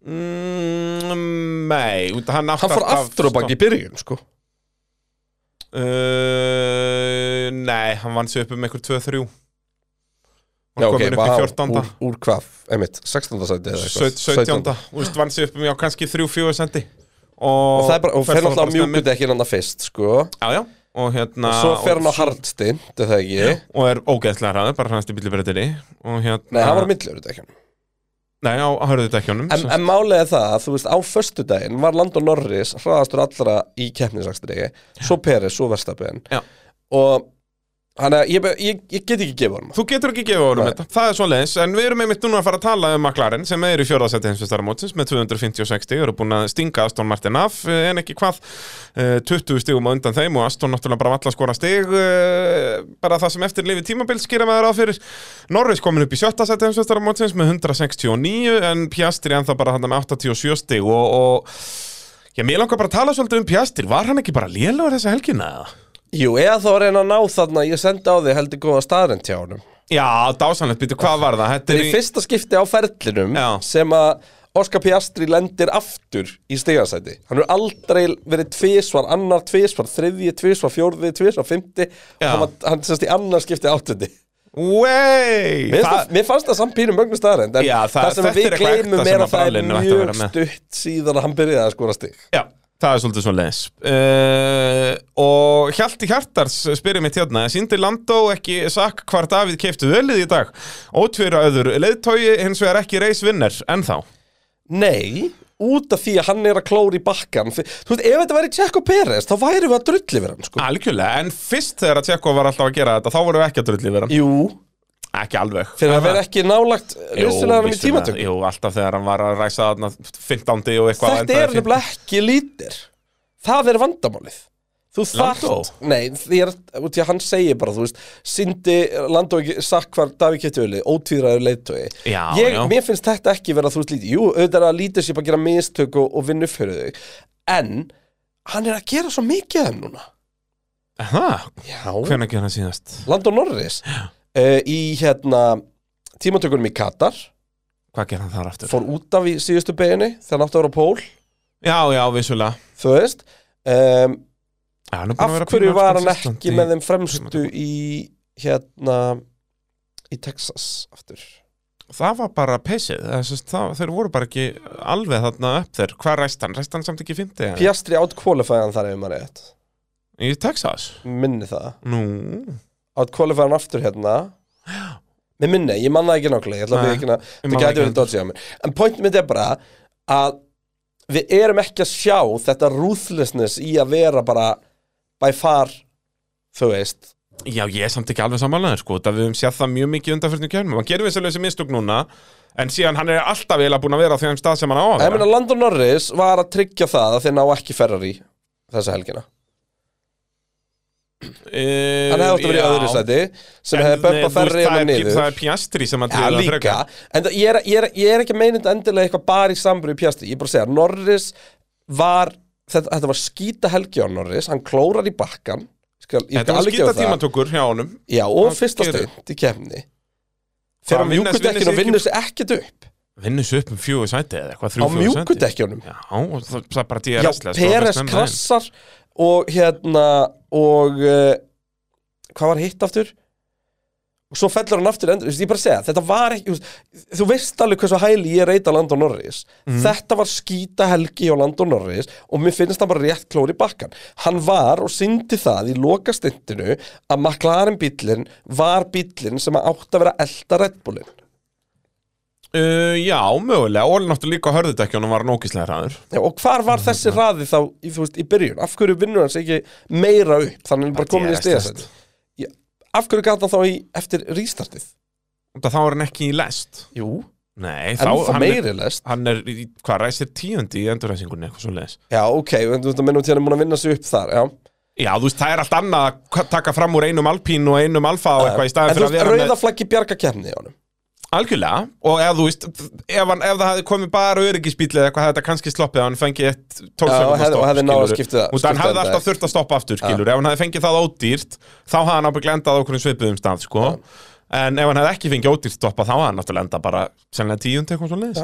mm, Nei, út- hann, átti
Hann fór
alltaf-
aftur á baki í byrjun, sko
Uh, nei, hann vann sig upp um einhver 2-3 Hann
Já,
kom inn upp í
vá,
14.
úr, úr hvað, einmitt, 16. sæti eða eitthvað
17. 17. Þú veist, vann sig upp um já, kannski 3-4 sendi Og,
Og það er bara, og
fer
fer
þá
náttúrulega
bara snemmi.
mjúkut ekki hann fyrst, sko
Já, já, og hérna
Svo fer hann á
og-
hardstinn, þetta er það ekki
Og er ógeðslega hraður, bara hræðast í bílubretinni Og hérna
Nei, hann var á millur þetta ekki
Nei, á, á hörðu dekkjónum
En, en málið er það að þú veist á föstudaginn var Landon Norris hraðastur allra í keppnisakstri svo Peres, svo Verstappen
Já.
og hann er, ég, be- ég, ég get ekki gefa honum
Þú getur ekki gefið honum
Nei.
þetta, það er svo leiðis En við erum einmitt núna að fara að tala um McLaren sem er í fjórðasætti heimsvistarmótsins með 250 og 60 eru búin að stinga Aston Martin af eh, en ekki hvað, eh, 20 stigum á undan þeim og Aston náttúrulega bara valla skora stig eh, bara það sem eftir lifi tímabil skýra maður á fyrir Norris komin upp í sjötta sætti heimsvistarmótsins með 169 en Piastri ennþá bara hann með 87 stig og, og Já, mér langar bara að tala svolítið um Piastri, var hann ekki bara lélugur þessa helgina? eða?
Jú, eða þá var einn að ná þarna ég sendi á þig heldur góða staðarinn hjá honum
Já, dásanlegt, býtu, hvað var það? Þetta
Þetta
er
er í fyrsta skipti á ferlinum
Já.
sem að Oscar Piastri lendir aftur í stigansæti Hann er aldrei verið tvisvar, annar tvisvar, þriðji tvisvar, fjórði tvisvar, fymti
Já.
Hann, var- hann sérst í annar skipti áttundi
Wey!
Mér,
Það-
það, mér fannst það samt pínum mögnu staðarend en
Já, það-
það, sem
þetta
við
er eitthvað ekta
gleymum
sem
er
að
að það
brallinu
er
ætti að vera
mjög
með.
stutt síðan að hann byrjaði að skora stig
Já, það er svolítið svona leins uh, Og Hjalti Hjartars spyrir mitt hérna Sýndi Landó ekki sakk hvar Davíð keiftu ölið í dag Ótvíra öður leiðtói hins vegar ekki reisvinner Ennþá
Nei, út af því að hann er að klóra í bakkan Þú veist, ef þetta væri Tjekko Peres þá væri við að drulli við hann
Ah.
sko.
Algjörlega, en fyrst þegar að Tjekko var alltaf að gera þetta Þá vorum við ekki að drulli vera
Jú,
Ekki alveg
fyrir að vera ekki nálægt Lustunarum í
vissulega.
tímatökum
Jú, alltaf þegar hann var að ræsa þarna 15. og eitthvað
Þetta er nefnilega ekki lítir Það er vandamálið Þú þarft
Landó?
Nei, því er, út í að hann segir bara, þú veist Sindi Landó ekki sagt hvar Davík Kjötjöli, ótvíðraður leiðtögi
Já,
ég,
já.
Mér finnst þetta ekki vera, þú veist, lítið Jú, auðvitað er að lítið sér bara gera mistök og, og vinna upp fyrir þau En hann er að gera svo mikið af þeim núna
Það,
Já,
hvernig gerði hann síðast?
Landó Norris uh, Í hérna tímatökunum í Katar
Hvað gerði hann þar aftur?
Fór út af í síðustu beginni Þegar hann átti að vera á pól,
Já, já, vissulega
þú veist um,
Já, hann er búinn að
af
vera
hverju
pínu
var hann
consistent
ekki
í-
með þeim fremstu í hérna í Texas aftur
það var bara peysið það, sest, það, þeir voru bara ekki alveg þarna upp þeir hvað ræst hann, ræst hann samt ekki 50 eða?
Piastri outqualified hann þar ef maður rétt
í Texas
minni það,
nú,
outqualified hann aftur hérna með minni, ég manna ekki nákvæmlega ég ætla að
Nei,
við ekki að,
man
þetta
það
gæti
ekki
verið dodgy á mér en point mitt er bara að við erum ekki að sjá þetta ruthlessness í að vera bara by far, þú veist
já ég er samt ekki alveg samanlegaður sko, það við höfum séð það mjög mikið undanfyrnum kjörnum hann gerir vissulega þessi mistök núna en síðan hann er alltaf eiginlega búin að vera á þeim stað sem hann á að
Ég meina
vera
Landon Norris var að tryggja það að þeir ná ekki Ferrari þessa helgina
Eh,
hann hefði átt að vera í
já.
öðru sæti sem
En,
hefði
nei,
bömpa
þú
ferri
veist, það
hann
er-
niður
það er Piastri sem að
Já,
tryggði það
líka,
frekar.
en það- ég er, ég, er, ég er ekki meinind endilega eitthvað bara í sambrið pjastri, ég er bara að segja Norris var, þetta, þetta var skýta helgi á Norris, hann klórar í bakkan skal, ég
þetta
skal
var
alveg
skýta
gefa það
tímatökur hjá honum
já, og
Hann
fyrsta
gerir-
stund í kemni
Hvað,
þegar hann
vinnast-
mjúkudekkin og
vinnast-
vinnur sig ekkert upp
vinnur svo upp um fjögur sæti eða eitthvað
á
þrjú fjögur sæti
mjúkudekkinum
já, og það, það er bara
já,
DRS-lega
Peres krassar og hérna og uh, hvað var hitt aftur og svo fellur hann aftur endur, þú veist, ég bara segja, þetta var ekki þú veist, þú veist alveg hversu hæli ég reyta Landon Norris, þetta var skýta helgi hjá Landon Norris og mér finnst hann bara rétt klór í bakkan hann var og syndi það í loka stundinu að McLaren bíllinn var bíllinn sem átt að vera elda Red Bullinn
Uh, já, mögulega, og náttúrulega líka á hörðutekjunum var nókislega hraður
Já, og hvar var
Mhm.
þessi hraði þá í, þú veist, í byrjun? Af hverju vinnur hans ekki meira upp? Þannig hann er
Þetta
bara
er
komin í
slæmt.
stegasett. Af hverju gata þá í, eftir rístartið?
og þá er hann ekki í lest
Jú,
Nei,
en þá
hann er,
meiri lest.
hann er í, hvað ræsir tíundi í endurræsingunni eitthvað svo leis
Já, ok, en þú veist að minnum tíðan er múin að vinna sig upp þar, já.
Já, þú veist, það er allt annað að k- taka fram úr einum alpín og einum alfa og eitthvað í staðan
En þú
fyrir að
veist,
vera
rauða
með
flaggi bjarga kemni í honum.
Algjörlega, og ef þú veist ef, hann, ef það hefði komið bara öryggisbíli eða eitthvað hefði þetta kannski sloppið að hann fengið eitt
Já,
12
og hefði- og hefði náð að
skilurðu.
skipta það-
Þú veist, hann
skipta
hefði
þetta.
alltaf þurft að stoppa aftur, skilur Ef hann hefði fengið það ódýrt, þá hafði hann ábygg lendað á okkur svipuðum stað, sko En ef hann hefði ekki fengið ódýrt stoppa, þá hafði hann náttúrulega enda bara sennilega tíund eitthvað svo
Já.
leiðis.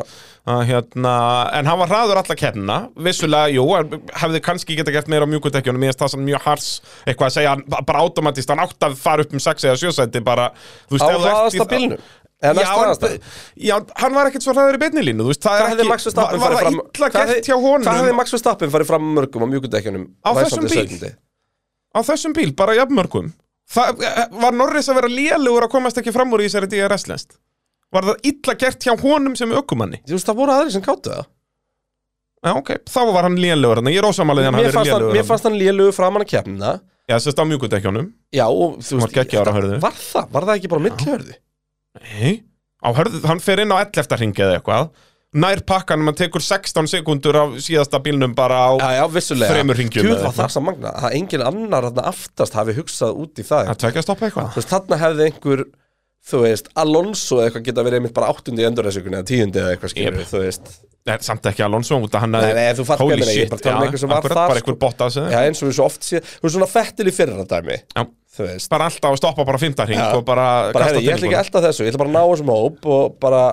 Hérna, en hann var hraður alla keppnina, vissulega, jú, en hefði kannski geta gert meira á mjúkutekjunum, ég veist það sem mjög hars eitthvað að segja, hann ba- bara automatist, hann átt að fara upp um 6 eða 7 senti bara, þú
Á
ef þú ert í-
hraðasta bílnum. Eða
Já,
næst hraðasta.
en- já, hann var ekkert svo hraður í beinni línu, þú veist, það
Hvað
er
hefði
ekki,
Max
var,
Verstappen farið
var
fram?
það illa gert
hvað hefði-
hjá
Hvað hefði
honum
Max Verstappen farið fram mörgum á mjúkudekjunum?
Á þessum bíl? á þessum bíl, bara jafnmörgum? Það eh, var Norris að vera lélugur að komast ekki fram úr í þessari DRS-lest? Var það illa gert hjá honum sem ökumanni?
Þú veist, það voru aðri sem káttu það.
Já, ok, þá var hann lélugur, þannig ég er ósamalið hann
Mér
hafi
fannst
verið
hann,
lélugur.
mér fannst hann lélugu framan að kemna.
Já, sérst á mjúkudekjónum.
Já, og þú
Hann var geggjaður á hörðu.
var það? Var það ekki bara millihörðu?
Nei, á hörðu, hann fer inn á 11. ringi eða eitthvað. Nær pakkanum, hann tekur 16 sekundur af síðasta bílnum bara á...
Já, já, vissulega
Þremur hringjum eða
Gjöð var
eitthvað.
það sem magna Það engin annar þarna aftast hafi hugsað út í það
Það tvekja að stoppa eitthvað.
Þú veist, þarna hefði einhver Þú veist, Alonso eða eitthvað geta verið einmitt bara áttundi í endurreðsökunni eða tíundi eða eitthvað skilur
Jep.
Þú veist,
Nei, samt ekki Alonso, út að hann
Nei, nei, þú fattar hvað ég meina, ég er bara að tala um
já,
einhver sem var
akkurat,
þar,
bara
sko.
einhver bótt af sig
já eins og við svo oft sé Þú veist, svona fettil í fyrra dæmi
Já.
Þú veist,
bara alltaf að stoppa bara fymta hring
Já.
og bara,
bara hefði, ég ætla ekki
tilbúinu.
alltaf þessu Ég ætla bara að ná þessum hóp og bara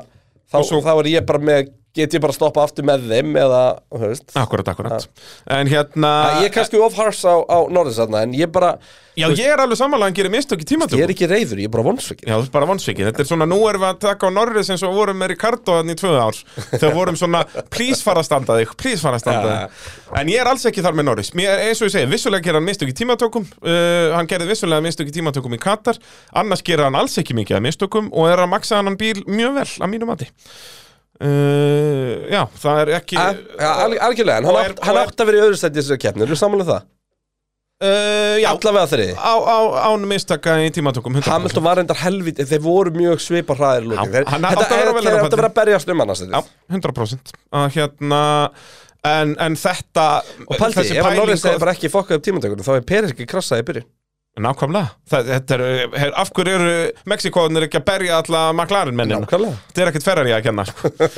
Þá,
Og svo-
þá er ég bara með, get ég bara að stoppa aftur með þeim eða, þú veist
Akkurat, akkurat En hérna,
Ég er kannski of hars á, á Norris þarna En ég bara,
já ég er alveg samanlega hann gerir mistök í tímatöku
ég er ekki reyður, ég er bara vonsvikið
Já, þú ert bara vonsvikið, þetta er svona, nú erum við að taka á Norris eins og við vorum með Ricardo þannig í tvö ár þegar vorum svona, please fara að standa þig please fara að standa
Já.
þig en ég er alls ekki þar með Norris, Mér er, eins og ég segi vissulega gerir hann mistök í tímatökum uh, hann gerir vissulega mistök í tímatökum í Katar annars gerir hann alls ekki mikið að mistökum og er að maksa hann bíl mjög vel að mínu mati uh, Já, það er ekki
Ja, ja, alg- algjörlega, en hann,
Og er-
átt, hann
og er-
átt að vera í öðru sæti í þessari keppni, erum við samanlega það?
uh, Já,
Allavega þeirri
á, á, án mistaka í tímatökum 100%.
Hamilton var reyndar helvit, þeir voru mjög svipa hraðir lókin,
Já,
þeir
hann átti að
þetta
vera
er-
á
þeir átt að vera að berjast um hann
Já,
og
100% að hérna en, en þetta
paldi,
þessi
ef hann Norris
pæling-
hefði bara ekki fokkað upp tímandökunum þá hefði Peris ekki krassaði í byrjun
nákvæmlega það, þetta er, her, af hverju eru Mexikóðunir ekki að berja alla McLaren mennina
Nákvæmlega.
þetta er ekkert ferrar ég að kenna sko. uh,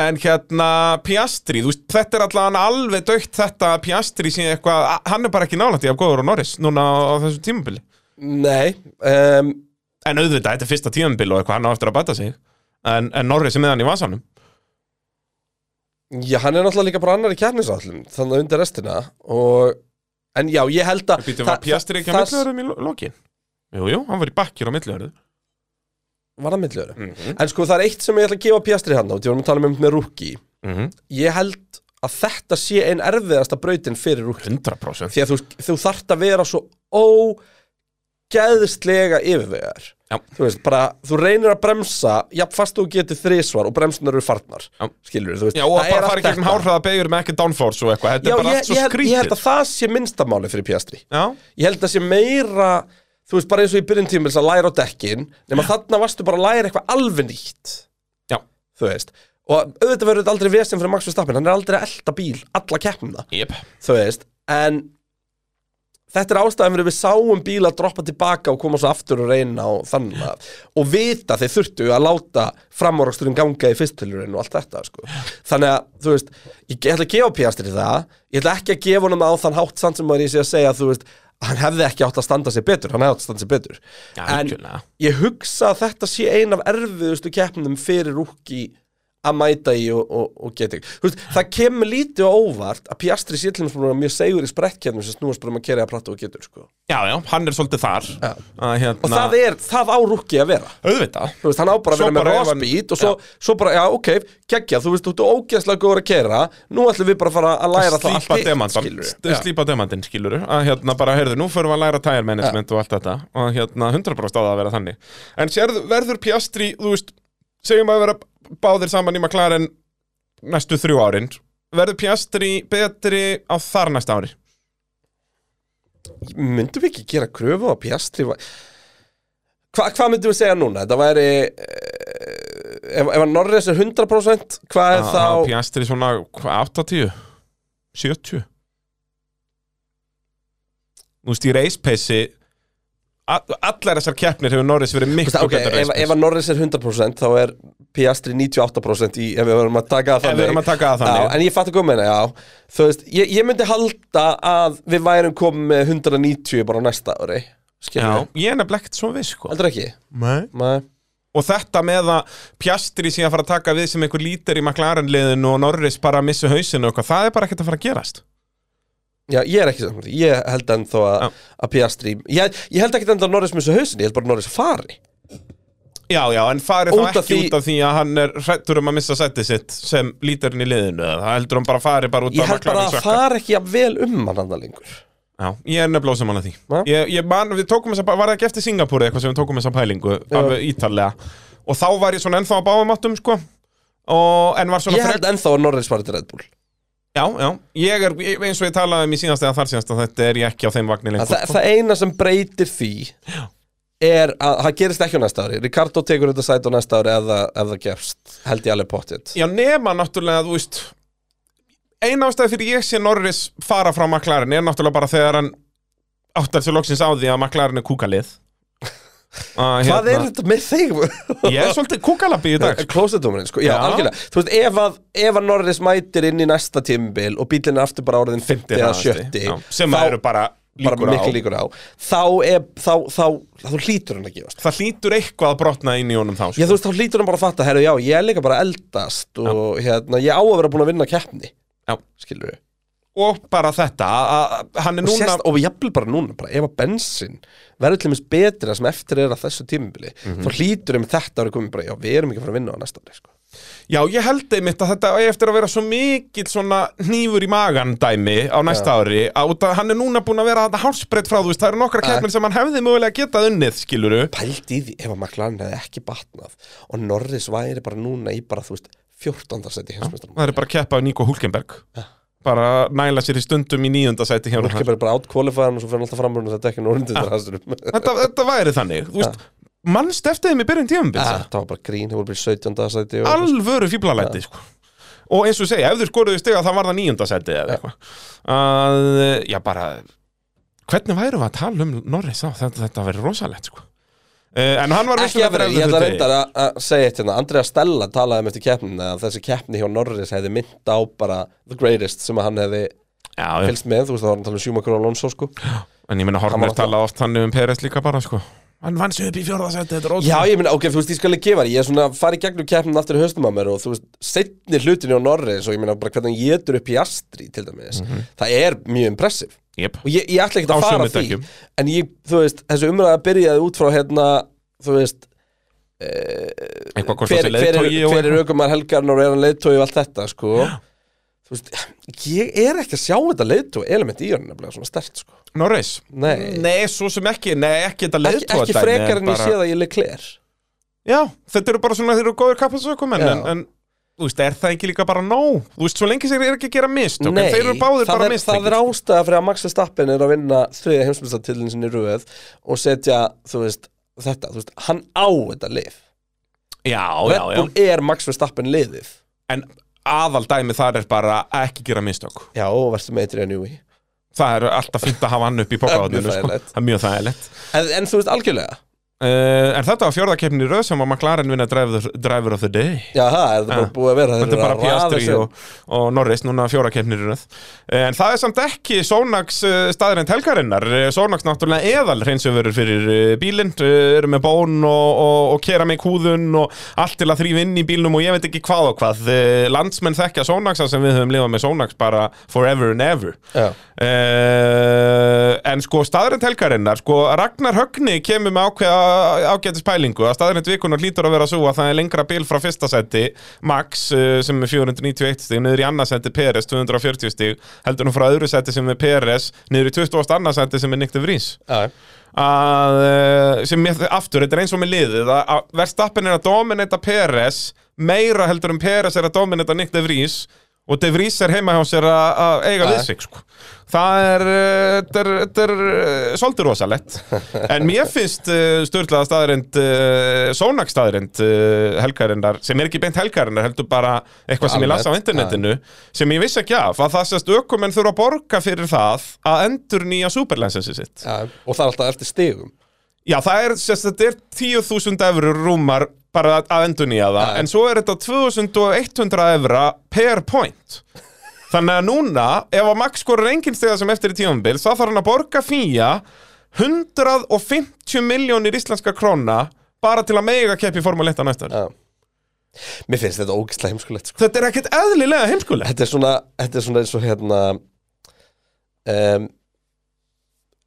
en hérna Piastri, þú veist, þetta er allan alveg dögt þetta að Piastri sé eitthvað a- hann er bara ekki nálægt í að góður og Norris núna á, á þessu tímabili
Nei, um,
en auðvitað, þetta er fyrsta tímabili og eitthvað hann á eftir að bæta sig en, en Norris er með hann í vasanum
já, hann er náttúrulega líka bara annar í kefnisállum þannig að undir restina og, en já, ég held að
Býtum
það-
var Piastri ekki að
það-
millöðurum í lo- lokin? Jú, jú, hann var í bakkjur á millöðurum
Var það milljöru? En sko, það er eitt sem ég ætla að gefa Piastri hann á, því vorum að tala um með Rúki Ég held að þetta sé einn erfiðasta brautin fyrir Rúki
100%
því að þú, þú þarft að vera svo ógeðslega yfirvegar
Já.
þú veist, bara, þú reynir að bremsa jafn fast þú getur þrísvar og bremsunar eru farnar
Já.
skilur þú veist,
Já, og
það
að
er
bara
allt
fara í gegnum
þetta.
hárhraða beigur með ekki downforce og eitthvað Þetta
Já,
er bara
ég,
allt svo
ég, held- ég held
skrítið
að það sé minnstamáli fyrir Piastri
Já,
ég held að sé meira þú veist, bara eins og í byrjun tímils að læra á dekkin nema þarna varstu bara að læra eitthvað alveg nýtt
já,
þú veist og auðvitað verður þetta aldrei vesinn fyrir Max Verstappen hann er aldrei að elta bíl, alla keppnum
jep
þú veist, en þetta er ástæðan fyrir við sáum bíla droppa tilbaka og koma svo aftur og reyna og þannig að, og vita þeir þurftu að láta framorraksturinn ganga í fyrstpilurinn og allt þetta, sko þannig að, þú veist, ég, ég ætla að gefa Piastri það, ég ætla ekki að gefa honum á þann hátt sann sem maður í sig að segja, þú veist hann hefði ekki átt að standa sig betur, hann hefði átt að standa sig betur
Já,
en
algjörlega.
ég hugsa að þetta sé ein af erfiðustu keppnum fyrir rúki að mæta í og, og, og geta ekki Þú veist, það kemur lítið á óvart að Piastri sé til dæmis búinn að vera mjög segur í sprekkjarnum sem snúast bara um að kerja að prata og getur sko.
Já, já, hann er svolítið þar
Já.
að, hérna,
og það er, það á rúkki að vera
Auðvitað
Þú veist, hann á bara að
Svo
vera með
bara ef hann-
rosbít og svo, svo bara, já, ok, geggja, þú veist, þú ert ógeðslega góður að kera, nú ætlum við bara að fara að læra það
Slípa demantan
skilurðu.
st-
Já.
Slípa demantin, skilur að hérna bara, heyrðu, nú förum við að læra tire management og allt þetta og hérna 100% á það að vera þannig En sérð, verður Piastri, þú veist segjum að vera báðir saman í McLaren næstu þrjú árin verður Piastri betri á þar næsta ári?
myndum við ekki gera kröfu á Piastri var... Hva, hvað myndum við segja núna? Þetta væri eh, ef, ef að Norris er 100% hvað
Á-
er
á
þá
Ah, Piastri svona hva, 80? 70? Þú veist, í reispeysi allar þessar keppnir hefur Norris verið
Þú
miklu
veist, okay,
betur
ef, ef að Norris er 100% þá er Piastri 98% í, ef við verum að taka það
Ef við erum að taka það
Já,
þannig
en ég fatt að koma meina, já Þú veist, ég, ég myndi halda að við værum komið með 190 bara á næsta ári
Já,
Skiljum við?
ég er nefnilega ekkert svo viss sko.
Heldur ekki?
Nei.
Nei
Og þetta með að Pjastri sé að fara að taka við sem einhver lítir í McLaren liðinu og Norris bara að missa hausinu og eitthvað, það er bara ekkert að fara að gerast
Já, ég er ekki sammála því. Ég held ennþá að,
Já.
að Piastri ég, ég held ekki ennþá að Norris mjög svo hausin Ég held bara að Norris fari
Já, já, en farið þá
Út af
ekki
því-
út af því að hann er hrættur um að missa settið sitt sem lítirinn í liðinu eða það heldur hann bara að farið bara út
Ég held
McLaren
bara að
sökkar.
fara ekki jafn vel um hann annað lengur
Já, ég er nefnilega ósamála því
Ha?
ég, ég man, Við tókum þess að, var það ekki eftir Singapúri eitthvað sem við tókum þess að pælingu af ítalega og þá var ég svona ennþá að báum áttum sko og, en var svona
Ég
frekar-
held ennþá að Norris fari til Red Bull
Já, já, ég er, ég- eins og ég talaði um í síðast eða þar síðast að þetta er ég ekki á þeim sko. vagnir lengur
það, það, það eina sem breytir því er að það gerist ekki á næsta ári Ricardo tekur þetta sæt á næsta ári ef það, ef það gefst Held ég alveg pottet
Já, nema náttúrulega, þú veist eina ástæði fyrir ég sé Norris fara frá McLaren er náttúrulega bara þegar hann áttar sér loksins á því að McLaren er kúkalið uh,
Hvað er þetta með þig?
Ég er svolítið kúkalabbi í dag sko.
Klósetumurinn, sko,
Já.
já, algjörlega Þú veist, ef að, ef að Norris mætir inn í næsta tímbil og bílinn er aftur bara áriðin 50 eða 70
Já, sem
þá-
eru bara
bara
líkur á
miklu líkur á þá, er, þá, þá, þá, þá hlýtur hann að gefast
Það hlýtur eitthvað að brotna inn í honum þá
Já,
sko.
þú veist, þá hlýtur hann bara að fatta, herru, já, ég er líka bara að eldast og hérna, ég á að vera búin að vinna keppni,
Já.
skilur við
Og bara þetta að- að hann er
og,
núna
sést, og jafnvel bara núna, bara, ef að bensin verður til þess betra sem eftir er að þessu tímubili,
Mhm.
þá hlýtur um þetta ári komið bara, já, við erum ekki að fara að vinna á næsta ári sko.
Já, ég held einmitt að þetta eigi eftir að vera svo mikill svona nýfur í magan dæmi á næsta ári að út að hann er núna búin að vera þetta hálsbreytt frá þú veist, það eru nokkra keppnir sem hann hefði mögulega getað unnið, skiluru
Pælt í því, ef að McLaren hefði ekki batnað og Norris væri bara núna í bara, þú veist, 14. seti hinsmestrum
Það er bara að keppa af Nico Hulkenberg bara næla sér í stundum í nýjunda sæti hérna
Norris
þetta,
verður bara átkvalifæðan og svo fyrir alltaf framrúin og þetta ekki núna undir
Ah.
þessum
þetta væri þannig, þú veist mannst eftir þeim í byrjun tíðanbils
Þetta var bara grín, það voru bara í 17. sæti og...
alvöru fíblalæti sko. og eins og segja, ef þú skoruðu stiga það var það nýjunda seti eða eitthvað að, já bara hvernig værum við að tala um Norris þá þetta, þetta verið rosalegt sko. uh, en hann var
Ekki
vissulega
að vera,
fyrir
ég ætla
eftir
reyndar að- að segja eitt hérna Andrea Stella talaði um eftir keppninu að þessi keppni hjá Norris hefði mynd á bara the greatest sem að hann hefði
já, já,
fylst með, þú veist það var hann talað um Schumacher og Alonso sko
en ég meina
Hann var
Horner
alltaf-
talaði oft þannig um Peres líka bara sko. hann vann sig upp í fjórða seti þetta er
Já,
ótrúlega
ég meina, ok, þú veist, ég skal ekki gefa þér, ég er svona að fara í gegnum keppnum aftur í höstum á mér og þú veist, setni hlutin hjá Norris og ég meina bara hvernig hann getur upp í Astri til dæmis, það er mjög impressiv
yep.
og ég, ég ætla ekki
Mhm. Á
að fara
sömu
að því
dekkjum.
en ég, þú veist, þessu umræða byrjaði út frá hérna, þú veist
eitthvað hvort
hver,
þessi
hver, er,
leiðtogi og
hver er aukumar helgarnar og er hann leiðtói og allt þetta sko þú veist, ég er ekki að sjá þetta leiðtói element í hann nefnilega svona stert sko
Norris
Nei.
svo sem ekki, nei, ekki þetta
ekki,
leiðtóa
ekki frekar en ég sé það ég leik kler
Já, þetta eru bara svona þeir eru góður kappasökumenn
Já.
en, en þú veist, er það ekki líka bara nóg? Þú veist, svo lengi sér er ekki að gera mistök en
Nei,
þeir eru báðir
það
bara sko.
er, það
mistök
er ástæða fyrir að Max Verstappen er að vinna þriðja heimsmyndsatillin sinni í röð og setja, þú veist, þetta þú veist, hann á þetta lið
Já, já,
Red
já
Bull er Max Verstappen liðið
En aðal dæmi þar er bara að ekki gera mistök
já, og verður með Adrian Newey
Það er alltaf fínt að hafa hann upp í
Það er
pokaðunum
mjög
sko.
þægilegt.
Það er mjög þægilegt
en, en þú veist, algjörlega
Uh, en þetta var fjórðakeppnin í röð sem að McLaren vinna driver, driver of the day
Jaha, er það bara
Ja.
búið að vera
Þetta er bara Piastri
og...
og, og Norris, núna fjórðakeppnin í röð En það er samt ekki Sónags staðurinn helgarinnar Eh, Sónags náttúrulega eðal reynsöfurur fyrir eh, bílinn eh, Eru með bón og, og, og kera með kúðun og allt til að þrýfa inn í bílnum og ég veit ekki hvað og hvað Eh, Landsmenn þekkja Sónagsa sem við höfum lifað með Sónags bara forever and ever
Já.
Uh, en sko staðrænt helgarinnar sko Ragnar Högni kemur með ákveða ágætis pælingu að staðrænt vikunar lítur að vera svo að það er lengra bil frá fyrsta seti Max uh, sem er 491 stig niður í annars seti Peres 240 stig heldur nú frá öðru seti sem er Peres niður í 20. annars seti sem er Nick de Vries
Já,
að, eh, sem ég, aftur, þetta er eins og með liðið að, að verðstappin er að dominita Peres meira heldur en Peres er að dominita Nick De Vries og De Vries er heima hjá sér að, að eiga við
Ja.
sig sko. það er, eh, þetta er, þetta er eh, svolítið rosalett en mér finnst uh, störtlaða staðrind uh, sónak staðrind uh, helgarinnar, sem er ekki beint helgarinnar heldur bara eitthvað sem ég las á
Almennt,
internetinu sem ég vissi ekki af, að það sérst ökumenn þurfa að borga fyrir það að endur nýja superlensensi sitt
já, og það er alltaf eftir stigum
Já, það er, sérst, þetta er 10.000 eurur rúmar bara að- að endurnýja það,
Já.
en svo er þetta 2.100 evra per point. Þannig að núna, ef að Max skorur engin stegar sem eftir í tíumbil, þá þarf hann að borga fíja 150 miljónir íslenska króna bara til að mega keppi Formule 1 á næsta ári.
já. Mér finnst þetta ógislega heimskulegt sko.
Þetta er ekkert eðlilega heimskulegt.
þetta, er svona, þetta er svona eins og hérna um,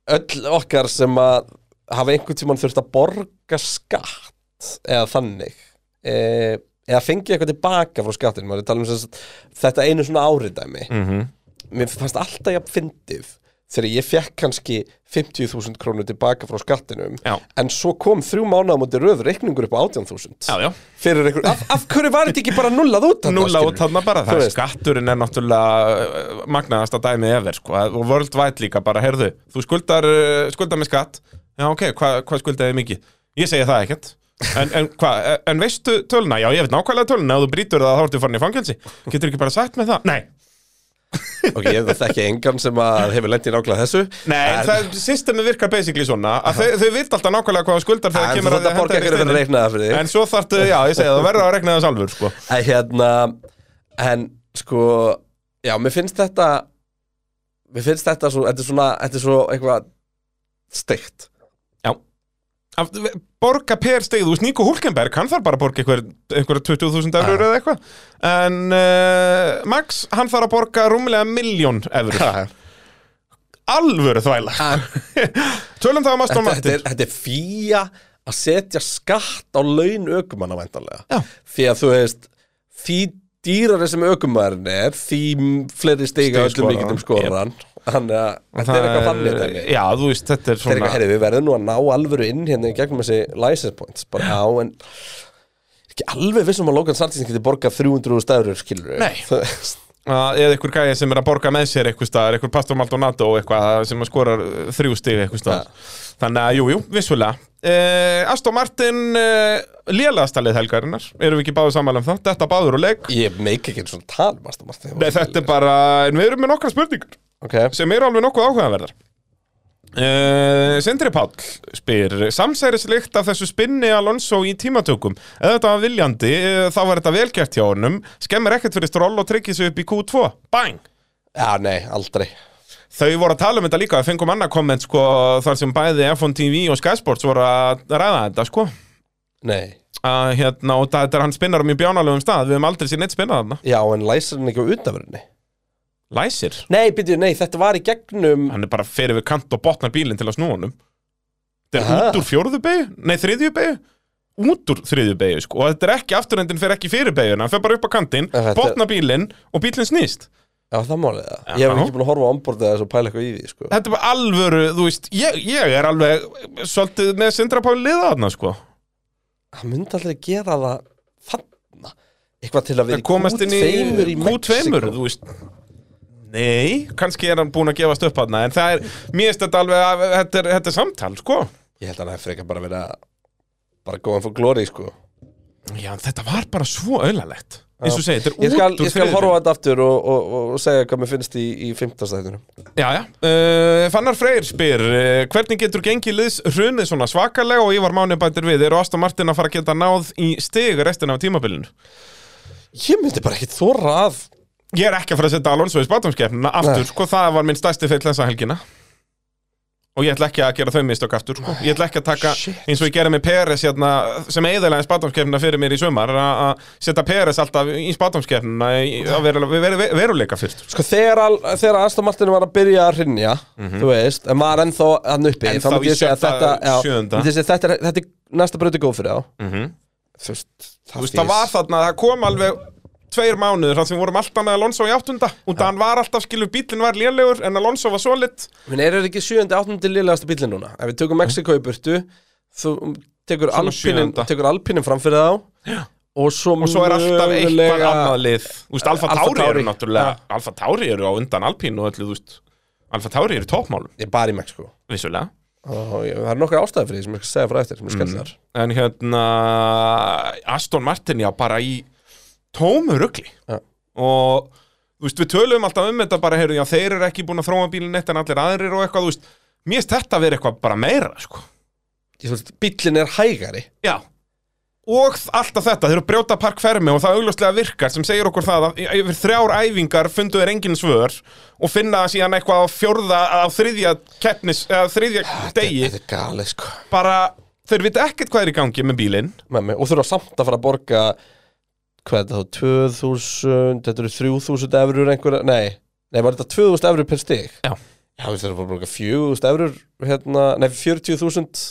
Öll okkar sem að hafa einhvern tímann þurft að borga skatt eða þannig eh, eða fengi eitthvað tilbaka frá skattinum maður er að tala um sem sagt þetta einu svona áriðdæmi
Mm -hmm.
mér fannst alltaf jafn fyndið þegar ég fekk kannski 50.000 krónur tilbaka frá skattinum
Já.
en svo kom þrjú mánuða múti röð reikningur upp á 18.000
já.
fyrir einhver, af, af hverju var þetta ekki bara nullað út þarna,
Núla
skilur
út þarna bara,
Þú
það er
veist.
skatturinn er náttúrulega magnaðast að dæmi efer sko, og worldwide líka bara, heyrðu þú skuldar, eh, skuldar með skatt já ok, hvað hva skuldaði mikið? Ég segi það ekkert En, en, hva, e, en veistu töluna? Já, ég veit nákvæmlega töluna Ef þú brýtur það þá ertu farin í fangelsi Getur ekki bara sagt með það? Nei,
við? ok, ég veit ekki engan sem að hefur lendið nákvæmlega þessu
Nei en, það, systemi virkar basically svona að þau, þau vilt alltaf nákvæmlega hvað þú skuldar þegar
en þú
kemur að
þetta
því að
borga
henda þér í
eitthvað fyrir
steininn.
að reikna það fyrir þig
En svo þarftu, já, ég segi það, verður að regna það sjálfur sko.
en hérna en sko, já, mér finnst þetta mér finnst þetta svo, þetta er svona, þetta er svo eitthvað steikt
Af- borga per stig, þú veist Nico Hulkenberg hann þarf bara að borga einhver, einhverja 20.000
Ah.
eurur eða eitthvað en uh, Max, hann þarf að borga rúmlega miljón eurur alvöru þvæla
Ah,
tölum það um Aston
þetta, þetta,
Martin
er, þetta er fía að setja skatt á laun ökumanna væntanlega
Já.
því að þú veist því dýrari sem ökumæðurinn er því fleiri stiga
Stig
öllum
skorar
líkitum
hann.
skoran þannig að þetta er eitthvað fannir þetta er
já, þú veist, þetta er
eitthvað,
svona
herri, við verðum nú að ná alvöru inn hérna í gegnum þessi license points bara á, en ekki alveg vissum að Logan Sanchez geti borgað 300 stæður skilur
Nei. að- eða einhver gæði sem er að borga með sér eitthvað staðar, einhver Pastor Maldonado eitthvað sem að skorar eh, þrjú stig eitthvað staðar þannig að jú, jú, vissulega uh, Aston Martin uh, lélagastalið helgarinnar, erum við ekki báðu sammála um það þetta báður og leik
ég meik ekki eins og tal Martin, Martin,
Nei, þetta er bara, en við erum með nokkra spurningar
okay.
sem eru alveg nokkuð áhugaverðar uh, Sindri Páll spyr Samsærislikt af þessu spinni Alonso í tímatökum Ef þetta var viljandi, eh, þá var þetta velgert hjá honum Skemmir ekkert fyrir stról og tryggir sig upp í Q2 Bang!
já, nei, aldrei
Þau voru að tala um þetta líka, við fengum annað komment sko, þar sem bæði F1 TV og Sky Sports voru að ræða þetta sko
nei
að hérna, og það- þetta er hann spinnar um í bjánalögum stað, við höfum aldrei sér neitt spinnað þarna
Já, en læsir hann ekki á utanverðinni?
Læsir,
Nei, byrju, nei, þetta var í gegnum
hann er bara fyrir við kant og botnar bílinn til að snúa honum Þetta er
Aha.
út úr fjórðu beigju, nei þriðju beigju út úr þriðju beigju sko og þetta er ekki, afturhendin fer ekki fyrir beigjuna hann fer bara upp á kantinn,
En þetta-
botnar bílinn og bílinn snýst
Já, það málið það Ég hef
Já.
ekki búin að horfa á ombordið þess og pæla eitthvað í því, sko
Þetta er bara alvöru, þú veist, ég, ég er alveg svolítið með Sindra Pál liða þarna sko
Hann myndi aldrei gera það þarna Eitthvað til að
Það
vera
komast inn í
Q2 í
Q2,
Mexiko
þú veist Nei, kannski er hann búin að gefast upp hann en það er, mér finnst þetta alveg að, þetta, er, þetta er samtal, sko
Ég held að hann hef frekar bara verið að bara góðan fór glóri, sko
Já, en þetta var bara svo aulalegt eins og segja, þetta er
Ég skal,
út úr
ég skal
þriðju
horfa á
deild.
þetta aftur og, og, og- og segja hvað mér finnst í, í fimmtastættinum
Já, já, uh, Fannar Freyr spyr uh, Hvernig getur gengið liðs hrunið svona svakalega og Ívar Máni bætir við eru Aston Martin að fara að geta náð í stig restin af tímabilinu?
Ég myndi bara ekki þóra að
Ég er ekki að fara að setja Alonso í spátumskeppnina aftur,
Nei.
sko, það var minn stærsti fyll þessa helgina og ég ætla ekki að gera þau mistök aftur, sko, ég ætla ekki að taka
Shit.
eins og ég gerði með Peres hérna, sem eiðalega spátumskeppnina fyrir mér í sumar að að setja Peres alltaf í spátumskeppnina að vera, vera, vera, veruleika fyrst
Sko þegar, al, þegar Aston Martin var að byrja að hrynja Þú veist, en maður ennþá hann uppi
Mhm. Ennþá
þá
í
myndi ég segja að
sjötta-
þetta, já,
sjöunda.
myndi ég segja að þetta, er- þetta er næsta bröti góð fyrir þá
mm -hmm.
Þú veist,
Þú veist, það var þarna, það kom alveg tveir mánuður þar sem við vorum alltaf með Alonso í áttunda og það hann var alltaf, skilur, bílinn var lélegur en Alonso var svolít
Menn eru ekki 7. 8. liðlegasta bílinn núna Ef við tökum Mexiko í burtu Þú tekur
Svona
alpinin,
sjöunda.
tekur alpinin fram fyrir þá Og svo,
og svo er alltaf eitthvað annað lið Þú veist, Alfa
Alfa
Tauri eru
Tauri.
náttúrulega Alfa Tauri eru á undan Alpín og öllu, þú veist Alfa Tauri eru toppmálum,
Ég er bara í Mexiko
vissulega
og ég- Það er nokkra ástæði fyrir því sem ég skal segja frá eftir sem ég
Mhm.
skal þar
En hérna, Aston Martin, já, bara í tómu rugli
Já.
Og, þú veist, við töluðum alltaf um þetta bara, heyrðu, já, þeir eru ekki búin að þróa bílinn eitt en allir aðrir og eitthvað, þú veist Mér veist þetta verið eitthvað bara meira, sko
Ég, þú veist, Bíllinn er hægari
Já Og alltaf þetta, þeir eru að brjóta parkfermi og það augljóslega virkar sem segir okkur það að yfir þrjár æfingar fundu þeir engin svör og finna það síðan eitthvað á fjórða á þriðja keppnis, eða þriðja degi
Ah, Þetta er gali sko
bara þeir vita ekkert hvað er í gangi með bílinn
með mig og þurfa samt að fara að borga hvað er þetta þá, 2000 þetta eru 3000 eurur einhverja, nei nei, var þetta 2000 eurur per stig
Já.
já, þú veist þetta að borga 4000 eurur hérna, nei, 40.000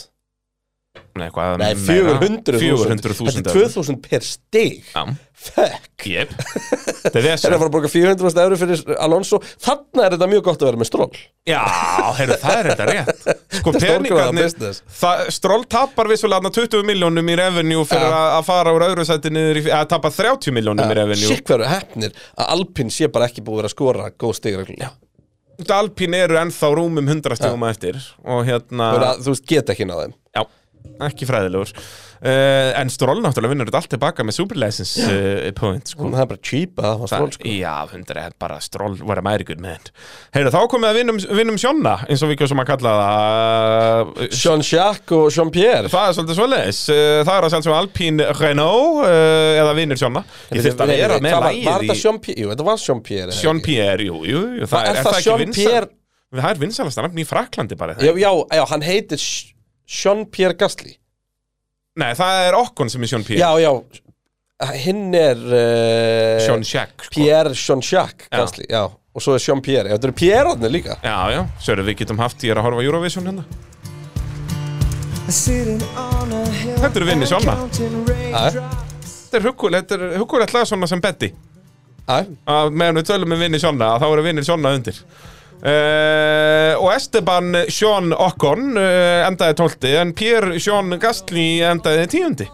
Nei, hvað
nei, 400.000
400.000
þetta er 2000 per stig
Já,
fuck,
jep Þetta er
þeir eru að
þess
fara að borga 400.000 eurur fyrir Alonso, þarna er þetta mjög gott að vera með stról
Já, heyrðu, það er þetta rétt Sko,
Stórgróða
peningarnir
business.
það, Stroll tapar vissulega þarna 20 miljónum í revenue fyrir
Já.
að að fara úr öðru sæti niður í, að tapa 30 miljónum í revenue
sikk hverju hefnir að Alpine sé bara ekki búið að vera að skora góð stig reglulega.
Út af Alpín eru ennþá rúmum 100 stegum ja. eftir og hérna,
Þú veist að- þú veist, geta ekki náðum
já, ekki fræðilegur uh, en Stroll náttúrulega vinnur þetta allt tilbaka með Superlicense uh, point sko.
það er bara cheap að hafa
Það-
stról sko.
Já, 100 er bara Stroll var að mæri guð með henn Heyrðu, þá komið að vinnum, vinnum um Sjonna eins og við kjóðum að kalla það uh,
Jean-Jacques og Jean-Pierre
Það er svolítið svoleiðis Uh, Það er að sjálfsögum Alpín Renault uh, eða vinnur Sjonna Ég þurfti að vera með
Hvað var- Var
lagið
þetta
í
Jean-Pierre? Jú, þetta var Jean-Pierre eða
Sjón
ekki?
Pierre, jú, jú, jú það
Er
er,
það
ekki vinsal
Jean-Pierre?
Það er vinsalasta nafn í Fraklandi bara er það
Já, já, já, hann heitir Sh- Jean-Pierre Gasly
Nei, það er okkon sem er Sjón Pierre
Já, já, hinn er uh,
Sjón Sjekk sko.
Pierre Jean-Jacques
Já.
Gasly Já, og svo er Jean-Pierre Já, þetta eru Pierre-arnir líka
Já, já, sörðu við getum haft Ég er að horfa á Eurovision hérna
Þetta eru vinni svona
Þetta er huggulegt, þetta er huggulegt lag svona sem Betty
Æ,
að meðan við tölum með vinni Sjonna að þá eru vinni Sjonna undir Uh, og Esteban Sean Okkon uh, endaði 12 en Pierre Sean Gastli endaði 10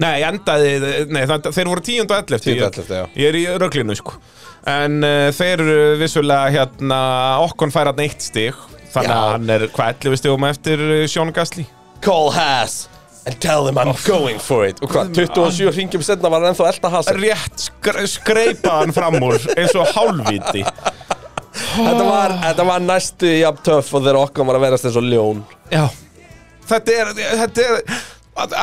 nei, endaði nei, það, þeir voru 10 og 11
Tíu og
Ég-
11, já.
ég er í röglinu sko en uh, þeir uh, vissulega hérna, Okkon fær hann eitt stig þannig að
Já.
hann er hvað 11 stigum eftir uh, Sean Gastli
Call Haas and tell them I'm going for it Og hvað, 27 ringjum setna var hann ennþá elda Haas
rétt skre skreipa hann fram úr eins og hálfviti
Þetta var, þetta var næstu jafn töff og þegar okkur var að verast eins og ljón
Já Þetta er, þetta er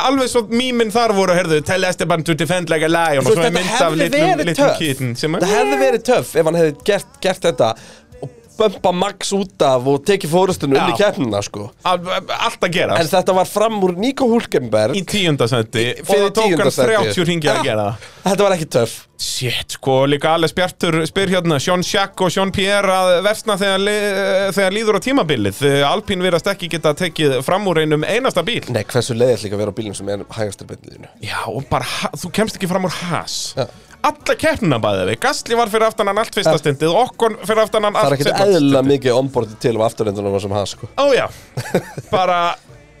Alveg svo mýminn þar voru, heyrðu, tell Esteban to defend like a lion og
Þú
svo er
veist,
mynd
þetta
af
hefði
litnum,
verið
litnum
töff.
kitten sem að
Það hefði verið töff ef hann hefði gert, gert þetta og bömpa Max út af og tekið fórustunum inn í
Já.
keppnina sko.
Al- allt að gera
En þetta var fram úr Nico Hulkenberg
í tíundasendi og það
fyrir
tók hann
tíunda sæti. Ah.
30 ringi að
Já.
gera það
Þetta var ekki töff
Shit, sko, líka Alex Bjartur spyr hérna Sean Shack og Sean Pierre að versna þegar, li, þegar líður á tímabilið Alpín virðast ekki geta tekið fram úr einum einasta bíl
Nei, hversu leiðið líka að vera á bílum sem er hægastur beinliðinu
Já, og bara, ha- þú kemst ekki fram úr has
Já.
Alla keppnina bæði við Gastli var fyrir aftan hann allt fyrsta stundið og Okkon fyrir aftan hann
Það er
allt
ekkert
seinna
eðla mikið onboardið til um afturlendunum sem hann sko
Ó já, bara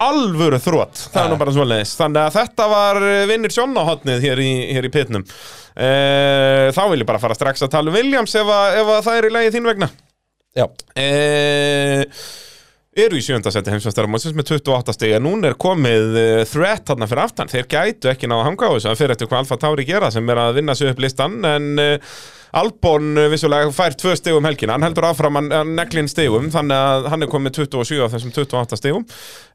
alvöru þrótt, það er nú bara svoleiðis Þannig að þetta var eh, vinnir sjónahotnið hér í, hér í pitnum e, Þá vil ég bara fara strax að tala um Williams ef, að, ef að það er í lagi þín vegna
Já,
e, eru í sjöndasetti heimsvæmstæra mótsins með 28 stig en núna er komið uh, threat þarna fyrir aftan, þeir gætu ekki náða að hanga á þessu það fyrir eftir hvað Alfa Tauri gera sem er að vinna sig upp listan en uh, Albon uh, vissulega fær tvö stig um helgina hann heldur áfram að- að neglin stigum þannig að hann er komið 27 af þessum 28 stigum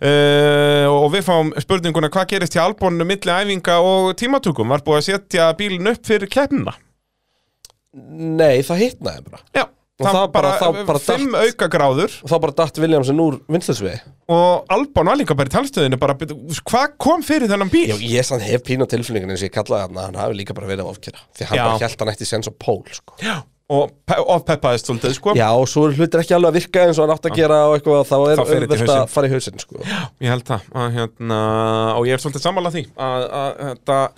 uh, og við fáum spurninguna hvað gerist hjá Albon milli æfinga og tímatökum var búið að setja bílin upp fyrir keppnina
Nei, það hitnaði bara
Já,
Og það bara- þá bara
fimm
datt.
auka gráður
Og þá bara datt Williamson úr vinslisvegi
og Albon var líka bara í talstöðinu bara, "Bíddu, hvað kom fyrir þennan bíl?
Já, ég sann hef pínu á tilfinningin eins og ég kallaði hann að hann hafi líka bara verið að ofkjöra Því hann
Já.
bara held hann eftir sens og pól sko.
Já, og pe- ofpeppaðist svolítið sko
Já, og svo eru hlutir ekki alveg að virka eins og hann átt að gera og eitthvað, þá er
Þá fer þetta í
auðvelt að
hausinn.
fara í hausinn sko.
Ég held það, að, hérna, og ég er svolítið sammála því að, að, þetta,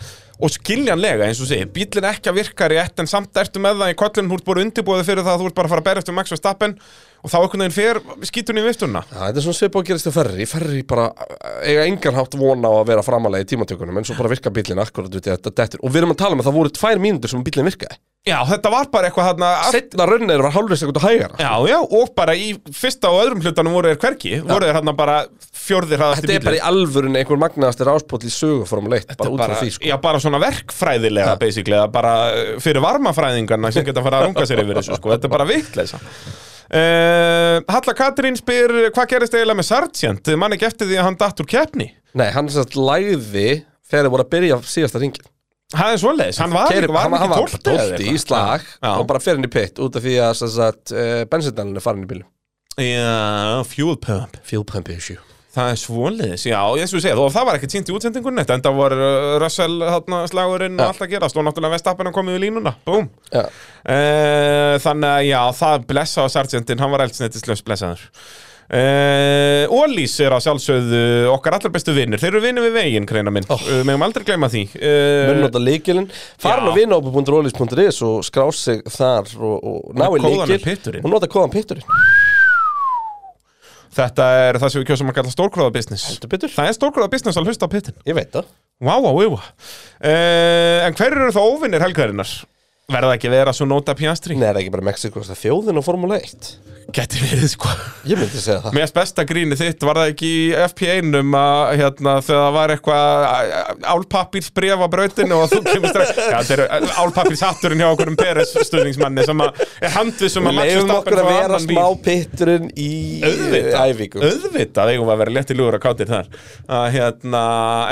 og skiljanlega eins og segi, bílinn ekki að virka rétt en samt ertu með það í kollin, þú ert búin undirbúið fyrir það, þú ert bara að fara að berja eftir Max Verstappen og þá einhvern veginn fer skýtun í viftuna
Já, þetta er svona svipað að gerast til ferri Ferri bara eh, eiga engan hátt von á að vera framalega í tímatökunum en svo bara virka bílinn akkurat út í þetta dettur og við erum að tala um að það voru tvær mínútur sem bílinn virkaði
Já, þetta var bara eitthvað þarna að-
Setna raunnir var hálfur sekundu hægara
Já, já, og bara í fyrsta og öðrum hlutanum voru þeir hverki, voru þeir hérna bara fjórðir hraðasti
Þetta er bara í alvörun einhver magnaðastir áspóll í sögu formuleitt bara út frá því sko.
Já, bara svona verkfræðilega, basically, eða bara uh, fyrir varmafræðingarna sem geta að fara að runga sér yfir þessu, sko, þetta er bara vitleisa. Uh, Halla Katrín spyr, hvað gerist eiginlega með Sargent? Man ekki eftir því að hann datt úr keppni?
Nei, hann sem sagt læði þegar þið voru að byrja síðasta ringin
Það er svoleiðis, hann var, Keri, var hann
hann
ekki
var
tólti eða
tólti í slag
Já.
og bara fer inn í pitt út af því að sem sagt, uh, bensinnælun er farin í bílum
Já, fuel pump.
Fuel pump issue
Það er svoleiðis, já, ég svo segja, og það var ekkert sínt í útsendingunni, en það var uh, Russell, hérna, slagurinn og allt að gerast, og náttúrulega vestappin að komið við línuna, búm.
Já,
Eh, þannig að já, það blessa á sergeantin, hann var eldsneittislaus blessaður Uh, Ólís er á sjálfsögðu okkar allar bestu vinnir Þeir eru vinnir við veginn, kreina minn oh.
Oh.
uh, Megum aldrei gleyma því uh,
mun nota líkilinn
já.
farin á vinahópu.rolis.is og skrá sig þar og, og ná í
kóðan er
líkil
pitturinn.
og nota kóðan pitturinn
Þetta er það sem við kjósum að kalla stórkróða business
Heldur betur.
Það er stórkróða business að hlusta á pittin
ég veit það
Vá, vá, vá uh, En hverju eru þá óvinnir helgarinnar? Verða ekki að vera svo nota pjastri?
Nei, er það ekki bara Mexiko, það er þjóðin og Formule 1
Gæti verið sko
Ég myndi segja það
Mér finnst besta gríni þitt var það ekki í FP1 um að hérna, þegar það var eitthvað álpappir brefa brautinu og þú kemur strax Já, þetta er álpappir satturinn hjá okkur um Peres stuðningsmanni sem að er handvissum
Við
að Max
leifum
Verstappen
okkur að
fá
vera
annan bíl.
smá pitturinn í
Auðvitað.
æfingum
Auðvitað eigum við að vera létt í ljúður að kátir þar að, hérna,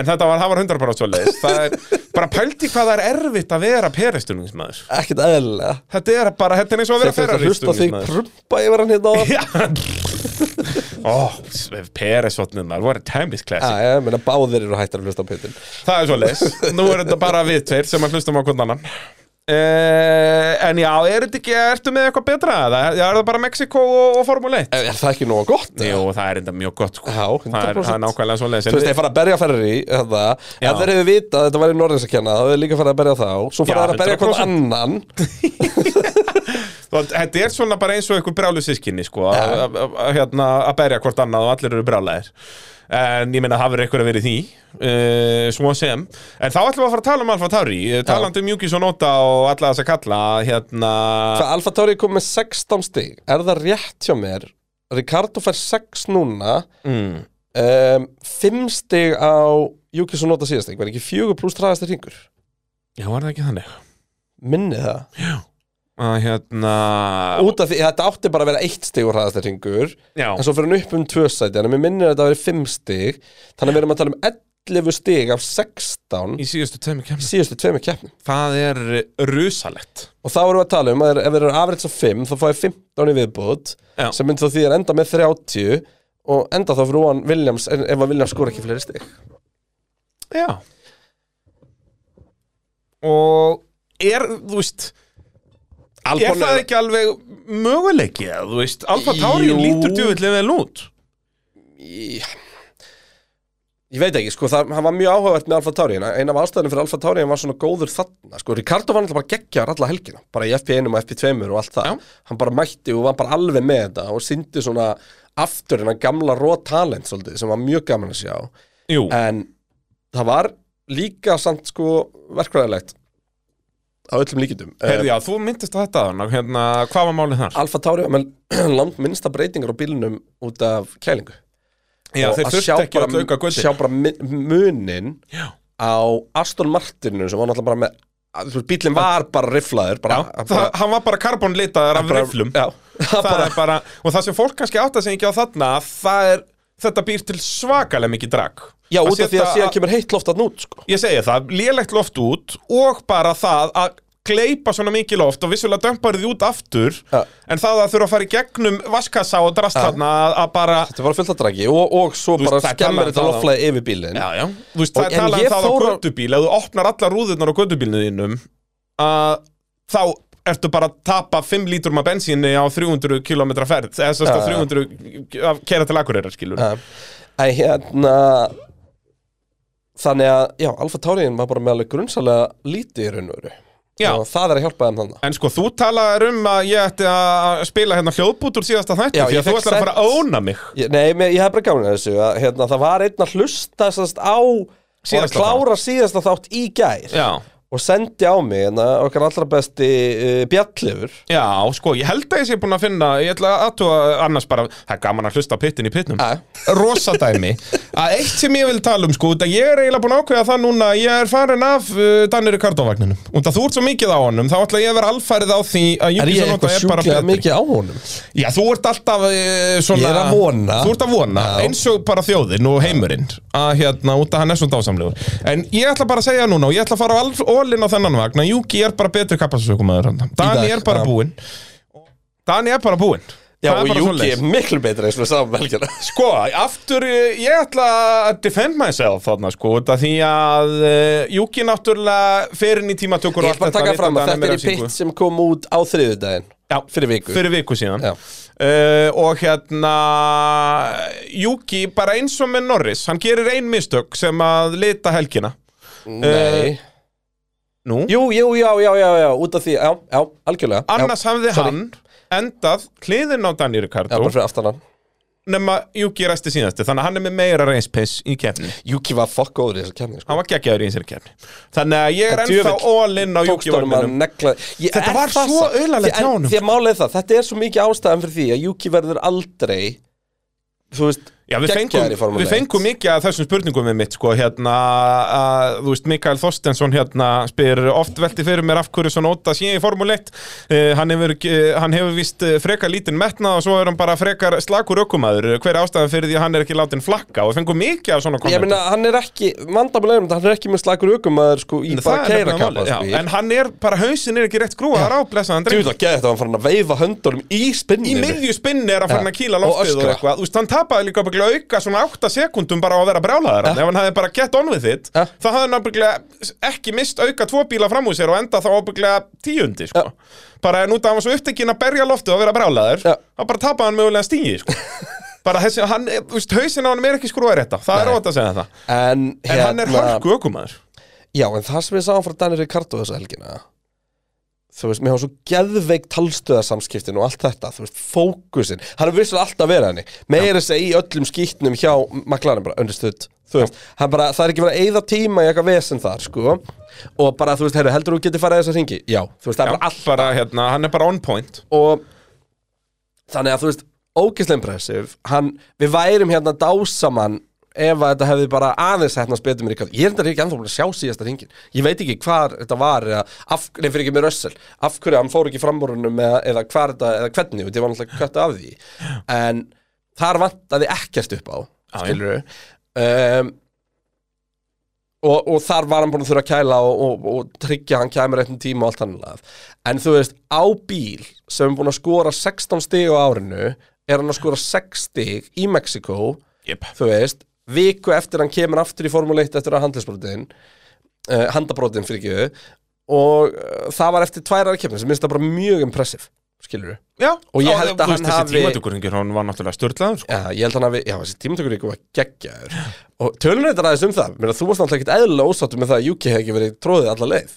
En þetta var, það var 100% svoleiðis Það er bara pældi hvað það er erfitt að vera Peres stuðningsmaður
Ekkert eðlilega
Þetta er bara, þetta er eins og að vera
Þegar þetta
Ferrari
hlusta á þig
stuðningsmaður
prumpa yfir hann hérna á
Já Ó, Peres vatnunar, voru timeless classic
Já, ég meina báðir eru hættar að hlusta á pitturinn
Það er svo leis Nú er þetta bara við tveir sem að hlustum á hvern annan uh, En já, er þetta ekki Ertu með eitthvað betra? Það er, er það bara Mexiko og, og Formule 1?
Er það ekki nóga gott? eða?
Jú, það er enda mjög gott sko.
Já,
það, er,
100%.
það er nákvæmlega svo leis
Þú veist, þeir fara að berja Ferrari eða,
Já.
Ef þeir hefur vitað að þetta væri Norðins að kenna þá hefur líka farið að berja þá Svo
Já,
fara þeir að berja hvort
100%.
annan
Þetta er svona bara eins og einhver brjálu sískinni sko, að- að- að- að- hérna, að berja hvort annað og allir eru brjálæðir En ég meina, það verður eitthvað að vera í því uh, Svo sem En þá ætlum við að fara að tala um Alfa Tauri Eh, Talandi um Júkis og Nota og alla þess að kalla Hérna
Hvað Alfa Tauri kom með 16 stig Er það rétt hjá mér? Ricardo fær 6 núna
mm.
um, 5 stig á Juki svo nota síðast Var ekki 4 pluss 30 ringur?
Já, var það ekki þannig?
Minni það
að hérna
Út af því, þetta átti bara að vera 1 stig úr hraðastir ringur
já,
En svo fyrir hann upp um 2 sæti Þannig að mér minnir að þetta veri 5 stig Þannig að við erum að tala um 11 stig af 16
í síðustu tveimur
í
kemur
síðustu tveimur keppnum
það er eh, rusalett
Og þá erum við að tala um að ef þeir eru afrits af 5 þá fáið 15 í viðbútt
Já.
sem myndi þá því að enda með 30 og enda þá fyrir ofan Williams en- ef að Williams skora ekki fleiri stig
já og er, þú veist er
Albon
það ekki alveg möguleiki eða, þú veist, Alfa Tauri
Jú.
lítur djúvillig vel út
Í- Ég veit ekki, sko, það, það var mjög áhugavert með Alfa Tauri en ein af ástæðunum fyrir Alfa Tauri var svona góður þarna sko, Ricardo var náttúrulega bara geggjaður alla helgina bara í FP1 um og FP2 og allt það
Já.
hann bara mætti og var bara alveg með þetta og syndi svona aftur hennar gamla raw talent svolítið, sem var mjög gaman að sjá
jú,
en það var líka samt sko verkvæðilegt að öllum líkindum Eh,
Heyrðu, já, þú myndist á þetta þannig, hérna, hvað var málið þar?
Alfa Tauri var með langt minnsta breytingar á bílunum út af kælingu
Já,
Og
þeir
að
þurfti
sjá
ekki að
bara-
auka guði.
Sjá bara mi- munin
Já.
á Aston Martinu sem var náttúrulega bara með að- þú veist, Bílinn var bara riflaður bara,
Já,
að
það,
bara,
hann var bara karbonlitaður af
bara-
riflum.
Já, það
það
bara,
er bara, og það sem fólk kannski átta sig ekki á þarna, það er, þetta býr til svakalega mikið drag.
já út af því að
setja-
síðan kemur heitt loft að nút sko.
Ég segi það, lélegt loft út og bara það að gleypa svona mikið loft og vissulega dömpar því út aftur
Ja.
en það að þurfa að fara í gegnum vaskassa og drast þarna að, að bara
Þetta var fullt að dragi og, og svo
Þú veist,
bara
það er
skemmir
talað um
þetta
það á-
loftflæði yfir bílinn
Já, já, þú veist,
Og-
það
en
er talað
ég
um það á
fór á-
gödubíl ef þú opnar allar rúðurnar á gödubílinu þínum að þá ertu bara að tapa 5 lítrum af bensíni á 300 km ferð eða þess að
Ja, ja.
300 að kera til Akureyrar skilur
Æ, hérna Þannig að, já, Alfa Tauriðin var bara með alveg grunnsalega lítið í raun og veru
Já.
Og það er að hjálpa þeim þannig
En sko, þú talaðir um að ég ætti að spila hérna hljóðbútur síðasta þætti
Já,
því
ég
að þú
fékk
ætlar að fara að óna mig
Ég, nei, mér, ég hef bara gáðin að þessu að, hérna, Það var einn að hlusta sérst, á Síðasta að
Síðasta
klára síðasta þátt í gær
Já,
Og sendi á mig hérna, okkar allra besti uh, Bjallifur
Já, sko, ég held að ég sé búin að finna, ég ætla að aðtúa annars bara, það er gaman að hlusta á pittin í pittnum.
Ja.
Rosa dæmi. að eitt sem ég vil tala um, sko, út að ég er eiginlega búin að ákveða það núna, að ég er farin af uh, Danir í kardovagninum. Út að þú ert svo mikið á honum, þá ætla ég að vera alfærið á því að
Er ég
Júkisson
eitthvað
er bara
sjúklega
betri.
mikið á honum?
Já, þú ert alltaf uh, svona...
Ég er að vona.
Þú ert að vona, eins og bara þjóðin og heimurinn, að hérna, út að hann er svo dásamlegur. En ég ætla bara að segja núna, og ég ætla að fara ólinn á þennan vagn, að Júki er bara betri kappasökumæður hann. Dani
dag,
er bara
já.
búinn. Dani er bara búinn.
Já,
Það er
og
bara
Júki
svoleiðis.
er miklu betri eins og við sáum um velgjana
Sko, aftur, eh, ég ætla að defend myself þarna, sko, út af því að uh, Júki náttúrulega fer inn í tímatökur
Ég ætla bara að taka fram að þetta er í pitt sem kom út á þriðudaginn
Já,
fyrir viku.
Fyrir viku síðan
Já.
Eh, Og hérna Júki, bara eins og með Norris Hann gerir ein mistök sem að lita helgina
Nei
Nú,
Jú, jú, já, já, já, já, út af því, já, já, algjörlega
annars
já,
hafði
sorry.
hann endað hliðin á Dani
Já,
Ricardo
bara fyrir aftan hann
nema Júki resti síðasti þannig að hann er með meira race pace í keppni
Júki var fokk góður í þessu kemni sko.
hann var geggjaður í þessari keppni þannig að ég er
En
ennþá
djöfull,
all in á Júki
Tókstórum að negla ég,
Þetta
er
var
það
svo
samt.
auðarlegt
Því- en-
hjá honum.
Því að málið er það, þetta er svo mikið ástæðan fyrir því að Júki verður aldrei Þú veist,
Já, við
geggjaður í
fengum,
Formule
við
1.
fengum mikið að þessum spurningum með mitt, sko, hérna, að, þú veist, Mikael Þorstensson, hérna, spyr oft velti fyrir mér af hverju svona óta sé í Formule 1, uh, hann hefur, uh, hann hefur vist frekar lítinn metnað og svo er hann bara frekar slakur ökumæður, hver er ástæðan fyrir því að hann er ekki látin flakka og við fengum mikið af svona
Ég
kommentum.
meina, hann er ekki, vandamulegum, hann er ekki með slakur aukumæður sko í
En það
bara sko.
er
keira
nefnilega málið, já, En hann er, bara hausin er ekki rétt grúaðar á, blessaðan
Þú
dreng.
veist að geða þetta, hann fann að veifa höndunum í
Í
spinninu
miðju spinni er að fara
Já.
að kýla
Og
loftið og,
öskra.
eitthvað Þú veist, hann tapaði líka ábyggilega auka svona 8 sekundum bara á að vera brjálaðar Ef hann hefði bara gett on with it
Ja.
þá hafði hann ábyggilega ekki mist auka tvo bíla fram úr sér og enda þá ábyggilega tíundi sko. Bara en út af hann var svo upptekinn að berja loftið og vera brjálaðar
Ja.
þá bara tapaði hann mögulega stígi sko. Bara þessi, hann, eh, þú veist, hausin á hann er ekki skrúið rétta Það er
Nei.
ótt að segja það
En, hérna-
En hann er hörku ökumæður
Já, en það sem ég sáum frá Daniel Ricardo þessa helgina Þú veist, mér hafa svo geðveik talstöðarsamskiptin og allt þetta, þú veist, fókusin Hann er vissur alltaf verið henni Meira þess að í öllum skýtnum hjá maklarinn bara understutt Þú veist, hann bara, það er ekki verið að eyða tíma í eitthvað vesen þar, sko Og bara, þú veist, heyrðu, heldur þú getur farið þess að ringi? Já, þú veist, það
Já,
er bara allt
bara, hérna, Hann er bara on point
og þannig að þú veist ógeðslega impressiv hann, við værum hérna dásamann ef að þetta hefði bara aðeins hættnast betur mér ykkur ég er þetta ekki ennþá búin að sjá síðasta ringin ég veit ekki hvar þetta var eða af, nei, fyrir ekki með rössal, af hverju hann fór ekki framborunum eða, eða hvar þetta, eða hvernig þetta var náttúrulega kött af því en þar vantaði ekkert upp á
Já, já.
skilur um, og, og þar var hann búin að þurfa að kæla og, og, og tryggja að hann kæmur réttum tíma og allt hann en þú veist, á bíl sem er búin að skora 16 stig á árinu er hann að skora 6 stig í Mexiko
yep.
þú veist, viku eftir hann kemur aftur í Formule 1 eftir að handlisbrotin uh, handabrotin fyrir ekki og uh, það var eftir tværar kemur sem minnst það bara mjög impressiv skilur við
Já,
Og ég
já,
held að
þú veist,
hann
þessi
hafi-
tímatökuringir, hann var náttúrulega störtlaður sko.
Já, ég held hann að við, já, þessi tímatökur ykkur var geggjaður og tölum reyndar aðeins um það Mér að þú varst náttúrulega ekkert eðlilega ósáttu með það að UK hef ekki verið tróðið alla leið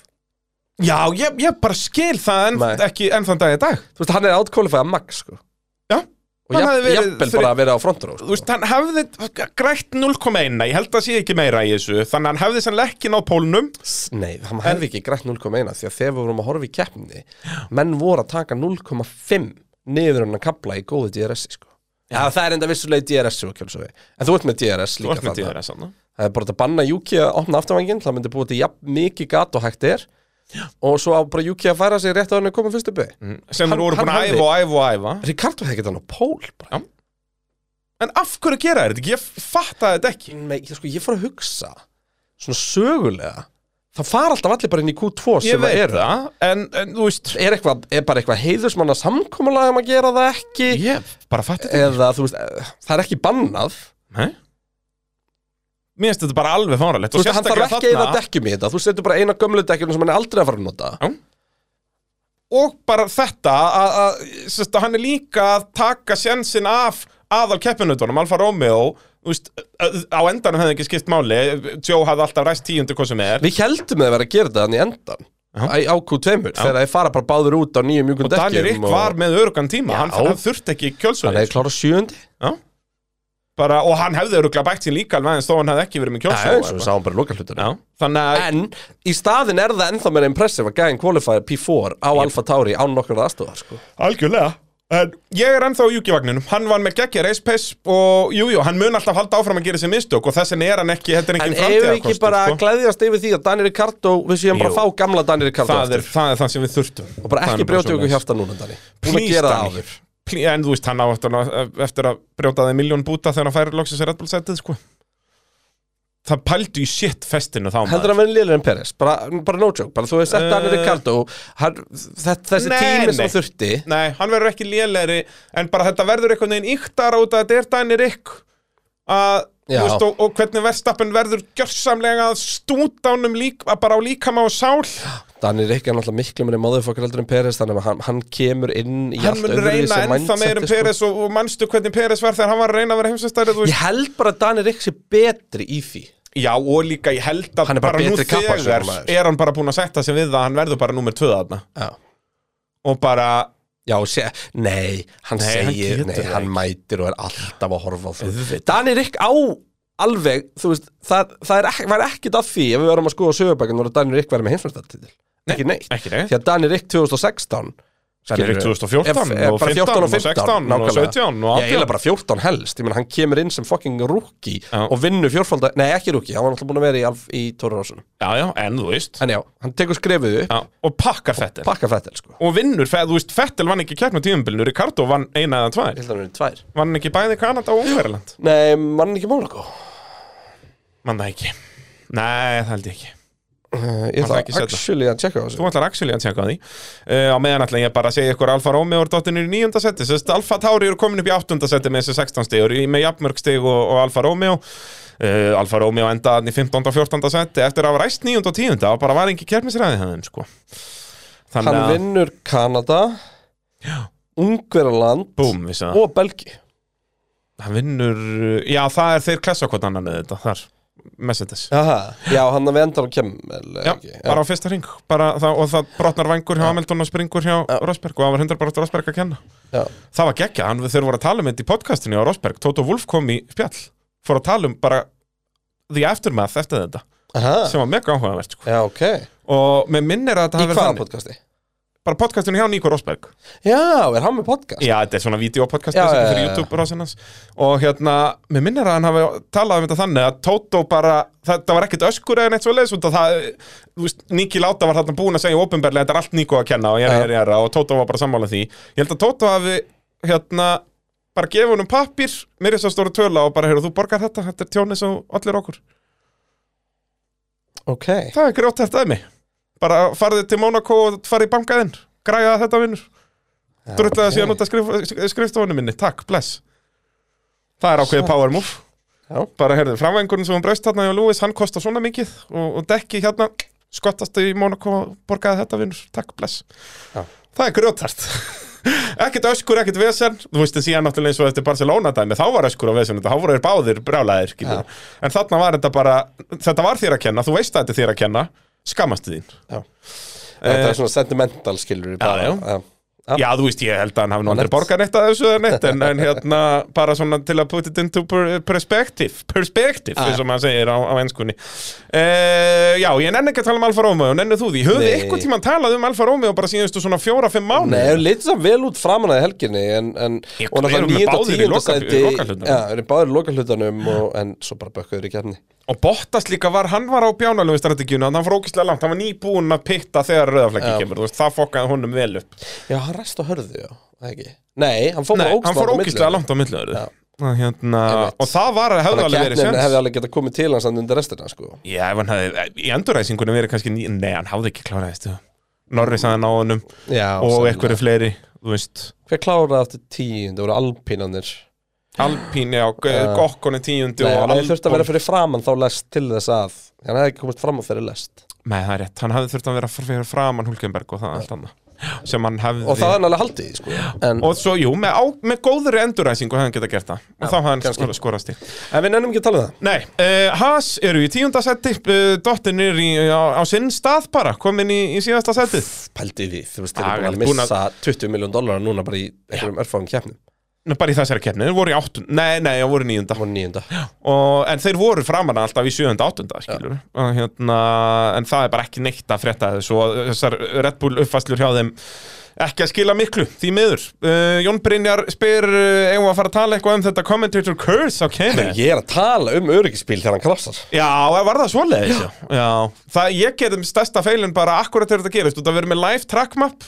Já, ég, ég bara skil það en,
Nei.
ekki enn þann dag í dag
Þú veist, hann er átkólifæða max, sko
Já,
og
Hann
jafn-
hafði verið
jafnvel
þri-
bara verið á sko. frontró
Þú veist, hann hefði grætt 0,1 ég held að sé ekki meira í þessu þannig að hann hefði sannlega ekki náð pólnum
Nei, hann hefði ekki grætt 0,1 því að þegar við vorum að horfa í keppni menn voru að taka 0,5 niður hann að kapla í góðu DRS sko. Já, það er enda vissulega í DRS svo, kjálf, svo sko, en þú ert með DRS
Þú
líka
ert með
þarna.
DRS þarna.
Það er bara að banna Juki að opna afturvængin það myndi búið til jafn mikið gat og hægt er og svo á bara Juki að færa sig rétt að hann er komið fyrst uppi mm.
sem
Hann-
hann, voru
hann
búin að
hafði-
æfa og æfa og æfa
Ricardo hefði ekki hann á pól bara.
En af hverju gera þeir þetta ekki? Ég fatta þetta ekki
Nei, ég, sko, ég fór að hugsa svona sögulega það fara alltaf allir bara inn í Q2
Ég
sem það
veit
eru
það, en, en þú veist
er, eitthvað, er bara eitthvað heiðusmanna samkomulag um að gera það ekki
Ég bara fatta þetta
eða þú veist, eh, það er ekki bannað
Nei Mér finnst þetta bara alveg fáralegt
þú veist, hann þarf ekki eða
þarna
dekkjum í þetta þú setur bara eina gömlu dekkjum sem hann er aldrei að fara að nota
Já. Og bara þetta að, að, sérst, að hann er líka að taka sjensin af aðal keppinutunum, Alfa Romeo þú veist, að- á endanum hefði ekki skipt máli Joe hafði alltaf ræst tíundu hvað sem er
við heldum að vera að gera þetta þannig endan
Já.
Æ, á Q2 þegar þeir fara bara báður út á nýjum mjúkum
og Daniel Rick
dekkjum
var með örugan tíma
um Já.
hann, hann þurfti ekki
hann
kjölsvöðis
hefði klárað sjöndi
bara, og hann hefði öruglega bætt sín líka alveg en þó hann hefði ekki verið með
Já, eins og við
kjölsvöðis
sáum bara loka hlutunum
þannig að
en í staðin er það ennþá meira impressive að gæðin qualifier P4 á Alfa Tauri án nokkur aðstofar sko.
Algjörlega En ég er ennþá á Juki-vagninum, hann var með geggja race pace og jújú, jú, hann mun alltaf halda áfram að gera sér mistök og þess vegna er hann ekki, þetta er
en
engin
eigum við ekki
framtíðarkostur
bara að
sko.
gleðjast yfir því að Daniel Ricardo við séum bara
Jú.
að fá gamla Daniel Ricardo
það,
aftur?
er, það er það sem við þurftum
og bara
Það
ekki
er
brjóti okkur
svoleiðis.
hjarta núna Dani Búin að
Please,
gera það
Dani.
áður
Ple- En þú veist, hann á eftir að, eftir að brjóta þeim miljón búta þegar hann færi loksins að Red Bull setið sko. Það pældu í shit festinu þá
Heldur hann verið lélir en Peres, bara, bara no joke bara þú hefði sett
Eh.
Daniel Ricardo hann, þett, þessi
Nei,
tími sem
nei.
hann þurfti
Nei, hann verður ekki lélegri en bara þetta verður einhvern veginn yktar út að þetta er Dani Rick að, þú
Já.
veist, og, og hvernig verðstappin verður gjörsamlega að stúdánum lík, að bara á líkama og sál
Daniel Ricardo er náttúrulega miklu minni motherfucker heldur en Peres þannig að hann, hann kemur inn í
hann mun
öðruvísi
reyna
sko.
ennþá
mindseti,
meir um Peres og, og manstu hvernig Peres var þegar hann var að reyna að vera heimsastæri
Ég held bara að Daniel Ricardo sé betri í því
Já, og líka ég held að
Hann er bara
nú
betri
þegar
kappakstursmaður.
er hann bara búin að setja sig við það að hann verður bara númer tvöða þarna
Já,
og bara,
Já sé, nei, hann
Nei, hann
segir
getur
Nei,
það
hann
ekki.
mætir og er alltaf að horfa á því Daniel Ricardo á alveg þú veist, það, það er, ekki- var ekkit að því ef við verðum að skoða sögubækinn og Daniel Ricardo verið með heimsvæmstættitil Ekki neitt
ekki neitt
því að Danir Rick 2016
Daniel Rick 2014
Ef- ef
og
bara
15 og 16 og
nákvæmlega.
17 og 18.
Ég eiginlega bara 14 helst, ég menn hann kemur inn sem fucking rookie
Já.
og vinnur fjórfalda Nei, ekki rookie, hann var náttúrulega búin að vera í, Alf- í Tóra Rásunum
Já, já, en þú veist
En já, hann tekur skrefið upp,
já, Og pakkar fettir
pakka fættel sko
og vinnur, fe- þú veist, Fettel vann ekki keppnum tíðumbilinu, Ricardo vann eina eða tvær
Hildan er tvær
vann hann ekki bæði Kanada og Ungverland
Nei, mann ekki Mónakó
mann það ekki, nei það held ég ekki
uh, Ég
Var það
ætla
Eh, ekki seinna?
actually að checka á
þú
þessu
ætlar actually að tjekka á því uh, á meðan ætla ég bara að segja ykkur að Alfa Romeo er dottinir í nýjunda seti, sérst Alfa Tauri eru komin upp í áttunda seti með þessi 16 stig og eru í- með jafnmörg stig og, og Alfa Romeo uh, Alfa Romeo endaðan í 15. og 14. seti eftir að hafa ræst 9. og 10. og bara var engi kjærmisræði þeim sko
Hann
þannig að,
vinnur Kanada Ungverland
búm, vissi það
og Belgi
hann vinnur, uh, já það er þeir klessa hvort annan eða þetta, þar, Mercedes
Aha. Já, hann að við endar á Kemmel
Já, bara á fyrsta ring bara, það, og það brotnar vangur hjá Hamilton og springur hjá Rosberg og það var 100% Rosberg að kenna
já.
það var geggja, hann, þeir voru að tala um þetta í podcastinu á Rosberg, Toto Wolf kom í spjall fór að tala um bara the aftermath eftir þetta,
Aha.
sem var mega áhugavert sko.
Já, ok
og með minnir að þetta
Í
hafi verið
hvaða
þannig.
podcasti?
bara podcastinu hjá Nico Rosberg
Já, er hann með podcast?
Já, þetta er svona videopodcast
Já,
þessi
já,
fyrir
já, já.
YouTube rásinans og hérna, mér minnir að hann hafi talað um þetta þannig að Tóto bara, þetta var ekkert öskur eða neitt svoleiðis út að það, þú veist, Niki Láta var þarna búin að segja ofinberlega, þetta er allt Niko að kenna og jæra,
Já.
jæra, jæra og Tóto var bara sammála því Ég held að Tóto hafi, hérna bara gefa honum pappir, mér er svo stóra töla og bara, heyrðu, þú borgar þetta, þetta er tjónið sem allir okkur,
Ok
það er grjótt þetta emi bara farðu til Monaco og farðu í bankaðinn, græða þetta vinnur Drullaði síðan út af skrif, skrifstofunum minni Takk, bless Það er ákveðið power move
Já.
Bara heyrðu, framvængurinn sem hún braust hérna hjá Lewis Hann kostar svona mikið og, og dekki hérna Skottast í Monaco og borgaði þetta vinnur Takk, bless
Já.
Það er grjótart Ekkert öskur, ekkert vesen Þú veist þið síðan náttúrulega eins og eftir Barcelona dæmi Þá var öskur og vesen, þá voru þeir báðir brjálæðir skilurðu. En þarna var þetta bara Þetta var þér að kenna, þú veist að þetta er þér að kenna Skammastu þín
Þetta er svona sentimental
Eh.
skilur
já.
bara, já.
Já, þú veist, ég held að hann hafi nú aldrei
Nett.
borgað neitt að þessu eða neitt, en, en hérna bara svona til að put it into per perspective perspective,
Ah,
eins og maður segir á, á enskunni uh, Já, ég nenni ekki að tala um Alfa Romeo, nennu þú því Höfðu
Nei.
eitthvað tímann talað um Alfa Romeo bara síðustu svona fjóra-fimm mánu
Nei, það lítið samt vel út framan að helginni en, en,
Ég-
og
erum við báðir í
náttúrulega 9. og 10.
loka-
sæti
lokahlutanum?
Já, erum báðir í lokahlutanum og, en svo bara bökkuður í kefni
Og Bottas líka var, hann var á bjánalögu strategíuna, hann var ókislega langt, hann var nýbúinn að pitta þegar rauðaflækki
Já.
kemur, þú veist, það fokkaði honum vel upp
Já, hann ræst á hörðu, já, það ekki Nei, hann fór
Nei,
bara
hann fór
ógislega á milli.
ókislega langt á milliður
Já.
hérna,
Einmitt.
Og það var, hefði
Þannig að
alveg verið
kefnin
sens
hefði alveg getað komið til hans hann undir restina sko.
Já, ef hann hefði, í enduræsingunum verið kannski ný, nei, hann hafði ekki klárað þessu Norris að hann á honum
Já,
og eitthvað fleiri, þú veist
Hver kláraði aftur tíund, það voru alpínanir
Alpín, já,
Já.
Gokkon er tíundi
Nei,
og
hann hefði þurft að
Albon-
vera fyrir framann þá lest til þess að Hann hefði ekki komist fram á fyrir lest
Nei, það er rétt, hann hefði þurft að vera fyrir framan Hulkenberg og það allt annað sem hann hefði
Og það er hann alveg haldið í, sko. en,
Og svo, jú, með, á, með góðri enduræsingu hefði hann getað gert það og þá hefði hann
kannski.
skora, skorast í
en við nennum ekki að tala um það
Nei, uh, Haas eru í tíunda seti uh, Dottin er í, á, á sinn stað bara komin í, í síðasta setið
Pældi því, þú veist,
Ah,
þeir eru
vel,
búin að
búin að-
missa 20 miljón dólar núna bara í einhverjum örfáum keppnum
Nei, bara í þessari keppni, þeir voru í áttun Nei, nei, þeir voru í níunda
Það var nýjunda
og, en þeir voru framan alltaf í 7. og 8. skilur og hérna, en það er bara ekki neitt að frétta þessu og þessar Red Bull uppfæslur hjá þeim ekki að skila miklu, því miður uh, Jón Brynjar spyr uh, eigum við að fara að tala eitthvað um þetta commentator curse á Kemi
Ég er að tala um öryggisbíl þegar hann krafsar
Já, var það svoleiðis? Já. Já, það ég gerðum stærsta feilin bara akkurat þegar þetta gerist og það verður með live track map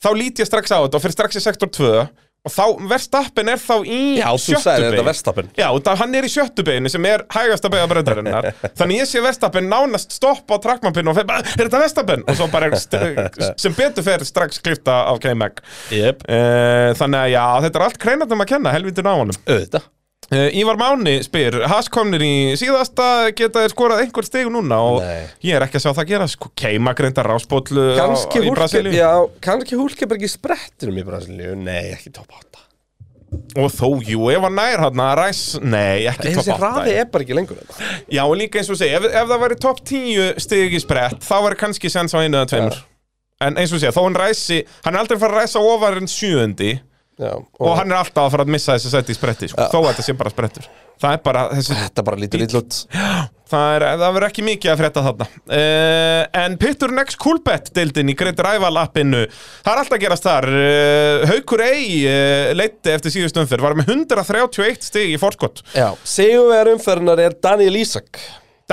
þá lít ég strax á þetta og fyrir strax í sektor 2 og þá, verstappin er þá í
Já, þú
sjöttu
sagði
beygju.
þetta verstapin
Já, og það, hann er í sjöttu beinu sem er hægasta beina breytarinnar Þannig ég sé Vestapen nánast stopp á trakkmappinu og fer bara, er þetta Vestapen? Og svo bara er st- sem betur fer strax klifta af K-Mag
Jep
uh, Þannig að já, þetta er allt kreinandum að kenna, helvítið ná honum
Auðvitað
uh, Ívar Máni spyr, Haas komnir í síðasta geta þeir skorað einhver steg núna og
Nei.
ég er ekki að sjá það gera sko, K-Mag reynda ráspóllu
Kanski
í
húlkeberg,
Brasilíu
já, kannski húlkeberg í sprettinum í Brasilíu Nei, ekki top 8
Og þó, jú, ef hann nær hann að ræs Nei, ekki
Þessi
top 8
hraði er bara ekki lengur þetta.
Já, og líka eins og segja, ef, ef það væri topp 10 stig í sprett, þá væri kannski sens á einu eða tveimur. En eins og segja, þó hann ræsi, hann er aldrei að fara að ræsa ofar en sjöundi
Já,
og hann er alltaf að fara að missa þessi seti í spretti, sko, þó að þetta sé bara sprettur. Það er bara, þessi,
Þetta bara lítur illa út
það, er, það verður ekki mikið að frétta þarna. Uh, en Pittur Next Coolbet deildin í Great Rival appinu, það er alltaf að gerast þar. Uh, Haukur Ey uh, leitti eftir síðust umferð, var með 131 stig í fórskott.
Já, sigurvegar umferðunar er Daniel Ísak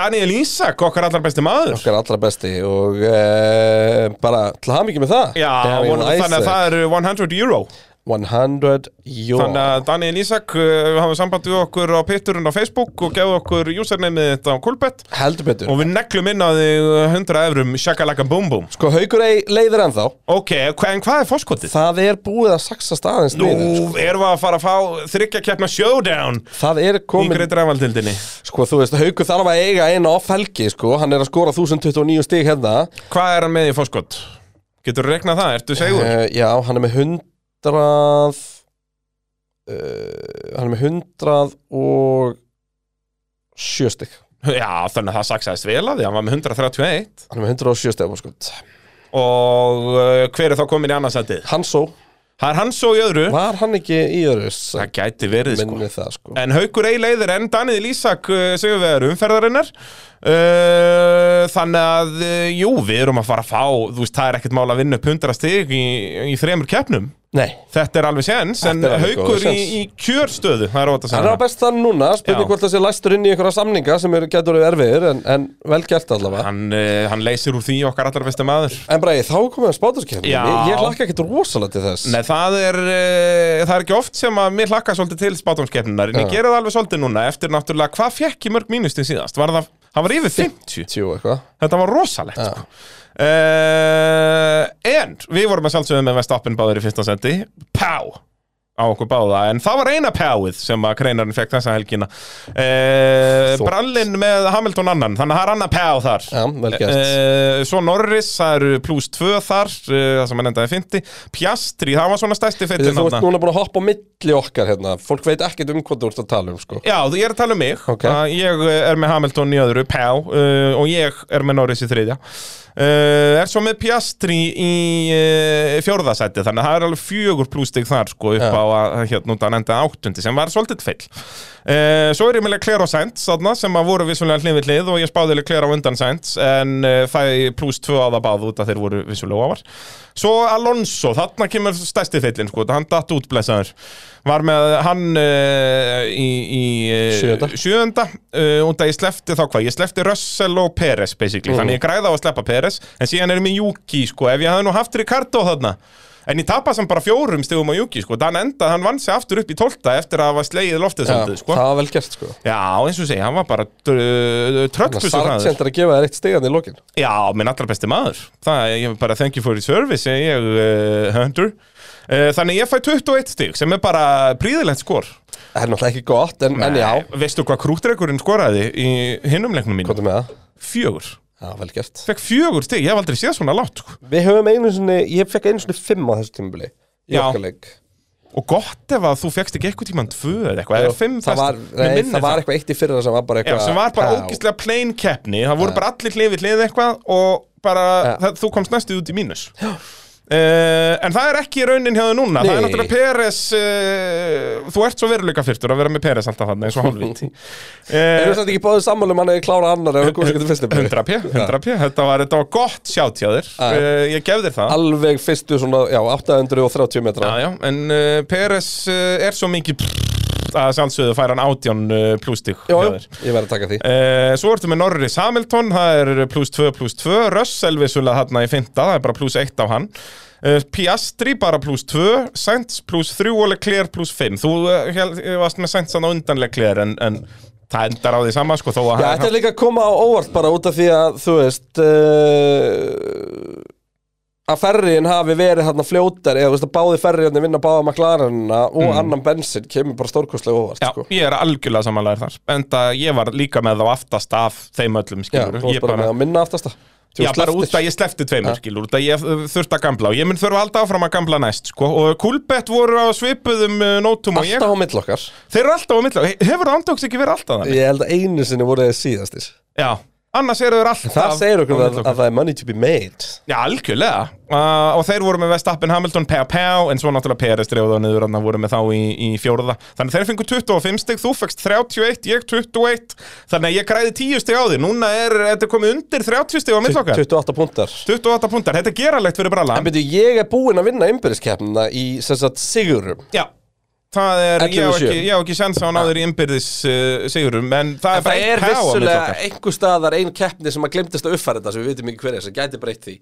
Daniel Ísak, okkar allar besti maður.
okkar allra besti og e, bara til hamingi með það
Já,
Daniel
von, þannig að
Isaac,
það eru 100 euro
100 jó
Þannig að Daniel Ísak uh, hafa samband við okkur á pitturinn á Facebook og gefðu okkur usernameið þetta á Kolbett
heldur betur
og við neglum inn á þig uh, 100 eurum shakalaka boom boom
Sko, haukur ei leiðir ennþá
Ok, hva, en hvað er fórskotið?
Það er búið að saxast aðeins
Nú
niður, sko.
erum við að fara að fá þryggja keppna showdown
Það er
í
komin
greit ræfaldildinni
Sko, þú veist, Haukur þarf að eiga eina off helgi, sko Hann er að skora 1029 stig hérna
Hvað er hann með í fórskot? Getur þú regnað það? Ertu segur?
uh, Já, hann er með 100 uh, eh, Hann er með 100 og 7 stig
Já, þannig að það saksaðist vel að því, hann var með 131
Hann er með 107 stig, sko
og uh, hver er þá komin í annarsætið?
Hansó,
Það er hans og í öðru
var hann ekki í öðru sem
Það gæti verið sko
minni það, sko
En haukur ei leiðir enn Danið Lísak segjum við erum umferðarinnar uh, Þannig að uh, jú, við erum að fara að fá þú veist, það er ekkert mál að vinna upp 100 stig í, í þremur keppnum
Nei,
Þetta er alveg séns, en
er alveg
haukur
góður
í,
séns.
í kjörstöðu Það er ótt að
hann er
segja
á besta núna
Já.
Spurning hvort það sé læstur inn í einhverja samninga sem eru getur verið erfiðir en, en vel gert allavega
hann, uh, hann leysir úr því okkar allar besti maður
En bara, þá komum við að spáturskefni
Já.
Ég hlakka ekkert rosalega til þess
Nei, það er, uh, það er ekki oft sem að mér hlakka svolítið til spátumskeppnunar En ég
Já.
gera það alveg svolítið núna eftir náttúrulega Hvað fekk ég mörg mínustin síðast? Var það, hann var yfir 50
Tjú, eitthvað
Þetta var rosalegt sko. uh, En við vorum að sjálfsögum með Vestappen báður í fyrsta sendi Pá á okkur báða En það var eina páið sem að kreinarinn fekk þessa helgina uh,
Þótt.
Brallinn með Hamilton annan Þannig að það er annað pá þar
Já, vel gert
Uh, svo Norris, það eru pluss 2 þar uh, það sem hann endaði 50 Pjastri, það var svona stærsti
Þegar
feitin
þú ert
þarna.
núna búin að hoppa á milli okkar hérna Fólk veit ekkert um hvað þú ert að tala um sko
Já, þú- ég er að tala um mig
Ok.
eh, okay. Ég uh, er með Hamilton í öðru, Pá uh, Og ég er með Norris í þriðja uh, uh, er svo með Piastri í uh, fjórðasæti þannig að það er alveg fjögur plústig þar sko upp
Já.
á að hérna út að enda áttundi sem var svolítið feill uh, svo er ég með Leclerc og Sainz þarna sem að voru vissulega hlið við hlið og ég spáði Leclerc á undan Sainz en uh, fæ pluss tvö á það báð út að þeir voru vissulega ofar svo Alonso, þarna kemur stærsti feillin sko, hann datt út blessaður var með hann uh, í, í
Sjöunda.
uh, sjöunda uh, og það ég slefti þá hvað, ég slefti Russell og Peres basically, þannig
Mhm.
ég græða á að sleppa Peres en síðan erum við Juki, sko, ef ég hafði nú haft Ricardo þarna, en ég tapa sem bara fjórum stegum á Juki, sko, þann enda hann vann sig aftur upp í tólta eftir að hafa slegið loftið
Já,
svolítið, sko
Það var vel gert sko
Já, eins og segja, hann var bara uh, tröllbussu
Sargent er að gefa þér eitt stigandi í lokin
Já, minn allra besti maður Það er ég bara thank you for your service segi ég, uh, Hunter uh, Þannig ég fæ 21 stig sem er bara príðilegt skor Eh,
Það er náttúrulega ekki gott, en, en já
Veistu hvað krútreikurinn skoraði í hinnum leiknum mín?
Kontum með það
Fjögur
Já, vel gert
Fekk fjögur stig, ég hef aldrei séð svona látt sko.
Við höfum einu sinni, ég fekk einu sinni fimm á þessu tímabili Í
Já.
okkar leik
Og gott ef að þú fekkst ekki eitthvað tímann tvö eða eitthvað, eða fimm
Það var,
Mig
nei,
minnir
það var eitthvað eitt í fyrra sem var bara
Já,
eitthvað
sem var bara
Pá.
ógíslega plain keppni það voru bara allir hlið við hlið eitthvað og bara,
Já.
það, þú komst næstu út í mínus uh, en það er ekki raunin hjá þau núna, það er
Nei.
náttúrulega Peres uh, þú ert svo veruleika fyrtur að vera með Peres alltaf þarna eins og hálfviti
Erum
uh,
við samt ekki báðið sammála um hann hefði klárað annar ef hann komst ekki til fyrstu
100p, 100p, þetta var, þetta var gott sjátt hjá þér,
Já.
uh, ég gef þér það
Alveg fyrstu svona, já, 830 metra
Já, já, en uh, Peres uh, er svo mikið að sjálfsögðu fær hann átján uh, plústík
Jó, jú, ég verð að taka því
Eh, Svo ertu með Norris Hamilton, það er pluss 2 pluss 2 Russell vissulega þarna í fynda, það er bara pluss 1 á hann Eh, Piastri bara pluss 2 Sainz pluss 3 og Leclerc pluss 5 Þú eh, hel- eh, varst með Sainz þannig undan Leclerc en, en það endar á því sama sko, þó að
Já, þetta er líka að koma á óvart bara út af því að, þú veist uh, að ferriðin hafi verið hérna fljótari eða þú veist að báði ferriðin vinna báða maklarina og annan bensin kemur bara stórkostlega óvart,
Mm. Já,
sko
ég er algjörlega samanlegar þar Enda ég var líka með þá aftast af þeim öllum
Já,
skilur
þú varst bara með að minna aftast það Þú
Já,
varst
bara
eftir.
út að ég slefti tveimur,
Ja.
skilur, út að ég uh, þurfti að gamla og ég mun þurfa að halda áfram að gamla næst, sko, og Kulbett voru á svipuðum uh, nótum og ég
Alltaf á mill okkar
Þeir eru alltaf á milli He- Hefur það andóks ekki verið alltaf þannig?
Ég held að einu sinni voru þeir síðastir
Já Annars eru þeir alltaf
Það segir okkur
á
að,
milli
að það er money to be made
Já, algjörlega uh, Og þeir voru með Vestappen Hamilton Pá Pá En svo náttúrulega Peres dreifðu á niður Þannig voru með þá í, í fjórða Þannig þeir fengu 25 stig Þú fegst 31, ég 21 Þannig að ég græði 10 stig á því Núna er þetta er komið undir 30 stig á milli okkar
28 puntar
28 púntar Þetta er geralegt fyrir bara
En byrju, ég er búinn að vinna ymbyrðiskeppnina í sem sagt sigurum
Já Það er, ég á
11
ekki, ég á ekki sjans á náður í innbyrðis uh, sigurum, en það er bara
En það
einn
er
Pau á milli
vissulega
okkar.
einhver staðar ein keppni sem að glemtist að uppfæra þetta sem við vitum ekki hverja sem gæti breytt því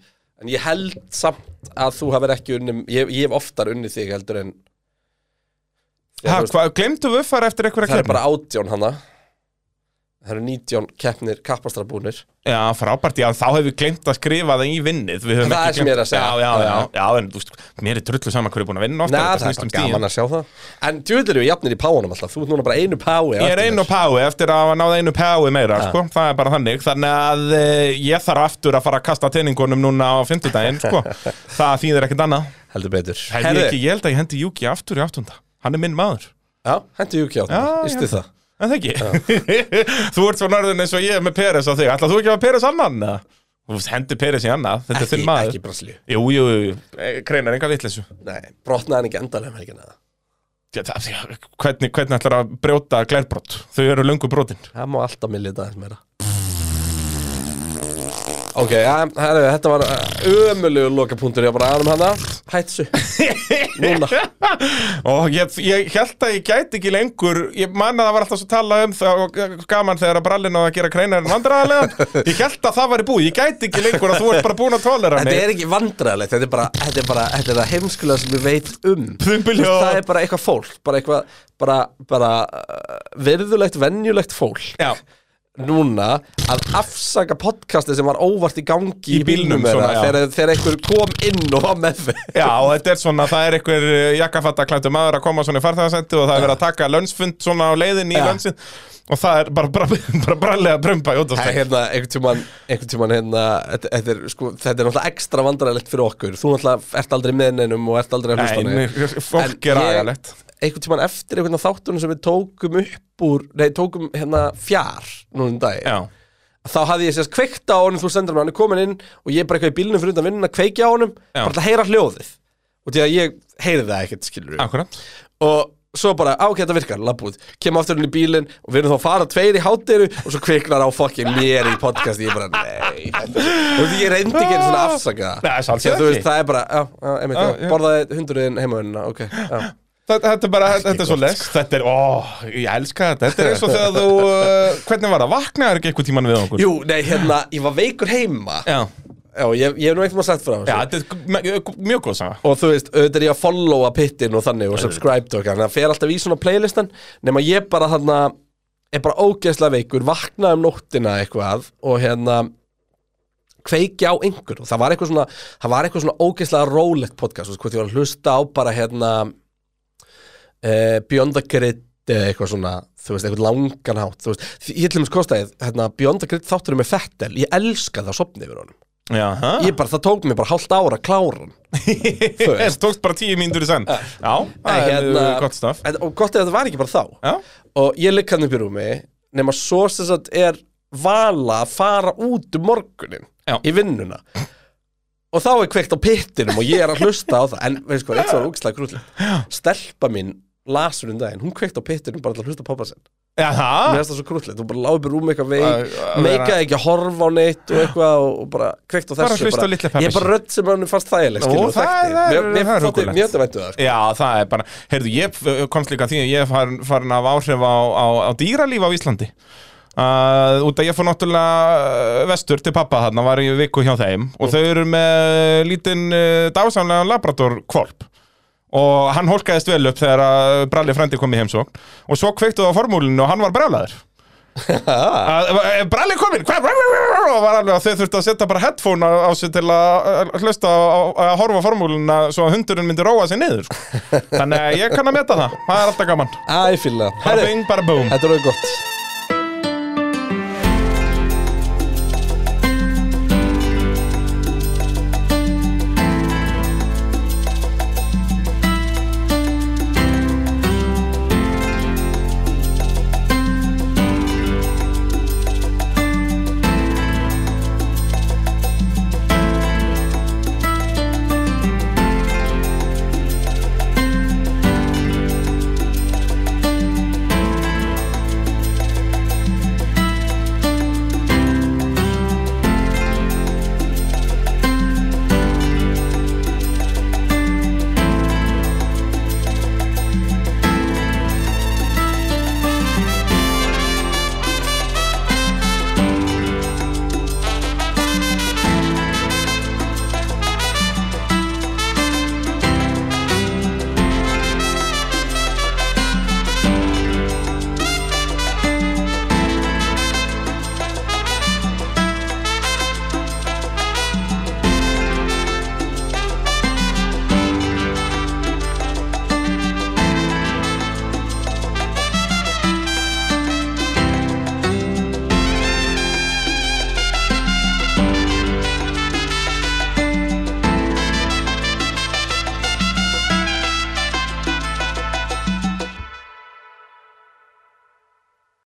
en ég held samt að þú hafir ekki unnum ég, ég hef oftar unnið þig heldur en Já,
Ha,
þú veist,
hvað, glemdu við fara eftir einhverja
það er
klefna?
bara átjón hana það eru nítjón keppnir kappastrabúnir
Já, frábært, já, þá hefur við glemt að skrifa það í vinnið Við höfum ekki
Það er sem
gleymt-
ég er að segja.
Já, já, já,
Já.
já, en þú veist, mér er drullu sama hverju er um búin að vinna ofta
Nei, það er bara gaman að sjá það En djúðlir eru jafnir í páanum alltaf, þú ert núna bara einu pái á
Ég er
eftir
einu
mér.
pái eftir að hafa náð einu pái meira, sko Það er bara þannig, þannig að e, ég þarf aftur að fara að kasta teiningunum núna á fimmtudaginn, sko Það þýðir ekkert annað
Heldur betur
Hef ég, ekki, ég held að ég hendi Júki aftur í áttunda Hann er minn maður
já, hendur Júki á það,
Já,
ístu
já.
það
En það ekki Þú ert svo norðin eins og ég er með Peres á þig Ætlar þú ekki að hafa Peres annan? eða? Þú hendur Peres í annað, þetta er þinn maður
Ekki Brasilíu
Jú, jú, jú, eh, kreinar enga vitleysu
Nei, brotnaði hann ekki endalega um helgina
Já, það- já, Hvernig, hvernig ætlar að brjóta glærbrot? Þau eru löngu brotin
Það má alltaf millið þetta aðeins meira Ok, ja, herri, þetta var ömulegu lokapunktur Ég var bara aðanum hana Hætsu Núna
Og ég, ég held að ég gæti ekki lengur Ég man að það var alltaf svo tala um það og eh, gaman þegar að brallin á að gera kreinar en vandræðarlegan Ég held að það var í búið, ég gæti ekki lengur að þú ert bara búin að tólera
Þetta er ekki vandræðilegt Þetta er bara, þetta er bara, þetta er það heimskulega sem ég veit um
Þumbiljóð.
Það er bara eitthvað fólk Bara eitthvað, bara, bara uh, Virðulegt, venjulegt fólk
Já,
núna að afsaka podcasti sem var óvart í gangi
Í bílnum,
þeirra,
svona, já.
þegar, þegar einhver kom inn og var með þeim
já, og þetta er svona, það er einhver jakkafatta klættu maður að koma svona í farþæðasendu og það er verið að taka lönsfund svona á leiðin í
Já.
lönsin og það er bara, bara, bara brallega brumba í
Það er
útastæk
hérna, einhvern tímann, einhvern tímann hérna, þetta, þetta, er, sko, þetta er náttúrulega ekstra vandrarlegt fyrir okkur. Þú náttúrulega ert aldrei með neinum og ert aldrei að hlusta á
Nei,
neinn.
fólk
En
er
ég-
agalegt
Einhvern tímann eftir einhvern þáttunum sem við tókum upp úr, nei, tókum hérna fjár núna um daginn.
Já
þá hafði ég sérst kveikt á honum þú sendur mér, hann er komin inn og ég er bara eitthvað í bílnum fyrir undan vinnun að kveikja á honum
Já.
bara til að heyra hljóðið og því að ég heyri það ekkert skilur
Akkurat
og svo bara, á, ok, þetta virkar, labbúð kemur aftur inn í bílinn og við erum þá að fara tveir í hátteru og svo kviknar á fokkin mér í podcasti, ég bara, nei þetta er- Þú veist, ég reyndi ekki einu svona að afsaka
Ah. Nei, það er alls
Því að þú
ekki.
veist, það er bara, já, já, einmitt,
Já,
já,
já.
borðaði hundurinn heimavinnuna, ok, já
Þetta, þetta er bara, þetta, þetta er svo les Þetta er, ó, ég elska þetta Þetta er eins og þegar þú, uh, hvernig var það? Vaknaður ekki eitthvað tíman við okkur?
Jú, nei, hérna, ég var veikur heima
Já,
Já, ég, ég hef nú eitthvað sagt frá
já
þessu
þetta er me- eh, mjög góð saga
Og þú veist, auðvitað er ég að followa pittin og þannig og subscribe til okkar Þannig að fer alltaf í svona playlistan Nefn að ég bara þarna er bara ógeðslega veikur, vakna um nóttina eitthvað og hérna kveikja á einhver og það var eitthvað svona það var eitthvað svona ógeðslega rólegt podcast þú veist, hvort ég var að hlusta á bara hérna uh, Beyond the Grid eða eitthvað svona, þú veist, eitthvað langan hátt þú veist, Því- ég til þess kostaði hérna, Beyond the Grid þátturum með Fettel, ég elska það að sopna yfir honum,
Já, ha?
ég bara, það tók mér bara hálft ára að klára hann þú
Ég
veist.
tókst bara tíu mínútur í senn Já, það er
Hérna-
uh, gott staf
En- og gott er að það var ekki bara þá
Já,
og ég ligg hann upp í rúmi nema svo sem sagt er vala að fara út um morgunin
Já.
í vinnuna og þá er kveikt á pittinum og ég er að hlusta á það en veist hvað, eitt svo var úkislega krúllið stelpa mín lasur um daginn hún kveikt á pittinum bara til að hlusta á pappa sinn
já
mér
það
finnst það svo krúllið, hún bara lág upp í rúmi eitthvað
Að-
veik
að vera-
meikaði ekki að horfa á neitt og eitthvað og, og bara kveikt á þessu
Bara hlusta á litla pabba
ég er bara rödd sem hann fannst þægileg
Ó,
skilur, og
það er-
þekkti.
það er-
Mér- mér
það er
þótti-
huggulegt.
mér þótti vænt um það, sko.
Já, það er bara, heyrðu, ég uh, komst líka að því að ég er farin, farin af áhrif á, á, á dýralíf á Íslandi Uh, út að ég fór náttúrulega uh, vestur til pappa þarna, var ég viku hjá þeim og þau eru með lítinn uh, dásamlegan labrador kvolp og hann hólkaðist vel upp þegar að Bralli frændi kom í heimsókn og svo kveiktu það á formúlinu og hann var brjálaður Að- að- Bralli kominn hvað- og var alveg að þau þurftu að setja bara headphone á, á sig til að að hlusta á- á- að horfa á formúluna svo að hundurinn myndi róa sig niður sko. þannig að ég kann að meta það, það er alltaf gaman
Æ, fíla
bara
Herri,
bing, bara boom
Þetta er auðvitað gott